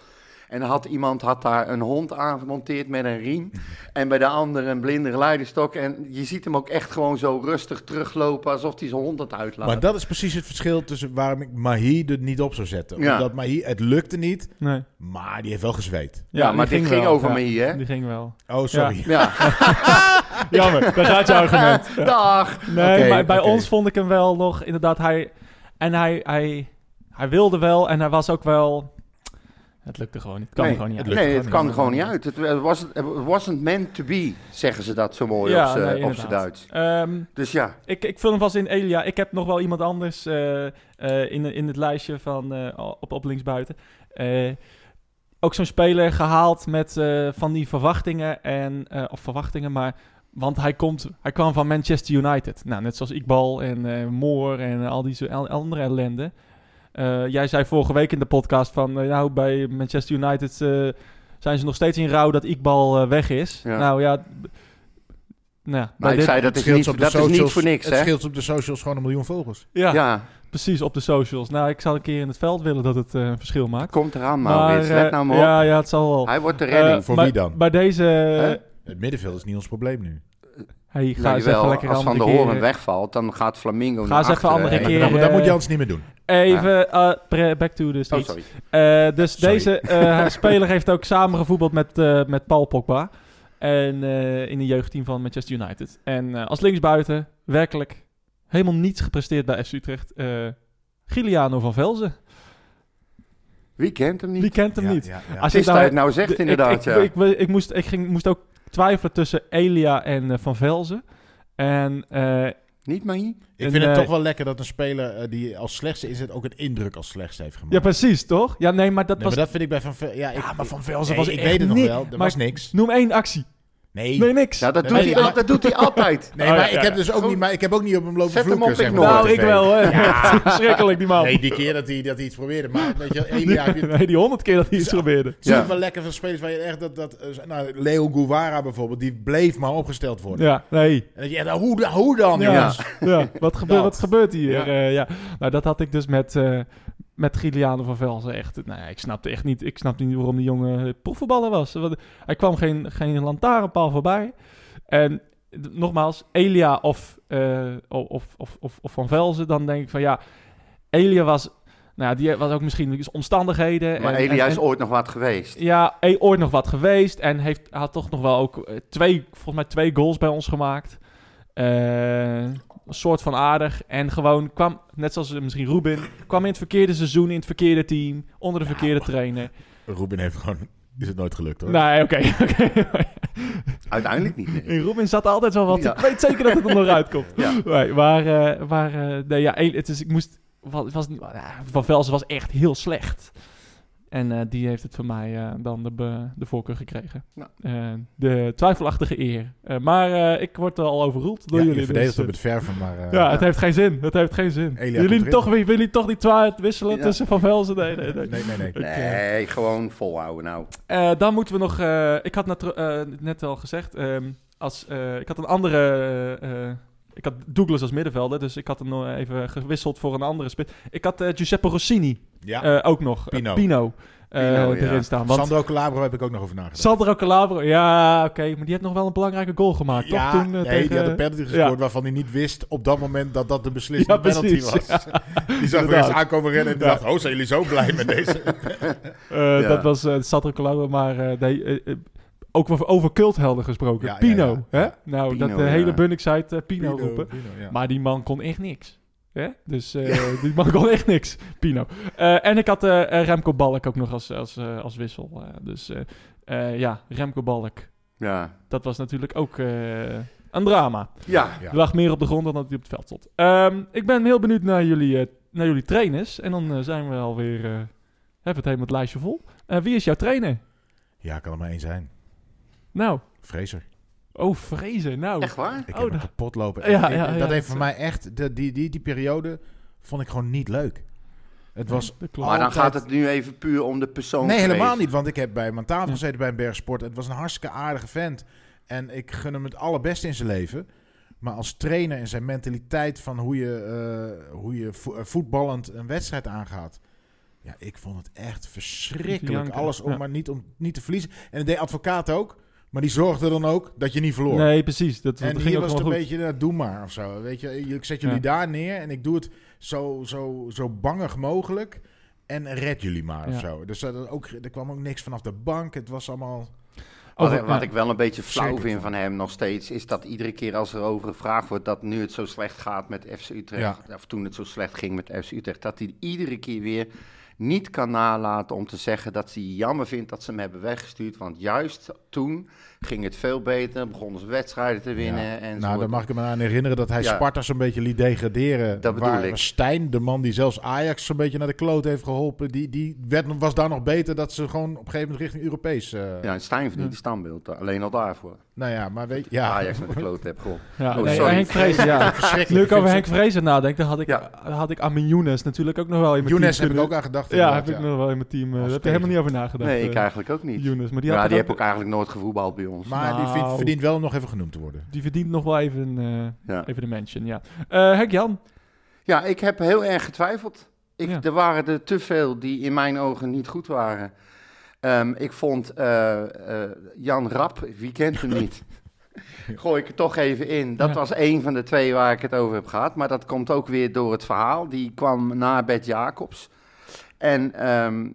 S4: En er had, iemand had daar een hond aangemonteerd met een riem. En bij de andere een blinde geleiderstok. En je ziet hem ook echt gewoon zo rustig teruglopen. Alsof hij zijn hond aan het uitlaat.
S5: Maar dat is precies het verschil tussen waarom ik Mahi er niet op zou zetten.
S4: Ja.
S5: Omdat Mahi, het lukte niet,
S3: nee.
S5: maar die heeft wel gezweet.
S4: ja,
S3: die
S4: maar dit ging
S3: wel.
S4: over
S3: Ja,
S4: me hier, hè?
S3: Die ging wel.
S5: Oh, sorry.
S4: Ja,
S3: Jammer, daar gaat je argument.
S4: dag!
S3: Nee,
S5: Oké,
S3: maar bij
S5: oké.
S3: ons vond ik hem wel nog inderdaad. Hij, en hij, hij, hij wilde wel en hij was ook wel. Het lukte gewoon niet. Het kwam
S4: nee,
S3: er gewoon niet uit.
S5: lukt
S4: nee,
S5: gewoon niet.
S4: het kan er gewoon niet uit. Het eh, wasn't, it wasn't meant to be, zeggen ze dat zo mooi
S3: Ja,
S4: op z'n-
S3: nee,
S4: op zijn
S3: inderdaad.
S4: Duits.
S3: Ehm,
S4: Dus ja,
S3: ik, ik vul hem vast in Elia. Ik heb nog wel iemand anders eh, eh, in, in het lijstje van eh, op, op linksbuiten. Eh, ook zo'n speler gehaald met eh, van die verwachtingen. En, eh, of verwachtingen, maar. Want hij, komt, hij kwam van Manchester United. Nou, net zoals Iqbal en eh Moore en al die zo- al- andere ellende. Eh, jij zei vorige week in de podcast van... eh, nou, bij Manchester United eh, zijn ze nog steeds in rouw dat Iqbal eh, weg is.
S4: Ja.
S3: Nou ja... b- Nou, bij
S4: maar ik
S3: dit-
S4: zei dat is niet,
S5: op de
S4: dat is niet
S5: socials-
S4: voor niks,
S5: Het
S4: hè?
S5: scheelt op de socials gewoon een miljoen volgers.
S3: ja,
S4: Ja,
S3: Precies, op de socials. Nou, ik zou een keer in het veld willen dat het eh, een verschil maakt.
S4: komt eraan, Maurits.
S3: eh,
S4: Let nou maar op.
S3: ja, ja, het zal wel.
S4: Hij wordt de redding.
S3: Eh,
S5: Voor
S3: bij-
S5: wie dan?
S3: Bij deze... eh,
S4: Hè?
S5: Het middenveld is niet ons probleem nu.
S3: Hey, ga
S4: Nou,
S3: eens
S4: jawel,
S3: even lekker
S4: als Van
S3: andere eh,
S4: der Horen
S3: keren.
S4: wegvalt, dan gaat Flamingo
S3: Ga
S4: naar
S3: eens even
S4: achteren.
S3: andere
S5: Nee,
S3: keer,
S5: dat, moet-
S3: eh,
S5: dat moet Jans niet meer doen.
S3: Even eh, pre- back to the
S4: Oh,
S3: streets.
S4: sorry.
S3: Eh, dus
S5: Sorry.
S3: deze eh, speler heeft ook samen gevoetbald met, eh, met Paul Pogba. En eh, in de jeugdteam van Manchester United. En eh, als linksbuiten, werkelijk helemaal niets gepresteerd bij FC Utrecht. Eh Giliano van Velzen.
S4: Wie kent hem
S3: Wie
S4: niet?
S3: kent hem
S5: Ja,
S3: niet?
S5: ja, ja.
S3: Als
S4: Het is
S3: ik
S4: dat je
S3: nou-
S4: het nou zegt,
S3: De-
S4: inderdaad.
S3: Ik,
S4: ja.
S3: ik, ik, ik moest, ik ging, moest ook twijfelen tussen Elia en eh, Van Velzen. En eh,
S4: Niet Mahi?
S5: Ik
S3: en,
S5: vind het
S3: eh,
S5: toch wel lekker dat een speler eh, die als slechtste is, het ook een indruk als slechtste heeft gemaakt.
S3: ja, precies, toch? Ja, nee, maar dat
S5: Nee,
S3: was.
S5: maar dat vind ik bij Van Velzen... Ja, ik,
S3: ja, maar Van
S5: Nee,
S3: Velzen was
S5: ik
S3: echt
S5: weet het nog
S3: niet-
S5: wel. Er
S3: maar-
S5: was niks.
S3: Noem één actie.
S5: Nee.
S3: Nee, niks.
S4: Ja, dat
S5: Nee,
S4: doet,
S5: nee,
S4: hij,
S5: maar-
S4: al- dat doet hij altijd.
S5: Nee,
S3: Oh,
S5: maar
S3: ja,
S5: ik
S3: ja.
S5: heb dus ook
S4: Goed.
S5: niet, maar ik heb ook niet op hem lopen
S4: Zet hem
S5: vloeken,
S4: op,
S5: zeg
S4: ik
S5: maar,
S4: nog.
S5: op
S3: nou,
S5: tv.
S3: ik wel, hè. Verschrikkelijk, die man.
S5: Nee, die keer dat hij dat hij iets probeerde. Maar weet je, wel, één jaar heb je het
S3: Nee, die honderd keer dat hij iets probeerde.
S5: Het is
S4: Ja.
S5: ook wel lekker van spelers waar je echt dat... dat eh, nou, Leo Guevara bijvoorbeeld, die bleef maar opgesteld worden.
S3: Ja, nee.
S5: En dat je, nou, hoe, da- hoe dan,
S3: Ja.
S5: jongens?
S3: Ja, wat, gebeurt
S5: Dat.
S3: wat gebeurt hier?
S5: Ja.
S3: Ja. ja. Nou, dat had ik dus met, eh met Giliano van Velzen echt. Nou ja, ik snapte echt niet, ik snapte niet waarom die jongen proefvoetballer was. Want hij kwam geen, geen lantaarnpaal voorbij. En d- nogmaals, Elia of, eh, of, of, of, of Van Velzen, dan denk ik van ja, Elia was... Nou, ja, die was ook misschien dus omstandigheden.
S4: Maar
S3: en-
S4: Elia
S3: en-
S4: is
S3: en-
S4: ooit nog wat geweest.
S3: ja, e- ooit nog wat geweest. En heeft, had toch nog wel ook eh, twee, volgens mij twee goals bij ons gemaakt. Eh, een soort van aardig. En gewoon kwam, net zoals eh, misschien Ruben, kwam in het verkeerde seizoen, in het verkeerde team, onder de verkeerde trainer.
S5: Ruben heeft gewoon... Is het nooit gelukt, hoor.
S3: Nee, oké. oké.
S4: Uiteindelijk niet. nee.
S3: in Ruben zat altijd wel wat.
S4: Ja.
S3: Ik weet zeker dat het er nog uitkomt.
S4: Ja.
S3: Nee, maar, eh, maar eh, nee, ja, e- het is, ik moest, wa- het was niet, ja, Van Velsen was echt heel slecht. En eh, die heeft het van mij eh, dan de, be- de voorkeur gekregen.
S4: Nou.
S3: Eh, de twijfelachtige eer. Eh, maar eh, ik word er al overroeld door
S5: Ja,
S3: jullie.
S5: je verdedigt
S3: dus,
S5: op het verven, maar... eh,
S3: eh, ja, het heeft geen zin. Het heeft geen zin.
S5: Elia
S3: jullie
S5: komt
S3: toch, willen jullie toch die twaard wisselen
S4: Ja.
S3: tussen Van Velzen? Nee, nee, nee.
S5: nee, nee, nee.
S3: Ik, eh,
S4: Nee, gewoon volhouden nou.
S3: eh, dan moeten we nog. eh, ik had net, eh, net al gezegd. ehm, als, eh, ik had een andere. eh, eh, ik had Douglas als middenvelder. Dus ik had hem nog even gewisseld voor een andere spit. Ik had eh, Giuseppe Rossini
S5: Ja,
S3: eh, ook nog. eh,
S5: Pino.
S3: Pino, eh,
S4: Pino, ja.
S3: erin staan. Want
S5: Sandro Calabro heb ik ook nog over nagedacht.
S3: Sandro Calabro. Ja, oké. maar die heeft nog wel een belangrijke goal gemaakt.
S5: Ja,
S3: toch? Toen, eh,
S5: nee,
S3: tegen,
S5: die had een penalty gescoord waarvan hij niet wist op dat moment dat dat de beslissende
S3: Ja,
S5: penalty
S3: precies,
S5: was. Die zag er
S3: Inderdaad.
S5: eens aankomen rennen en die dacht, oh, zijn jullie zo blij met deze?
S3: eh,
S4: Ja.
S3: Dat was eh Sandro Calabro. Maar eh, nee, eh, eh, ook over, over culthelden gesproken.
S5: Ja, ja,
S3: Pino.
S5: ja.
S3: Hè?
S5: Ja.
S3: Nou,
S4: Pino,
S3: dat de
S4: ja.
S3: hele Bunnik-site eh, Pino,
S5: Pino,
S3: roepen.
S5: Pino, ja.
S3: Maar die man kon echt niks. Hè? Dus eh, die man kon echt niks, Pino. Eh, en ik had eh, eh, Remco Balk ook nog als, als, eh, als wissel. eh, dus eh, eh, ja, Remco Balk.
S4: Ja.
S3: Dat was natuurlijk ook eh, een drama.
S4: Ja.
S5: Ja.
S3: Er lag meer op de grond dan dat hij op het veld stond. Ehm, ik ben heel benieuwd naar jullie, eh, naar jullie trainers. En dan eh, zijn we alweer... eh hebben we het helemaal het lijstje vol. Eh, wie is jouw trainer?
S5: Ja, kan er maar één zijn.
S3: Nou,
S5: Fraser.
S3: oh vrezen. Nou,
S4: Echt waar?
S5: Ik
S3: Oh,
S5: heb hem
S3: dat-
S5: kapot lopen.
S3: Ja,
S5: Ik- ik-
S3: ja, ja,
S5: dat heeft
S3: dat-
S5: voor mij echt, de, die, die, die periode vond ik gewoon niet leuk. Het was...
S3: de klok.
S4: Maar dan
S5: Altijd.
S4: gaat het nu even puur om de persoon.
S5: Nee, helemaal
S4: geweest.
S5: niet, want ik heb bij hem aan tafel
S3: Ja.
S5: gezeten bij een bergsport. Het was een hartstikke aardige vent. En ik gun hem het allerbeste in zijn leven. Maar als trainer en zijn mentaliteit van hoe je, eh, hoe je vo- eh, voetballend een wedstrijd aangaat. Ja, ik vond het echt
S3: Om te
S5: verschrikkelijk.
S3: janken,
S5: Alles om
S3: ja.
S5: maar niet, om niet te verliezen. En dat deed advocaat ook. Maar die zorgde dan ook dat je niet verloor.
S3: Nee, precies. Dat, dat
S5: en
S3: ging
S5: hier
S3: ook
S5: was het een
S3: gewoon goed.
S5: beetje, nou, doe maar of zo. Weet je, ik zet jullie
S3: Ja.
S5: daar neer en ik doe het zo, zo, zo bangig mogelijk. En red jullie maar of
S3: Ja.
S5: zo. Dus dat ook, er kwam ook niks vanaf de bank. Het was allemaal...
S4: Wat,
S3: Over-
S4: ik- wat
S3: ja.
S4: ik wel een beetje flauw
S5: Zeker.
S4: vind van hem nog steeds, is dat iedere keer als er over gevraagd wordt dat nu het zo slecht gaat met FC Utrecht, of toen het zo slecht ging met FC Utrecht, dat hij iedere keer weer niet kan nalaten om te zeggen dat hij jammer vindt dat ze hem hebben weggestuurd. Want juist toen ging het veel beter, begonnen ze wedstrijden te winnen.
S5: Ja.
S4: En
S5: nou, daar mag ik me aan herinneren dat hij
S4: Ja.
S5: Sparta zo'n beetje liet degraderen.
S4: Dat bedoel
S5: waar
S4: ik.
S5: Stijn, de man die zelfs Ajax zo'n beetje naar de kloot heeft geholpen... die, die werd, was daar nog beter dat ze gewoon op een gegeven moment richting Europees... eh,
S4: Ja, en Stijn verdient een standbeeld, alleen al daarvoor.
S5: Nou ja, maar weet je... Ja,
S4: Ajax met de klote heb gewonnen.
S3: Ja,
S4: Oh,
S3: nee,
S4: sorry.
S3: Henk Vrezen, ja.
S5: verschrikkelijk.
S3: Nu ik
S5: vind
S3: over
S5: ze-
S3: Henk Vrezen nadenk, dan had ik,
S4: Ja.
S3: dan had ik aan mijn Younes natuurlijk ook nog wel in mijn
S5: Younes
S3: team
S5: heb ik ook
S3: kunnen-
S5: aan gedacht.
S3: Ja,
S5: inderdaad,
S3: heb ik nog wel in mijn team. eh,
S5: Als
S3: Daar heb ik
S5: tegen.
S3: helemaal niet over nagedacht.
S4: Nee, ik
S3: eh,
S4: eigenlijk ook niet.
S3: Younes, maar die,
S4: ja,
S3: had
S4: die
S3: het
S4: heb
S3: ook,
S4: ik eigenlijk nooit gevoetbald bij ons.
S5: Maar die vindt-
S3: Nou.
S5: verdient wel nog even genoemd te worden.
S3: die verdient nog wel even, eh
S4: Ja.
S3: even de mention, ja. Eh Henk Jan,
S4: Ja, ik heb heel erg getwijfeld. Ik,
S3: Ja.
S4: Er waren er te veel die in mijn ogen niet goed waren. Ehm, ik vond eh, eh, Jan Rap, wie kent hem niet? Gooi ik er toch even in. Dat
S3: Ja.
S4: was één van de twee waar ik het over heb gehad. Maar dat komt ook weer door het verhaal. Die kwam na Bert Jacobs. En ehm,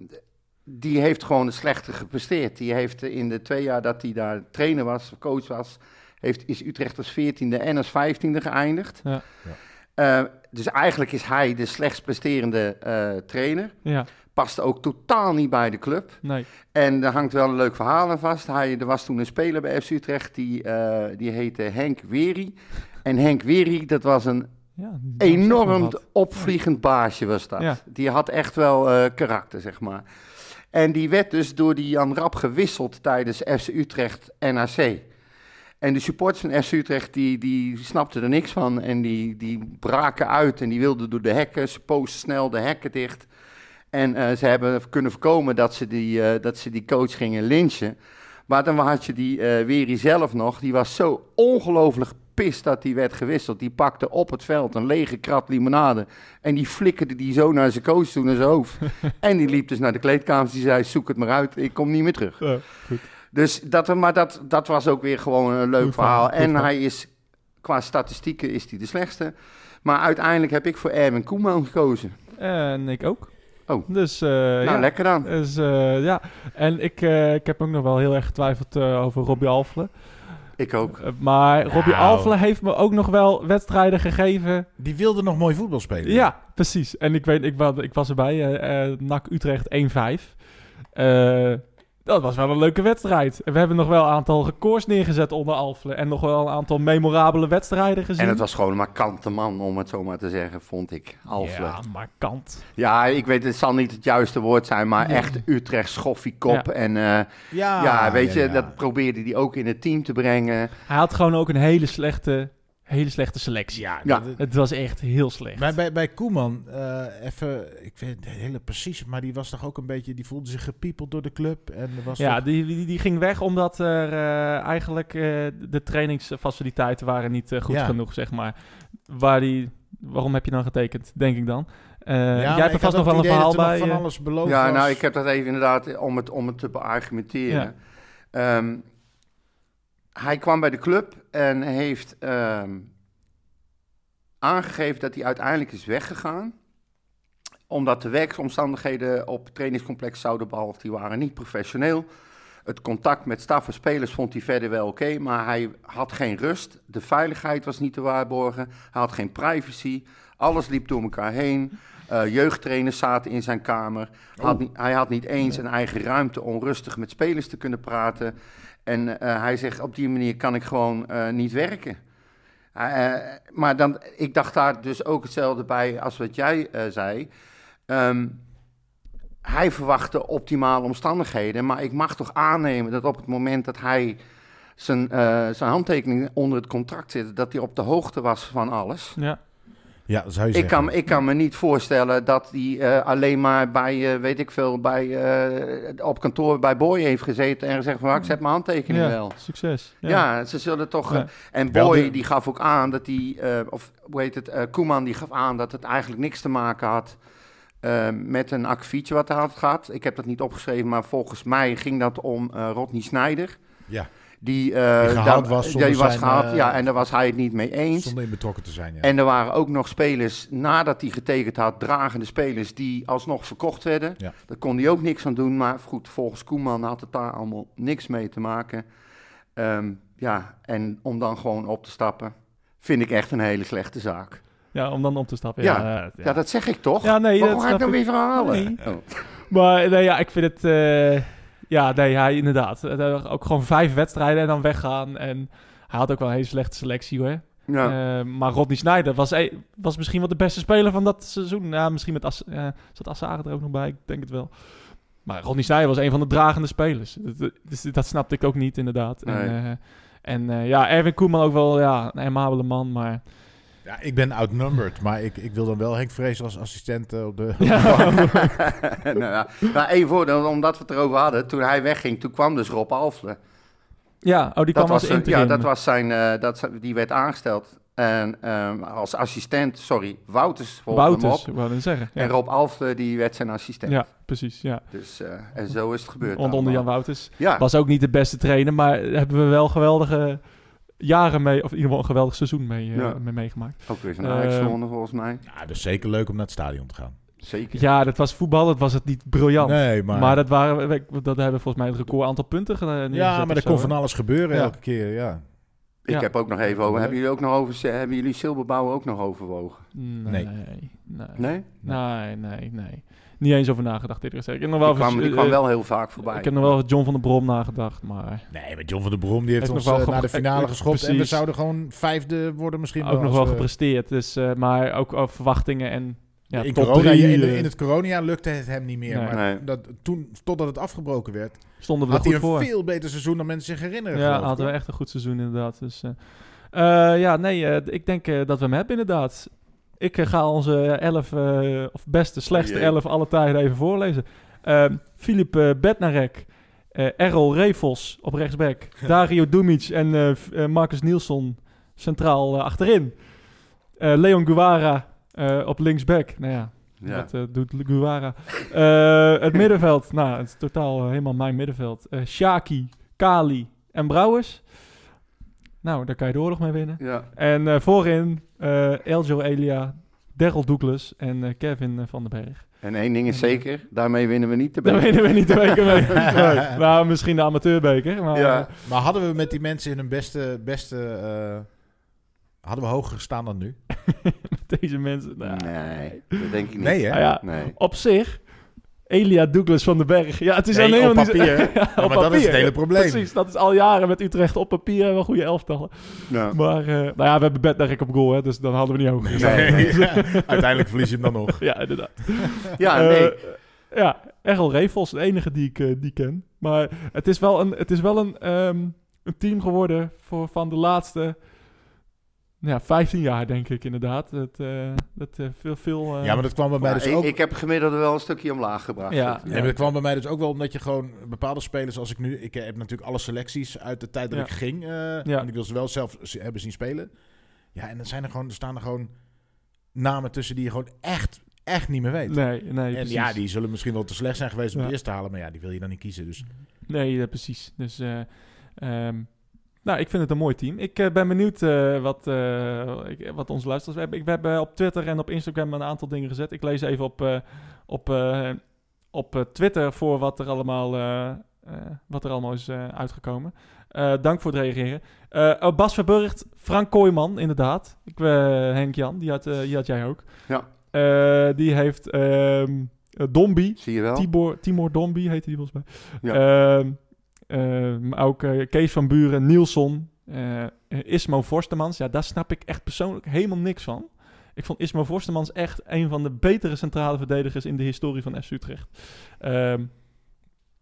S4: die heeft gewoon het slechte gepresteerd. Die heeft in de twee jaar dat hij daar trainer was, coach was, heeft, is Utrecht als 14e en als 15e geëindigd.
S3: Ja.
S5: Ja.
S4: Eh, dus eigenlijk is hij de slechts presterende eh, trainer.
S3: ja,
S4: Past ook totaal niet bij de club.
S3: nee.
S4: En er hangt wel een leuk verhaal aan vast. Hij, er was toen een speler bij FC Utrecht, die, eh, die heette Henk Wery. En Henk Wery, dat was een
S3: Ja, die- die heb ik
S4: enorm
S3: nog gehad.
S4: opvliegend baasje was dat.
S3: Ja.
S4: Die had echt wel eh, karakter, zeg maar. En die werd dus door die Jan Rap gewisseld tijdens FC Utrecht NAC. En de supporters van FC Utrecht, die, die snapten er niks van. En die, die braken uit en die wilden door de hekken. Ze posten snel de hekken dicht. En eh, ze hebben kunnen voorkomen dat ze die, eh, dat ze die coach gingen lynchen. Maar dan had je die eh Weri zelf nog. Die was zo ongelooflijk pist dat die werd gewisseld. Die pakte op het veld een lege krat limonade. En die flikkerde die zo naar zijn coach toe, naar zijn hoofd. en die liep dus naar de kleedkamers. Die zei, zoek het maar uit. Ik kom niet meer terug.
S3: Ja, goed.
S4: Dus dat, maar dat, dat was ook weer gewoon een leuk
S3: Goed verhaal,
S4: verhaal.
S3: goed
S4: En
S3: verhaal.
S4: hij is, qua statistieken is hij de slechtste. Maar uiteindelijk heb ik voor Erwin Koeman gekozen.
S3: En ik ook.
S4: Oh.
S3: Dus, eh,
S4: nou,
S3: ja.
S4: lekker dan.
S3: Dus, eh, ja. En ik, eh, ik heb ook nog wel heel erg getwijfeld eh, over Robbie Alfle.
S4: Ik ook.
S3: Eh, maar Robbie
S5: Nou.
S3: Alfle heeft me ook nog wel wedstrijden gegeven
S5: Die wilde nog mooi voetbal spelen.
S3: Ja, precies. En ik weet, ik, wa- ik was erbij. eh eh NAC Utrecht 1-5. Eh, Dat was wel een leuke wedstrijd. En we hebben nog wel een aantal records neergezet onder Alfle. En nog wel een aantal memorabele wedstrijden gezien.
S4: En het was gewoon een markante man, om het zo maar te zeggen, vond ik. Alfle.
S3: Ja,
S4: Ja,
S3: markant.
S4: ik weet, het zal niet het juiste woord zijn, maar echt Utrecht schoffiekop.
S3: Ja.
S4: En eh,
S5: Ja,
S4: ja, weet je,
S5: ja.
S4: dat probeerde hij ook in het team te brengen.
S3: Hij had gewoon ook een hele slechte, hele slechte selectie.
S5: Ja,
S4: Ja.
S5: dat-
S3: Het was echt heel slecht.
S5: Maar bij, bij Koeman, eh, even, ik weet het hele precies, maar die was toch ook een beetje, die voelde zich gepiepeld door de club. En er was
S3: Ja,
S5: toch-
S3: die, die, die ging weg omdat er eh, eigenlijk eh, de trainingsfaciliteiten waren niet eh, goed
S5: Ja.
S3: genoeg, zeg maar. Waar die, waarom heb je dan getekend, denk ik dan? Eh,
S5: Ja,
S3: jij
S5: maar
S3: hebt er
S5: ik
S3: vast
S5: had
S3: nog wel
S5: ook
S3: een
S5: het idee
S3: verhaal
S5: dat er nog
S3: bij. eh,
S5: van alles beloofd
S4: Ja,
S5: was.
S4: nou, ik heb dat even inderdaad eh, om het, om het te beargumenteren. Ehm, hij kwam bij de club en heeft ehm, aangegeven dat hij uiteindelijk is weggegaan. Omdat de werksomstandigheden op het trainingscomplex Zoudenbal, die waren niet professioneel. Het contact met staf en spelers vond hij verder wel oké, maar hij had geen rust. De veiligheid was niet te waarborgen. Hij had geen privacy. Alles liep door elkaar heen. Eh, jeugdtrainers zaten in zijn kamer. Had niet- hij had niet eens een eigen ruimte om rustig met spelers te kunnen praten. En eh, hij zegt, op die manier kan ik gewoon eh, niet werken. Eh, eh, maar dan, ik dacht daar dus ook hetzelfde bij als wat jij eh, zei. Ehm, hij verwachtte optimale omstandigheden, maar ik mag toch aannemen dat op het moment dat hij zijn, eh, zijn handtekening onder het contract zette, dat hij op de hoogte was van alles.
S3: ja.
S5: Ja, dat zou je
S4: Ik
S5: zeggen.
S4: kan, ik kan me niet voorstellen dat hij eh, alleen maar bij, eh, weet ik veel, bij, eh, op kantoor bij Boy heeft gezeten en gezegd van, "Ah, ik zet mijn handtekening
S3: Ja,
S4: wel.
S3: succes. Ja.
S4: Ja. ze zullen toch...
S3: Ja.
S4: eh, en
S5: Wel
S4: Boy
S5: de-
S4: die gaf ook aan dat hij... eh, of hoe heet het? eh, Koeman die gaf aan dat het eigenlijk niks te maken had... eh, met een akkefietje wat hij had gehad. Ik heb dat niet opgeschreven, maar volgens mij ging dat om eh Rodney Snijder.
S5: Ja.
S4: Die, eh,
S5: Die gehaald was zonder
S4: die was
S5: zijn,
S4: gehaald,
S5: eh,
S4: ja. En daar was hij het niet mee eens.
S5: Zonder in betrokken te zijn, ja.
S4: En er waren ook nog spelers, nadat hij getekend had, dragende spelers die alsnog verkocht werden.
S5: Ja.
S4: Daar kon hij ook niks aan doen. Maar goed, volgens Koeman had het daar allemaal niks mee te maken. Ehm, ja, en om dan gewoon op te stappen, vind ik echt een hele slechte zaak.
S3: Ja, om dan om te stappen. Ja,
S4: Ja.
S3: ja.
S4: Ja, dat zeg ik toch?
S3: Ja, nee,
S4: Waarom
S3: dat
S4: ga ik
S3: snap
S4: nou weer verhalen?
S3: Nee.
S4: Oh.
S3: Maar nee, ja, ik vind het... eh, ja, nee, hij inderdaad. Eh, Ook gewoon vijf wedstrijden en dan weggaan. En hij had ook wel een hele slechte selectie, hoor.
S4: Ja.
S3: Eh, maar Rodney Snyder was, eh, was misschien wel de beste speler van dat seizoen. Ja, misschien met As eh, zat Assare er ook nog bij, ik denk het wel. Maar Rodney Snyder was een van de dragende spelers. Dat- dat- Dus dat snapte ik ook niet, inderdaad. En,
S4: Nee.
S3: eh, en eh, ja, Erwin Koeman ook wel ja, een amabele man, maar...
S5: Ja, ik ben outnumbered, maar ik, ik wil dan wel Henk Vrees als assistent eh, op de...
S4: nou, ja. nou, één voordeel, omdat we het erover hadden. Toen hij wegging, toen kwam dus Rob Alfle.
S3: Ja, oh, die
S4: Dat
S3: kwam als
S4: was, een-
S3: interim.
S4: ja, dat was zijn, eh, dat, zijn- die werd aangesteld en, ehm, als assistent, sorry, Wouters volgde
S3: Wouters,
S4: hem op.
S3: ik wou dat zeggen. Ja,
S4: En Rob Alfle, die werd zijn assistent.
S3: ja precies, ja.
S4: Dus, eh, en zo is het gebeurd.
S3: Want onder Jan
S4: allemaal.
S3: Wouters.
S4: Ja,
S3: Was ook niet de beste trainer, maar hebben we wel geweldige jaren mee... Of in ieder geval een geweldig seizoen mee, eh,
S4: Ja.
S3: mee meegemaakt.
S4: ook weer zo'n
S3: Eh,
S4: Ajax-zone volgens mij.
S5: Ja, Nou, dat is zeker leuk om naar het stadion te gaan.
S4: Zeker.
S3: Ja, dat was voetbal, dat was het niet briljant.
S5: Nee, maar...
S3: maar... dat, waren, we- dat hebben we volgens mij het record aantal punten gedaan.
S5: ja, maar er kon van alles gebeuren
S3: Ja.
S5: elke keer, ja.
S4: Ik
S3: Ja.
S4: heb ook nog even over, hebben jullie ook nog over, hebben jullie Silberbouw ook nog overwogen?
S3: Nee, nee,
S5: Nee.
S3: nee. Nee,
S4: Nee?
S3: nee, Niet eens over nagedacht, eerlijk gezegd. Ik heb nog wel
S4: Die kwam,
S3: over-
S4: die kwam
S3: eh,
S4: wel heel vaak voorbij.
S3: Ik heb nog wel over John van der Brom nagedacht, maar
S5: Nee, maar John van der Brom die heeft,
S3: Heeft
S5: ons
S3: nog wel
S5: eh,
S3: ge-
S5: naar de finale
S3: eh,
S5: geschopt. En we
S3: precies.
S5: zouden gewoon vijfde worden misschien.
S3: ook nog wel
S5: als eh, we-
S3: gepresteerd. Dus, eh, maar ook over verwachtingen en ja,
S5: in,
S3: top
S5: corona,
S3: drie,
S5: in,
S3: eh,
S5: in het corona lukte het hem niet meer.
S3: Nee.
S5: Maar
S4: Nee.
S5: Dat, toen, totdat het afgebroken werd,
S3: eh, stonden we er
S5: had hij
S3: goed
S5: een
S3: voor.
S5: veel beter seizoen dan mensen zich herinneren.
S3: Ja,
S5: geloof ik,
S3: hadden we
S5: hoor.
S3: echt een goed seizoen inderdaad. Dus, eh, eh, ja, nee, eh, d- ik denk eh, dat we hem hebben inderdaad. Ik eh, ga onze elf, eh, of beste, slechtste
S5: Oh
S4: Jee.
S3: elf alle tijden even voorlezen. Ehm Filip eh, Bednarek, eh, Errol Revos op rechtsback, Dario Dumic en eh, F- eh, Marcus Nielsson centraal eh, achterin. Eh, Leon Guevara eh, op linksback. Nou ja,
S4: Ja.
S3: dat eh, doet Guara. Eh, het middenveld, nou, het is totaal eh, helemaal mijn middenveld. Eh Shaki, Kali en Brouwers. Nou, daar kan je de oorlog mee winnen.
S4: Ja.
S3: En eh, voorin eh, Eljo Elia, Daryl Douglas en eh, Kevin eh, van den Berg.
S4: En één ding is zeker, daarmee winnen we niet de
S3: Daar
S4: beker.
S3: winnen we niet de beker mee. Nee, nou, misschien de amateurbeker. Maar,
S4: Ja.
S3: eh,
S5: Maar hadden we met die mensen in hun beste... beste eh, hadden we hoger gestaan dan nu?
S3: deze mensen. nou,
S4: Nee, dat denk ik niet.
S5: Nee, hè?
S3: nou ja,
S4: Nee.
S3: Op zich Elia Douglas van den Berg. Ja, het is
S5: Nee,
S3: alleen
S5: op
S3: maar niet zo-
S5: papier.
S3: Ja,
S5: maar
S3: op
S5: dat is het
S3: papier.
S5: hele probleem.
S3: Precies, dat is al jaren met Utrecht op papier hebben we goede elftallen.
S4: Ja.
S3: Maar eh, nou ja, we hebben Bednarek op goal, hè, dus dan hadden we niet hoger. gestaan.
S5: Nee, ja, uiteindelijk verlies je hem dan nog.
S3: Ja, inderdaad.
S4: Ja, Ah, nee.
S3: Eh, ja, Errol Revels, de enige die ik, eh, die ken. Maar het is wel een, het is wel een, ehm, een team geworden voor van de laatste nou ja, 15 jaar, denk ik inderdaad. Het, eh, dat eh, veel, veel... eh,
S5: Ja, maar dat kwam bij mij
S4: Maar
S5: dus
S4: ik,
S5: ook...
S4: ik heb gemiddelde wel een stukje omlaag gebracht.
S3: ja,
S5: Nee, maar dat kwam bij mij dus ook wel omdat je gewoon bepaalde spelers, als ik nu, ik heb natuurlijk alle selecties uit de tijd dat
S3: Ja.
S5: ik ging, eh, en ik wil ze wel zelf z- hebben zien spelen. Ja, en dan zijn er gewoon, er staan er gewoon namen tussen die je gewoon echt, echt niet meer weet.
S3: Nee, nee,
S5: en
S3: precies.
S5: ja, die zullen misschien wel te slecht zijn geweest om
S3: Ja.
S5: de eerste te halen, maar ja, die wil je dan niet kiezen. Dus
S3: Nee, ja, precies. Dus, eh, ehm, nou, ik vind het een mooi team. Ik eh, ben benieuwd eh, wat, eh, ik- wat onze luisteraars we hebben. Ik, we hebben op Twitter en op Instagram een aantal dingen gezet. Ik lees even op, eh, op, eh, op eh, Twitter voor wat er allemaal, eh, eh, wat er allemaal is eh, uitgekomen. Eh, dank voor het reageren. Eh, oh, Bas Verburgt, Frank Kooijman, inderdaad. Ik, eh, Henk Jan, die had, eh, die had jij ook.
S4: Ja.
S3: Eh, die heeft ehm Dombie.
S4: Zie je wel?
S3: Tibor, Timor Dombi heette die volgens mij.
S4: Ja.
S3: Ehm, ehm, maar ook eh, Kees van Buren, Nielsen, eh, Ismo Forstemans. Ja, daar snap ik echt persoonlijk helemaal niks van. Ik vond Ismo Forstemans echt een van de betere centrale verdedigers in de historie van FC Utrecht. Ehm,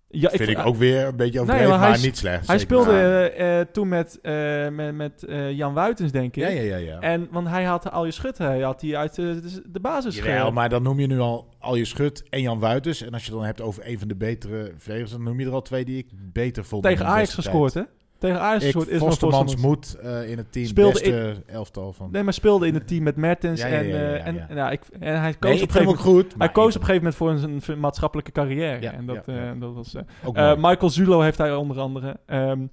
S3: ja,
S5: vind ik
S3: vond-
S5: ook weer een beetje overdreven,
S3: maar hij
S5: maar,
S3: is-
S5: niet slecht. zeker.
S3: Hij speelde
S5: Ja.
S3: eh, eh, toen met, eh, met, met eh, Jan Wuitens, denk ik.
S5: Ja, ja, ja. ja.
S3: En, want hij had al je schut, hij had die uit eh, de, de basis
S5: Jawel,
S3: gehaald.
S5: maar dan noem je nu al, al je schut en Jan Wuiters. En als je het dan hebt over een van de betere verdedigers, dan noem je er al twee die ik beter vond. in
S3: Tegen
S5: mijn
S3: Ajax
S5: beste tijd.
S3: gescoord, hè? Tegen Ajax
S5: Ik,
S3: gescoord. Ismo
S5: Vostermans
S3: Forstemans.
S5: moet eh, in het team
S3: Speelde
S5: beste elftal van.
S3: Nee, maar speelde in het team met Mertens.
S5: Ja, ja, ja,
S3: en,
S5: ja,
S3: eh,
S5: ja,
S3: en,
S5: ja.
S3: en, ja, ik, en hij koos,
S5: Nee,
S3: op, een
S5: ik
S3: gegeven
S5: vind hem ook
S3: moment,
S5: goed.
S3: hij
S5: maar
S3: koos
S5: ik-
S3: op een gegeven moment voor een, een maatschappelijke carrière.
S5: Ja,
S3: en dat,
S5: ja, ja.
S3: eh, dat was, eh,
S5: ook
S3: eh,
S5: mooi.
S3: Michael Zulo heeft hij onder andere. Ehm,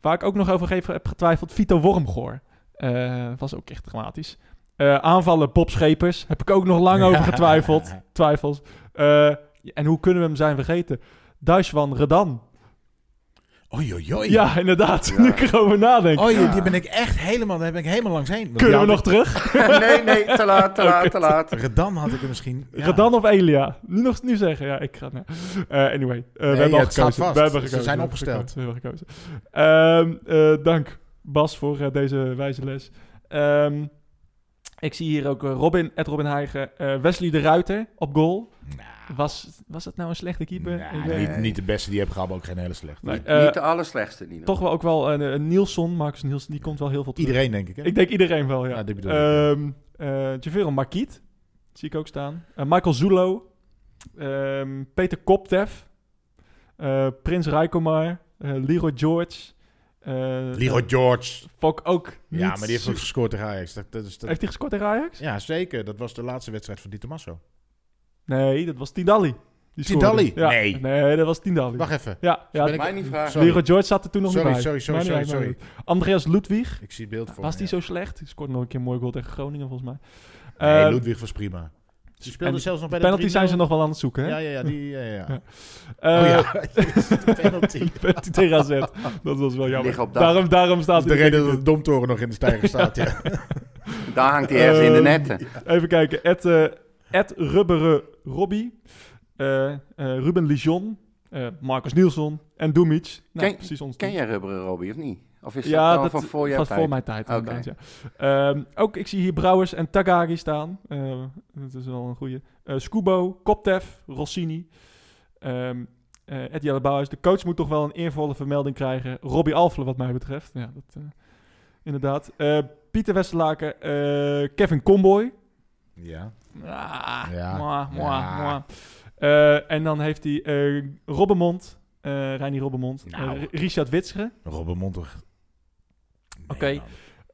S3: waar ik ook nog over geef- heb getwijfeld, Vito Wormgoor. Eh, was ook echt dramatisch. Eh, aanvallen Bob Schepers, heb ik ook nog lang over getwijfeld. Twijfels. Eh, en hoe kunnen we hem zijn vergeten? Duiswan Redan.
S5: Oei, oei, oei.
S3: Ja, inderdaad.
S4: Ja.
S3: Nu ik erover nadenk.
S5: Oei,
S4: Ja.
S5: die ben ik echt helemaal, daar ben ik helemaal langs heen. Want
S3: kunnen we
S5: die
S3: nog terug?
S4: nee, nee, te laat, te laat, te laat.
S5: had ik- Redan had ik er misschien... ja.
S3: Redan of Elia? Nu, nog, nu zeggen, ja, ik ga... Nee. Eh, anyway, eh, we hebben al
S5: het staat vast.
S3: gekozen. We hebben
S5: Ze
S3: gekozen.
S5: zijn
S3: we hebben
S5: opgesteld.
S3: gekozen, we hebben gekozen. Ehm, eh, dank Bas voor eh, deze wijze les. Ehm, ik zie hier ook eh, Robin, Ed Robin Heigen, eh, Wesley de Ruiter op goal.
S5: Nou,
S3: Was, was dat nou een slechte keeper?
S5: nou,
S3: Ik weet
S5: niet,
S3: het.
S5: niet de beste die je hebt gehad, maar ook geen hele slecht.
S3: Nee,
S4: niet,
S3: eh,
S4: niet de allerslechtste, Nino.
S3: Toch wel ook wel een, eh, een Nielsen, Marcus Nielsen, die komt wel heel veel terug.
S5: Iedereen, denk ik. Hè?
S3: Ik denk iedereen wel, ja.
S5: Ja, dit bedoel ik, ja.
S3: Ehm eh, Javero Marquiet, zie ik ook staan. Eh, Michael Zulo. Ehm, Peter Koptev. eh, Prins Rijkomar. eh Leroy George. eh,
S5: Leroy George.
S3: Fok ook niet
S5: Ja, maar die heeft
S3: su-
S5: ook gescoord tegen Ajax. Dat, dat is, dat-
S3: Heeft hij gescoord tegen Ajax?
S5: ja, zeker. Dat was de laatste wedstrijd van Di Tommaso.
S3: Nee, dat was Tindalli. Die scoorde.
S5: Tindalli?
S3: Ja.
S5: Nee.
S3: Nee, dat was Tindalli.
S5: Wacht even.
S3: Ja, ja
S5: Ben ik-
S4: Mij niet vragen.
S5: Sorry.
S3: Leroy George zat er toen nog
S5: Sorry,
S3: niet bij.
S5: sorry, sorry,
S3: Maar
S5: sorry,
S3: niet uit,
S5: sorry.
S3: maar niet uit. Andreas Ludwig.
S5: Ik zie het beeld voor
S3: Was
S5: me,
S3: die
S5: ja.
S3: zo slecht? Die scoorde nog een keer een mooi goal tegen Groningen, volgens mij.
S5: Nee,
S3: Eh,
S5: Ludwig was prima. Die speelde
S3: en
S5: zelfs nog bij de
S3: Penalty zijn ze
S5: 3-0.
S3: nog wel aan het zoeken, hè?
S5: Ja, ja, ja. Die, ja, ja.
S3: Ja.
S5: oh
S3: Eh,
S5: ja, Jezus, de penalty.
S3: Die werd die tegen AZ. Dat was wel
S4: Liggen
S3: jammer.
S4: op dak.
S3: Daarom, daarom
S5: Dat
S3: staat
S5: is de
S3: hij
S5: reden dat de domtoren nog in de stijger staat. Ja.
S4: Daar hangt hij ergens in de
S3: Ehm,
S4: netten.
S3: Even kijken. Ed, eh Ed Rubberen Robbie. eh, eh, Ruben Lijon. eh, Marcus Nielsen. En Dumic. Nou,
S4: Ken-
S3: precies ons
S4: Ken
S3: team.
S4: jij rubberen Robbie of niet? Of is
S3: Ja,
S4: dat, al
S3: dat
S4: van voor jouw
S3: was
S4: tijd?
S3: voor mijn tijd.
S4: Oké.
S3: inderdaad, Ja. Ehm, ook, ik zie hier Brouwers en Tagagi staan. Eh, dat is wel een goede. Scubo, Koptev, Rossini. Ehm eh Eddie Allebouwers. De coach moet toch wel een eervolle vermelding krijgen. Robbie Alfle, wat mij betreft. Ja, dat, eh, inderdaad. Eh, Pieter Westerlaken, eh, Kevin Comboy.
S5: ja.
S3: Ah,
S5: Ja.
S3: mwah, mwah,
S5: Ja.
S3: mwah. Eh, en dan heeft hij eh Robbenmond, eh Reinier Robbenmond, eh,
S5: Nou.
S3: R- Richard Witsche,
S5: Robben Monter. Nee,
S3: Oké.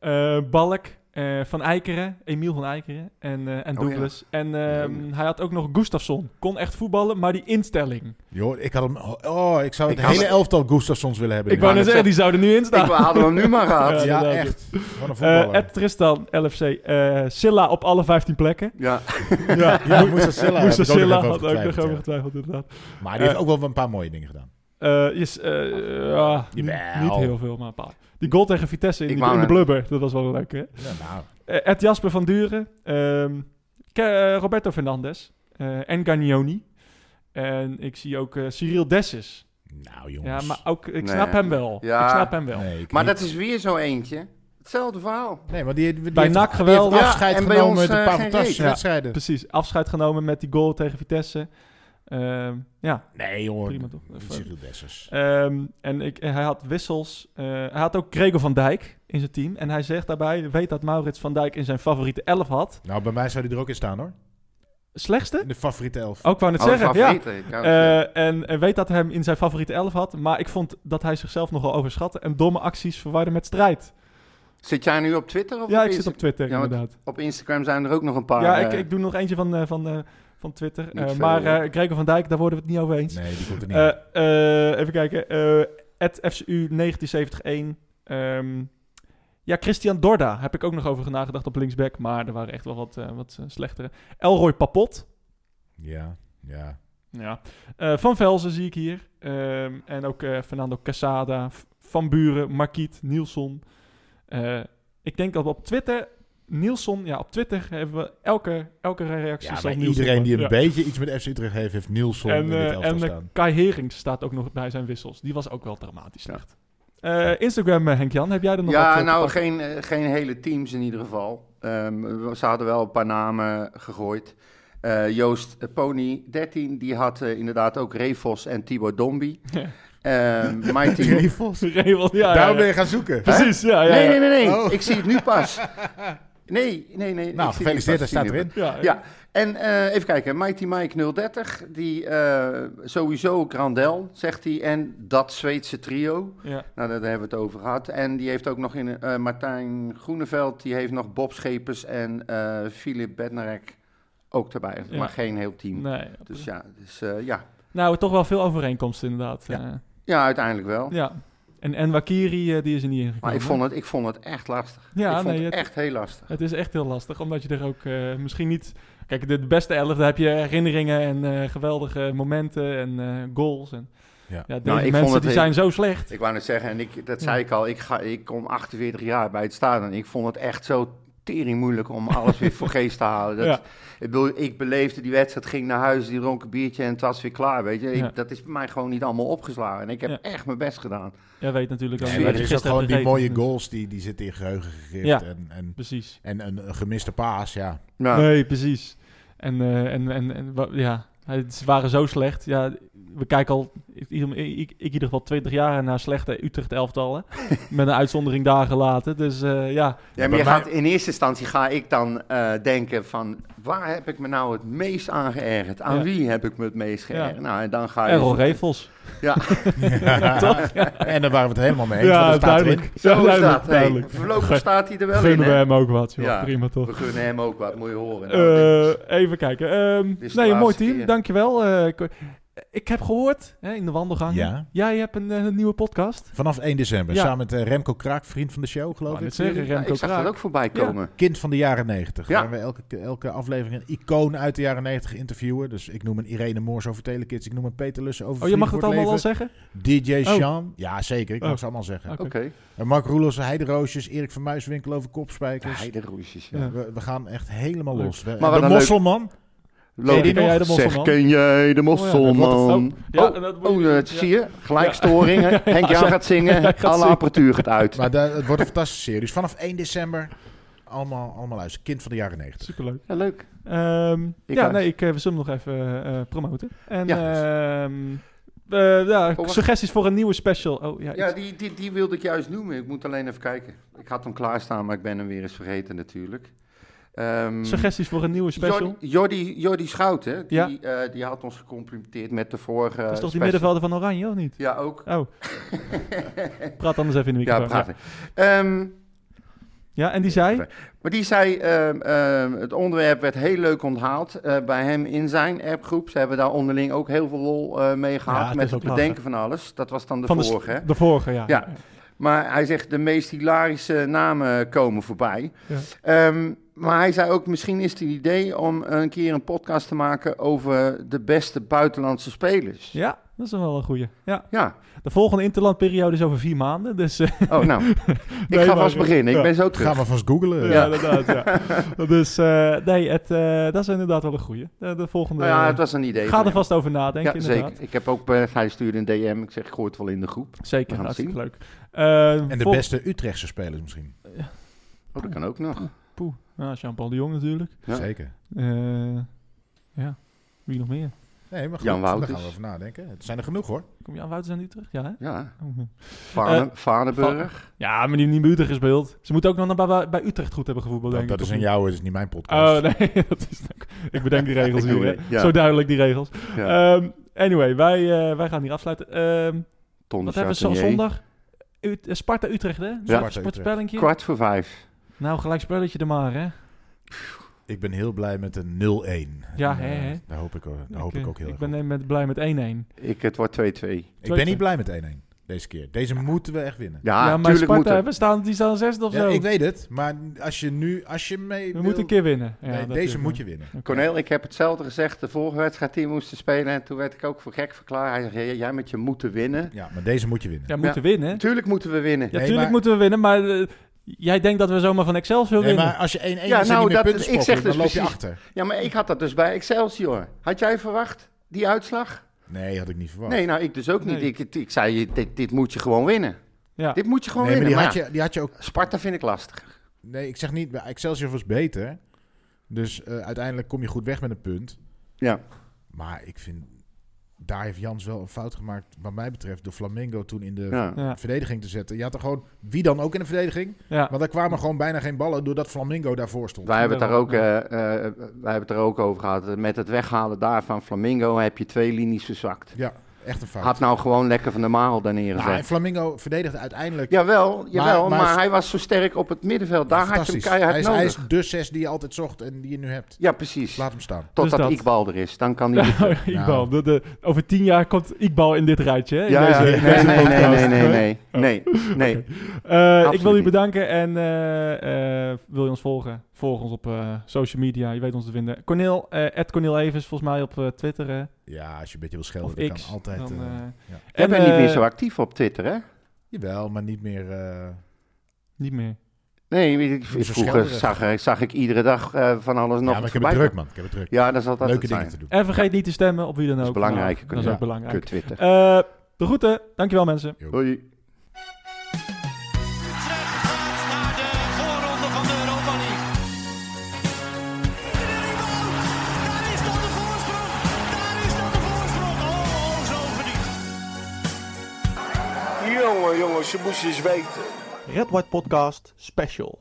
S5: man.
S3: eh, Balk, eh, Van Eikeren, Emiel van Eikeren en, eh, en
S4: Oh, ja.
S3: Douglas. En ehm, hij had ook nog Gustafsson. Kon echt voetballen, maar die instelling.
S5: Joh, ik had hem... Oh, ik zou het
S4: Ik had
S5: hele
S4: het-
S5: elftal Gustafsons willen hebben.
S3: Ik wou
S4: net
S3: net zeggen,
S4: zeggen,
S3: die zouden nu in
S4: Ik
S3: staan.
S4: hadden we hem nu maar
S3: Ja.
S4: gehad. Ja.
S5: Ja,
S3: inderdaad.
S5: echt. Gewoon een
S3: Eh,
S5: voetballer.
S3: Ed Tristan, LFC, eh, Silla op alle 15 plekken. Ja,
S5: ja, Moussa Silla. heb ik
S3: Moest
S5: ook nog
S3: Silla
S5: even
S3: had
S5: over
S3: ook nog
S5: getwijfeld,
S3: over
S5: ja.
S3: getwijfeld, inderdaad.
S5: Maar die heeft
S3: Eh,
S5: ook wel een paar mooie dingen gedaan.
S3: Eh, yes, eh, ja, niet,
S5: Jawel.
S3: niet heel veel, maar een paar. Die goal tegen Vitesse in,
S4: Ik
S3: die-
S4: wou
S3: in de
S4: net-
S3: blubber, dat was wel leuk, hè?
S5: Ja, nou.
S3: Eh, Ed Jasper van Duren. ehm, Ke- eh, Roberto Fernandes. eh, en Gagnoni. En ik zie ook eh, Cyril Dessus.
S5: Nou,
S3: Ja,
S5: jongens.
S3: maar ook, ik
S4: Nee.
S3: snap hem wel.
S4: Ja.
S3: Ik snap hem wel.
S5: Nee, ik
S4: Maar
S5: niet.
S4: dat is weer zo eentje. Hetzelfde verhaal.
S5: Nee, maar die, die
S3: Bij
S5: heeft-
S3: NAC
S5: die
S3: geweldig.
S5: heeft afscheid
S4: Ja, en bij
S5: genomen
S4: ons,
S5: met een
S4: eh,
S5: paar
S4: geen
S5: fantastische
S3: reet.
S5: wedstrijden.
S3: Precies, afscheid genomen met die goal tegen Vitesse. Ehm, ja,
S5: Nee, jongen.
S3: Prima, toch?
S5: Niet
S3: Even-
S5: Cyril Dessers.
S3: Ehm, en ik, hij had wissels. eh, hij had ook Gregor van Dijk in zijn team. En hij zegt daarbij, weet dat Maurits van Dijk in zijn favoriete elf had.
S5: Nou, bij mij zou die er ook in staan, hoor.
S3: Slechtste?
S5: In de favoriete elf.
S3: Ook wou net
S4: Oh,
S3: zeggen, ja.
S4: favorieten, ik kan het zeggen.
S3: Eh, en, en weet dat hij hem in zijn favoriete elf had. Maar ik vond dat hij zichzelf nogal overschatte en domme acties verwarde met strijd.
S4: Zit jij nu op Twitter of
S3: Ja,
S4: op,
S3: ik
S4: Insta-
S3: zit op Twitter
S4: Oh, Ja, want-
S3: inderdaad.
S4: op Instagram? Zijn er ook nog een paar.
S3: Ja, ik,
S4: eh,
S3: ik doe nog eentje van, eh, van, eh, van Twitter.
S4: Niet
S3: Eh,
S4: veel,
S3: maar
S4: hoor.
S3: eh Gregor van Dijk, daar worden we het niet over eens.
S5: Nee, die komt er niet in.
S3: Eh, eh, even kijken. Het FCU 1971. Ehm, ja, Christian Dorda heb ik ook nog over nagedacht op linksback. Maar er waren echt wel wat, eh, wat eh, slechtere. Elroy Papot.
S5: Ja, ja.
S3: Ja. Eh, Van Velzen zie ik hier. Ehm, en ook eh, Fernando Casada, F- Van Buren, Marquiet, Nielsen. Eh, ik denk dat we op Twitter... Nielsen, ja, op Twitter hebben we elke, elke reactie.
S5: Ja,
S3: zal
S5: maar
S3: Nielsen
S5: iedereen die een
S3: ja.
S5: beetje iets met FC Utrecht heeft, heeft Nielsen
S3: En,
S5: in
S3: eh,
S5: dit elftal
S3: en eh,
S5: staan.
S3: Kai Herings staat ook nog bij zijn wissels. Die was ook wel dramatisch slecht. Eh, Instagram, eh, Henk-Jan, heb jij er nog wat
S4: Ja,
S3: eh, te
S4: nou,
S3: pakken?
S4: geen, eh, geen hele teams in ieder geval. Ehm, we- ze hadden wel een paar namen gegooid. Eh, Joost eh, Pony 13, die had eh, inderdaad ook Revos en Thibaut Dombi. Ehm mijn team... Nee,
S5: Trevels.
S3: Regel, ja, ja,
S5: Daarom
S3: ja.
S5: ben je gaan zoeken.
S3: Precies, ja, ja. ja.
S4: nee, nee, nee.
S5: Oh.
S4: Ik zie het nu pas. Nee, nee, nee. ik zie
S5: Nou,
S4: het
S5: gefeliciteerd, hij
S4: pas, ik
S5: staat
S4: zie het
S5: erin.
S3: Ja,
S4: Ja, en eh, even kijken. Mighty Mike 030, die eh, sowieso Grandel, zegt hij. En dat Zweedse trio.
S3: ja.
S4: Nou, daar hebben we het over gehad. En die heeft ook nog in eh, Martijn Groeneveld, die heeft nog Bob Schepers en eh Filip Bednarek ook erbij.
S3: Ja.
S4: Maar geen heel team.
S3: Nee.
S4: Dus ja, dus, eh, ja.
S3: Nou, toch wel veel overeenkomsten inderdaad.
S5: Ja.
S3: Ja.
S4: ja, uiteindelijk wel.
S3: ja. En, en Wakiri, eh, die is er niet ingekomen.
S4: Maar ik vond, het, ik vond het echt lastig.
S3: Ja,
S4: ik vond
S3: nee,
S4: het
S3: het-
S4: echt heel lastig.
S3: Het is echt heel lastig, omdat je er ook eh, misschien niet... Kijk, de, de beste elf, daar heb je herinneringen en eh, geweldige momenten en eh, goals. En,
S5: Ja. Nou,
S3: deze
S4: ik vond
S3: mensen
S4: het
S3: die
S4: heel-
S3: zijn zo slecht.
S4: Ik wou net zeggen, en ik, dat zei ik al, ik, ga, ik kom 48 jaar bij het stadion. Ik vond het echt zo tering moeilijk om alles weer voor geest te halen. Dat,
S3: Ja.
S4: ik, bedoel, ik beleefde die wedstrijd, ging naar huis, die dronk een biertje en het was weer klaar. Weet je? Ik-
S3: Ja.
S4: Dat is bij mij gewoon niet allemaal opgeslagen. En ik heb
S3: Ja.
S4: echt mijn best gedaan.
S3: Jij weet natuurlijk... al
S5: Nee,
S3: wie
S5: maar
S4: maar
S5: het
S3: je
S5: is ook
S3: gisteren
S5: gewoon
S3: hebt
S5: die
S3: gegeten,
S5: mooie goals
S3: dus-
S5: die, die zitten in geheugen gegrift.
S3: Ja.
S5: En, en,
S3: Precies.
S5: en een, een gemiste paas, ja.
S4: Nou,
S3: Nee, precies. En, eh, en, en, en wa- ja, het- ze waren zo slecht. Ja, we kijken al, ik, ik, ik in ieder geval 20 jaar naar slechte Utrecht-elftallen. met een uitzondering daar gelaten. Dus eh, ja,
S4: Ja, maar
S5: Bij
S4: je
S5: mij-
S4: gaat, in eerste instantie ga ik dan eh, denken van... waar heb ik me nou het meest aan geërgerd? Aan
S3: Ja.
S4: wie heb ik me het meest
S3: Ja.
S4: geërgerd? Nou, en dan
S5: Ah,
S4: ga je...
S3: Errol Revels.
S4: Ja,
S3: Toch? Ja,
S5: En daar waren we het helemaal mee eens. want
S3: ja
S5: er staat erin.
S3: duidelijk. Ja,
S4: zo is
S3: duidelijk,
S4: dat. Hey,
S3: duidelijk.
S4: voorlopig staat hij er wel in.
S3: Gunnen we
S4: hè?
S3: hem ook wat, joh.
S4: Ja.
S3: Prima toch?
S4: We gunnen hem ook wat, moet je horen. Nou,
S3: Eh, even kijken. Ehm,
S4: Dit is de
S3: nee, een mooi
S4: laatste
S3: team.
S4: keer.
S3: Dankjewel. Eh, ik, ik heb gehoord hè, in de wandelgang.
S5: Ja.
S3: Jij hebt een, eh, nieuwe podcast.
S5: Vanaf 1 december.
S3: Ja.
S5: Samen met eh, Remco Kraak, vriend van de show, geloof
S3: Wou
S5: ik.
S3: net zeggen,
S4: Ja,
S3: Remco
S4: ik zag dat
S3: Kraak.
S4: ook voorbij
S3: Ja.
S4: komen.
S5: Kind van de jaren 90.
S4: Ja.
S5: Waar we elke, elke aflevering een icoon uit de jaren 90 interviewen. Dus ik noem een Irene Moors over Telekids. Ik noem een Peter Lussen over
S3: Oh, je mag
S5: Vriend
S3: het
S5: voor
S3: allemaal al
S5: Leven.
S3: zeggen?
S5: DJ
S3: Oh.
S5: Sean. Ja, zeker. Ik
S3: Oh.
S5: mag ze allemaal zeggen.
S3: Oké. Dus-
S4: Oké.
S5: En Mark Roelofs, Heideroosjes. Erik van Muiswinkel over
S4: dus-
S5: kopspijkers.
S4: Heideroesjes,
S3: Ja.
S5: We, we gaan echt helemaal
S3: Leuk.
S5: los. We-
S4: Maar wat
S5: de
S4: een leuk-
S5: Mosselman.
S3: Ken jij de
S4: Zeg,
S3: mosselman?
S4: ken jij de
S5: Oh
S4: mosselman?
S3: ja,
S4: Oh,
S3: en dat moet
S4: oh,
S3: je-
S4: dat
S3: ja.
S4: zie je. Gelijk storingen. Henk Jan gaat zingen.
S3: Hij gaat
S4: alle
S3: zingen.
S4: apparatuur gaat uit.
S5: Maar daar- het wordt een fantastische serie. Dus vanaf 1 december allemaal, allemaal luisteren. Kind van de jaren 90.
S3: Superleuk.
S4: Ja, leuk.
S3: Ehm,
S4: Ik
S3: ja,
S4: luister.
S3: nee, ik, eh, we zullen hem nog even eh, promoten. En
S4: Ja. Oh,
S3: ehm, eh, ja,
S4: wacht.
S3: suggesties voor een nieuwe special. Oh, ja,
S4: Ja,
S3: iets-
S4: die, die, die wilde ik juist noemen. Ik moet alleen even kijken. Ik had hem klaarstaan, maar ik ben hem weer eens vergeten natuurlijk. Ehm,
S3: suggesties voor een nieuwe special.
S4: Jordi, Jordi, Jordi Schouten, die,
S3: Ja.
S4: eh, die had ons gecomplimenteerd met de vorige
S3: dat is toch die
S4: Eh, special.
S3: middenvelder van Oranje, of niet?
S4: Ja, ook.
S3: Oh. praat anders even in de
S4: Ja,
S3: microfoon. Ja,
S4: prachtig. Ehm,
S3: Ja, en die zei?
S4: Ja. Maar die zei, ehm, ehm, het onderwerp werd heel leuk onthaald eh, bij hem in zijn appgroep. Ze hebben daar onderling ook heel veel lol eh, mee
S3: Ja,
S4: gehad
S3: het
S4: met
S3: is
S4: het
S3: ook lachen.
S4: bedenken van alles. Dat was dan de
S3: van de s-
S4: vorige. hè?
S3: De vorige, ja.
S4: Ja. Maar hij zegt, de meest hilarische namen komen voorbij.
S3: Ja.
S4: Ehm, maar hij zei ook, misschien is het een idee om een keer een podcast te maken over de beste buitenlandse spelers.
S3: Ja, Dat is wel een goeie. Ja.
S4: Ja,
S3: De volgende interlandperiode is over vier maanden. Dus eh,
S4: oh nou. Ik
S3: Nee,
S4: ga
S3: maar-
S4: vast beginnen.
S3: Ja.
S4: Ik ben zo
S5: Gaan
S4: terug.
S5: we vast googelen.
S3: ja, inderdaad. Ja. Dus eh, nee, het, eh, dat is inderdaad wel een goeie. Eh, De, de volgende.
S4: Nou ja, het was een idee.
S3: ga
S4: van
S3: er
S4: hem.
S3: vast over nadenken.
S4: Ja,
S3: inderdaad.
S4: zeker. Ik heb ook, eh, hij stuurde een DM. Ik zeg, ik gooi het wel in de groep.
S3: Zeker,
S4: We gaan het
S3: hartstikke leuk. Ehm,
S5: En de beste Utrechtse spelers misschien.
S4: Oh, dat kan ook nog.
S3: Poeh, nou, Jean-Paul de Jong natuurlijk.
S4: Ja.
S5: Zeker.
S3: Eh, ja, wie nog meer?
S5: Nee, maar goed,
S4: Jan
S5: daar
S4: Wouters.
S5: gaan we over nadenken. Het zijn er genoeg hoor.
S3: Kom Jan Wouters aan Utrecht? Ja, hè?
S4: Ja,
S3: Oh, ja.
S4: Vane, Vaneburg.
S3: Ja, maar die niet bij Utrecht gespeeld. Ze moeten ook nog naar- bij, bij Utrecht goed hebben gevoetbald,
S5: Dat,
S3: denk ik.
S5: dat is
S3: of
S5: aan
S3: niet?
S5: jou, het is niet mijn podcast.
S3: Oh, nee, dat is het ook. Ik bedenk die regels
S4: Ik doe
S3: hier.
S4: het,
S3: hè.
S4: ja.
S3: Zo duidelijk, die regels.
S4: Ja.
S3: Ehm, anyway, wij, eh, wij gaan hier afsluiten. Ehm,
S4: Ton
S3: wat hebben we zo-
S4: Chartier.
S3: zondag? Ut- eh, Sparta-Utrecht, hè?
S5: Sparta Utrecht.
S3: Sportspellingje.
S4: Kwart voor vijf.
S3: Nou, gelijk spelletje er maar, hè?
S5: Ik ben heel blij met een 0-1. En,
S3: Ja,
S5: eh,
S3: hè, hè?
S5: Daar hoop ik, eh, daar hoop ik ook heel
S3: Ik
S5: erg
S3: ben
S5: op.
S3: eh, met, blij met 1-1.
S4: Ik, het wordt 2-2.
S5: Ik ben niet blij met 1-1 deze keer. Deze moeten we echt winnen.
S4: Ja,
S3: ja, maar
S4: Ah, tuurlijk moet
S3: Sparta,
S4: het.
S3: we staan, die staan zesde of
S5: Ja,
S3: zo.
S5: ik weet het, maar als je nu, als je mee
S3: we
S5: wil-
S3: moeten een keer winnen. Ja,
S5: Nee,
S3: dat
S5: deze
S3: is,
S5: moet
S3: eh,
S5: je winnen.
S3: oké.
S4: Cornel, ik heb hetzelfde gezegd. De vorige wedstrijd die we moesten spelen. En toen werd ik ook voor gek verklaard. Hij zegt, "Jij- jij met je moeten winnen.
S5: Ja, maar deze moet je winnen.
S3: Ja, moeten winnen. Ja,
S4: Natuurlijk moeten we winnen.
S5: Nee,
S3: tuurlijk
S5: maar-
S3: moeten we winnen, maar eh, jij denkt dat we zomaar van Excelsior
S5: Nee,
S3: winnen.
S5: maar als je 1-1
S4: Ja,
S5: is en
S4: nou,
S5: niet meer
S4: dat-
S5: punten
S4: ik zeg
S5: sprokkelt, dan
S4: dus
S5: loop je
S4: precies-
S5: achter.
S4: Ja, maar ik had dat dus bij Excelsior. Had jij verwacht die uitslag?
S5: Nee, had ik niet verwacht.
S4: Nee, nou ik dus ook niet.
S3: Nee.
S4: Ik, ik, ik zei, je, dit, dit moet je gewoon winnen.
S3: Ja.
S4: Dit moet je gewoon
S5: Nee, maar
S4: winnen.
S5: die
S4: Maar
S5: had, je, die had je ook...
S4: ja, Sparta vind ik lastig.
S5: Nee, ik zeg niet, maar Excelsior was beter. Dus eh, uiteindelijk kom je goed weg met een punt.
S4: Ja.
S5: Maar ik vind, daar heeft Jans wel een fout gemaakt, wat mij betreft, door Flamingo toen in de
S4: Ja.
S3: Ja,
S5: verdediging te zetten. Je had er gewoon, wie dan ook in de verdediging,
S3: ja.
S5: want daar kwamen gewoon bijna geen ballen doordat Flamingo daarvoor stond.
S4: Wij hebben, het daar
S3: wel,
S4: ook, eh, eh, wij hebben het er ook over gehad. Met het weghalen daar van Flamingo heb je twee linies verzwakt.
S5: Ja, echt een fout.
S4: Had nou gewoon lekker van de Marel daar
S5: Nou, en
S4: neergezet.
S5: Flamingo verdedigde uiteindelijk
S4: Jawel, jawel maar,
S5: maar-
S4: hij was zo sterk op het middenveld. Daar had je hem
S5: fantastisch.
S4: keihard
S5: hij, is,
S4: nodig.
S5: hij is de zes die je altijd zocht en die je nu hebt.
S4: Ja, precies.
S5: Laat hem staan.
S4: Totdat
S3: Dus dat.
S4: Iqbal er is. Dan kan hij...
S3: Nou, Iqbal, de, de- over tien jaar komt Iqbal in dit rijtje. Hè? in
S4: Ja, ja,
S3: deze-
S4: nee,
S3: in
S4: nee,
S3: deze
S4: nee, nee,
S3: podcast.
S4: nee, nee, nee, nee, nee.
S3: Eh, ik
S4: Absoluut
S3: wil je
S4: niet.
S3: bedanken en eh, eh, wil je ons volgen? Volg ons op eh, social media, je weet ons te vinden. Cornel, eh Cornel Evers, volgens mij op eh, Twitter hè,
S5: Ja, als je een beetje wil
S3: of
S5: schelden, dat
S3: X.
S5: kan altijd.
S3: Dan,
S5: eh,
S3: eh,
S5: ja.
S4: Jij
S3: en,
S4: bent niet meer
S3: eh,
S4: zo actief op Twitter, hè?
S5: Jawel, maar niet meer. eh,
S3: Niet meer.
S4: Nee, ik-
S5: Zo
S4: vroeger
S5: schelderig.
S4: zag, ik- zag ik iedere dag eh, van alles nog
S5: ja, maar
S4: eens
S5: ik heb het
S4: voorbij
S5: druk, man. Ik heb het druk.
S4: komen. Ja, dat zal dat
S5: Leuke
S4: het
S5: dingen
S4: zijn.
S5: te doen.
S3: En vergeet niet te stemmen op wie dan ook.
S4: Dat is belangrijk,
S3: Nou, Dat is
S5: ja.
S3: ook belangrijk.
S4: Kut Twitter.
S3: Eh, de groeten. Dankjewel mensen.
S4: Hoi.
S1: Utrecht gaat naar de voorronde van de Europa League. Daar is dan de voorsprong. Daar is dan de voorsprong. Oh, oh, zo verdiend.
S6: Jongen, jongen, ze moesten eens weten.
S2: Red White Podcast Special.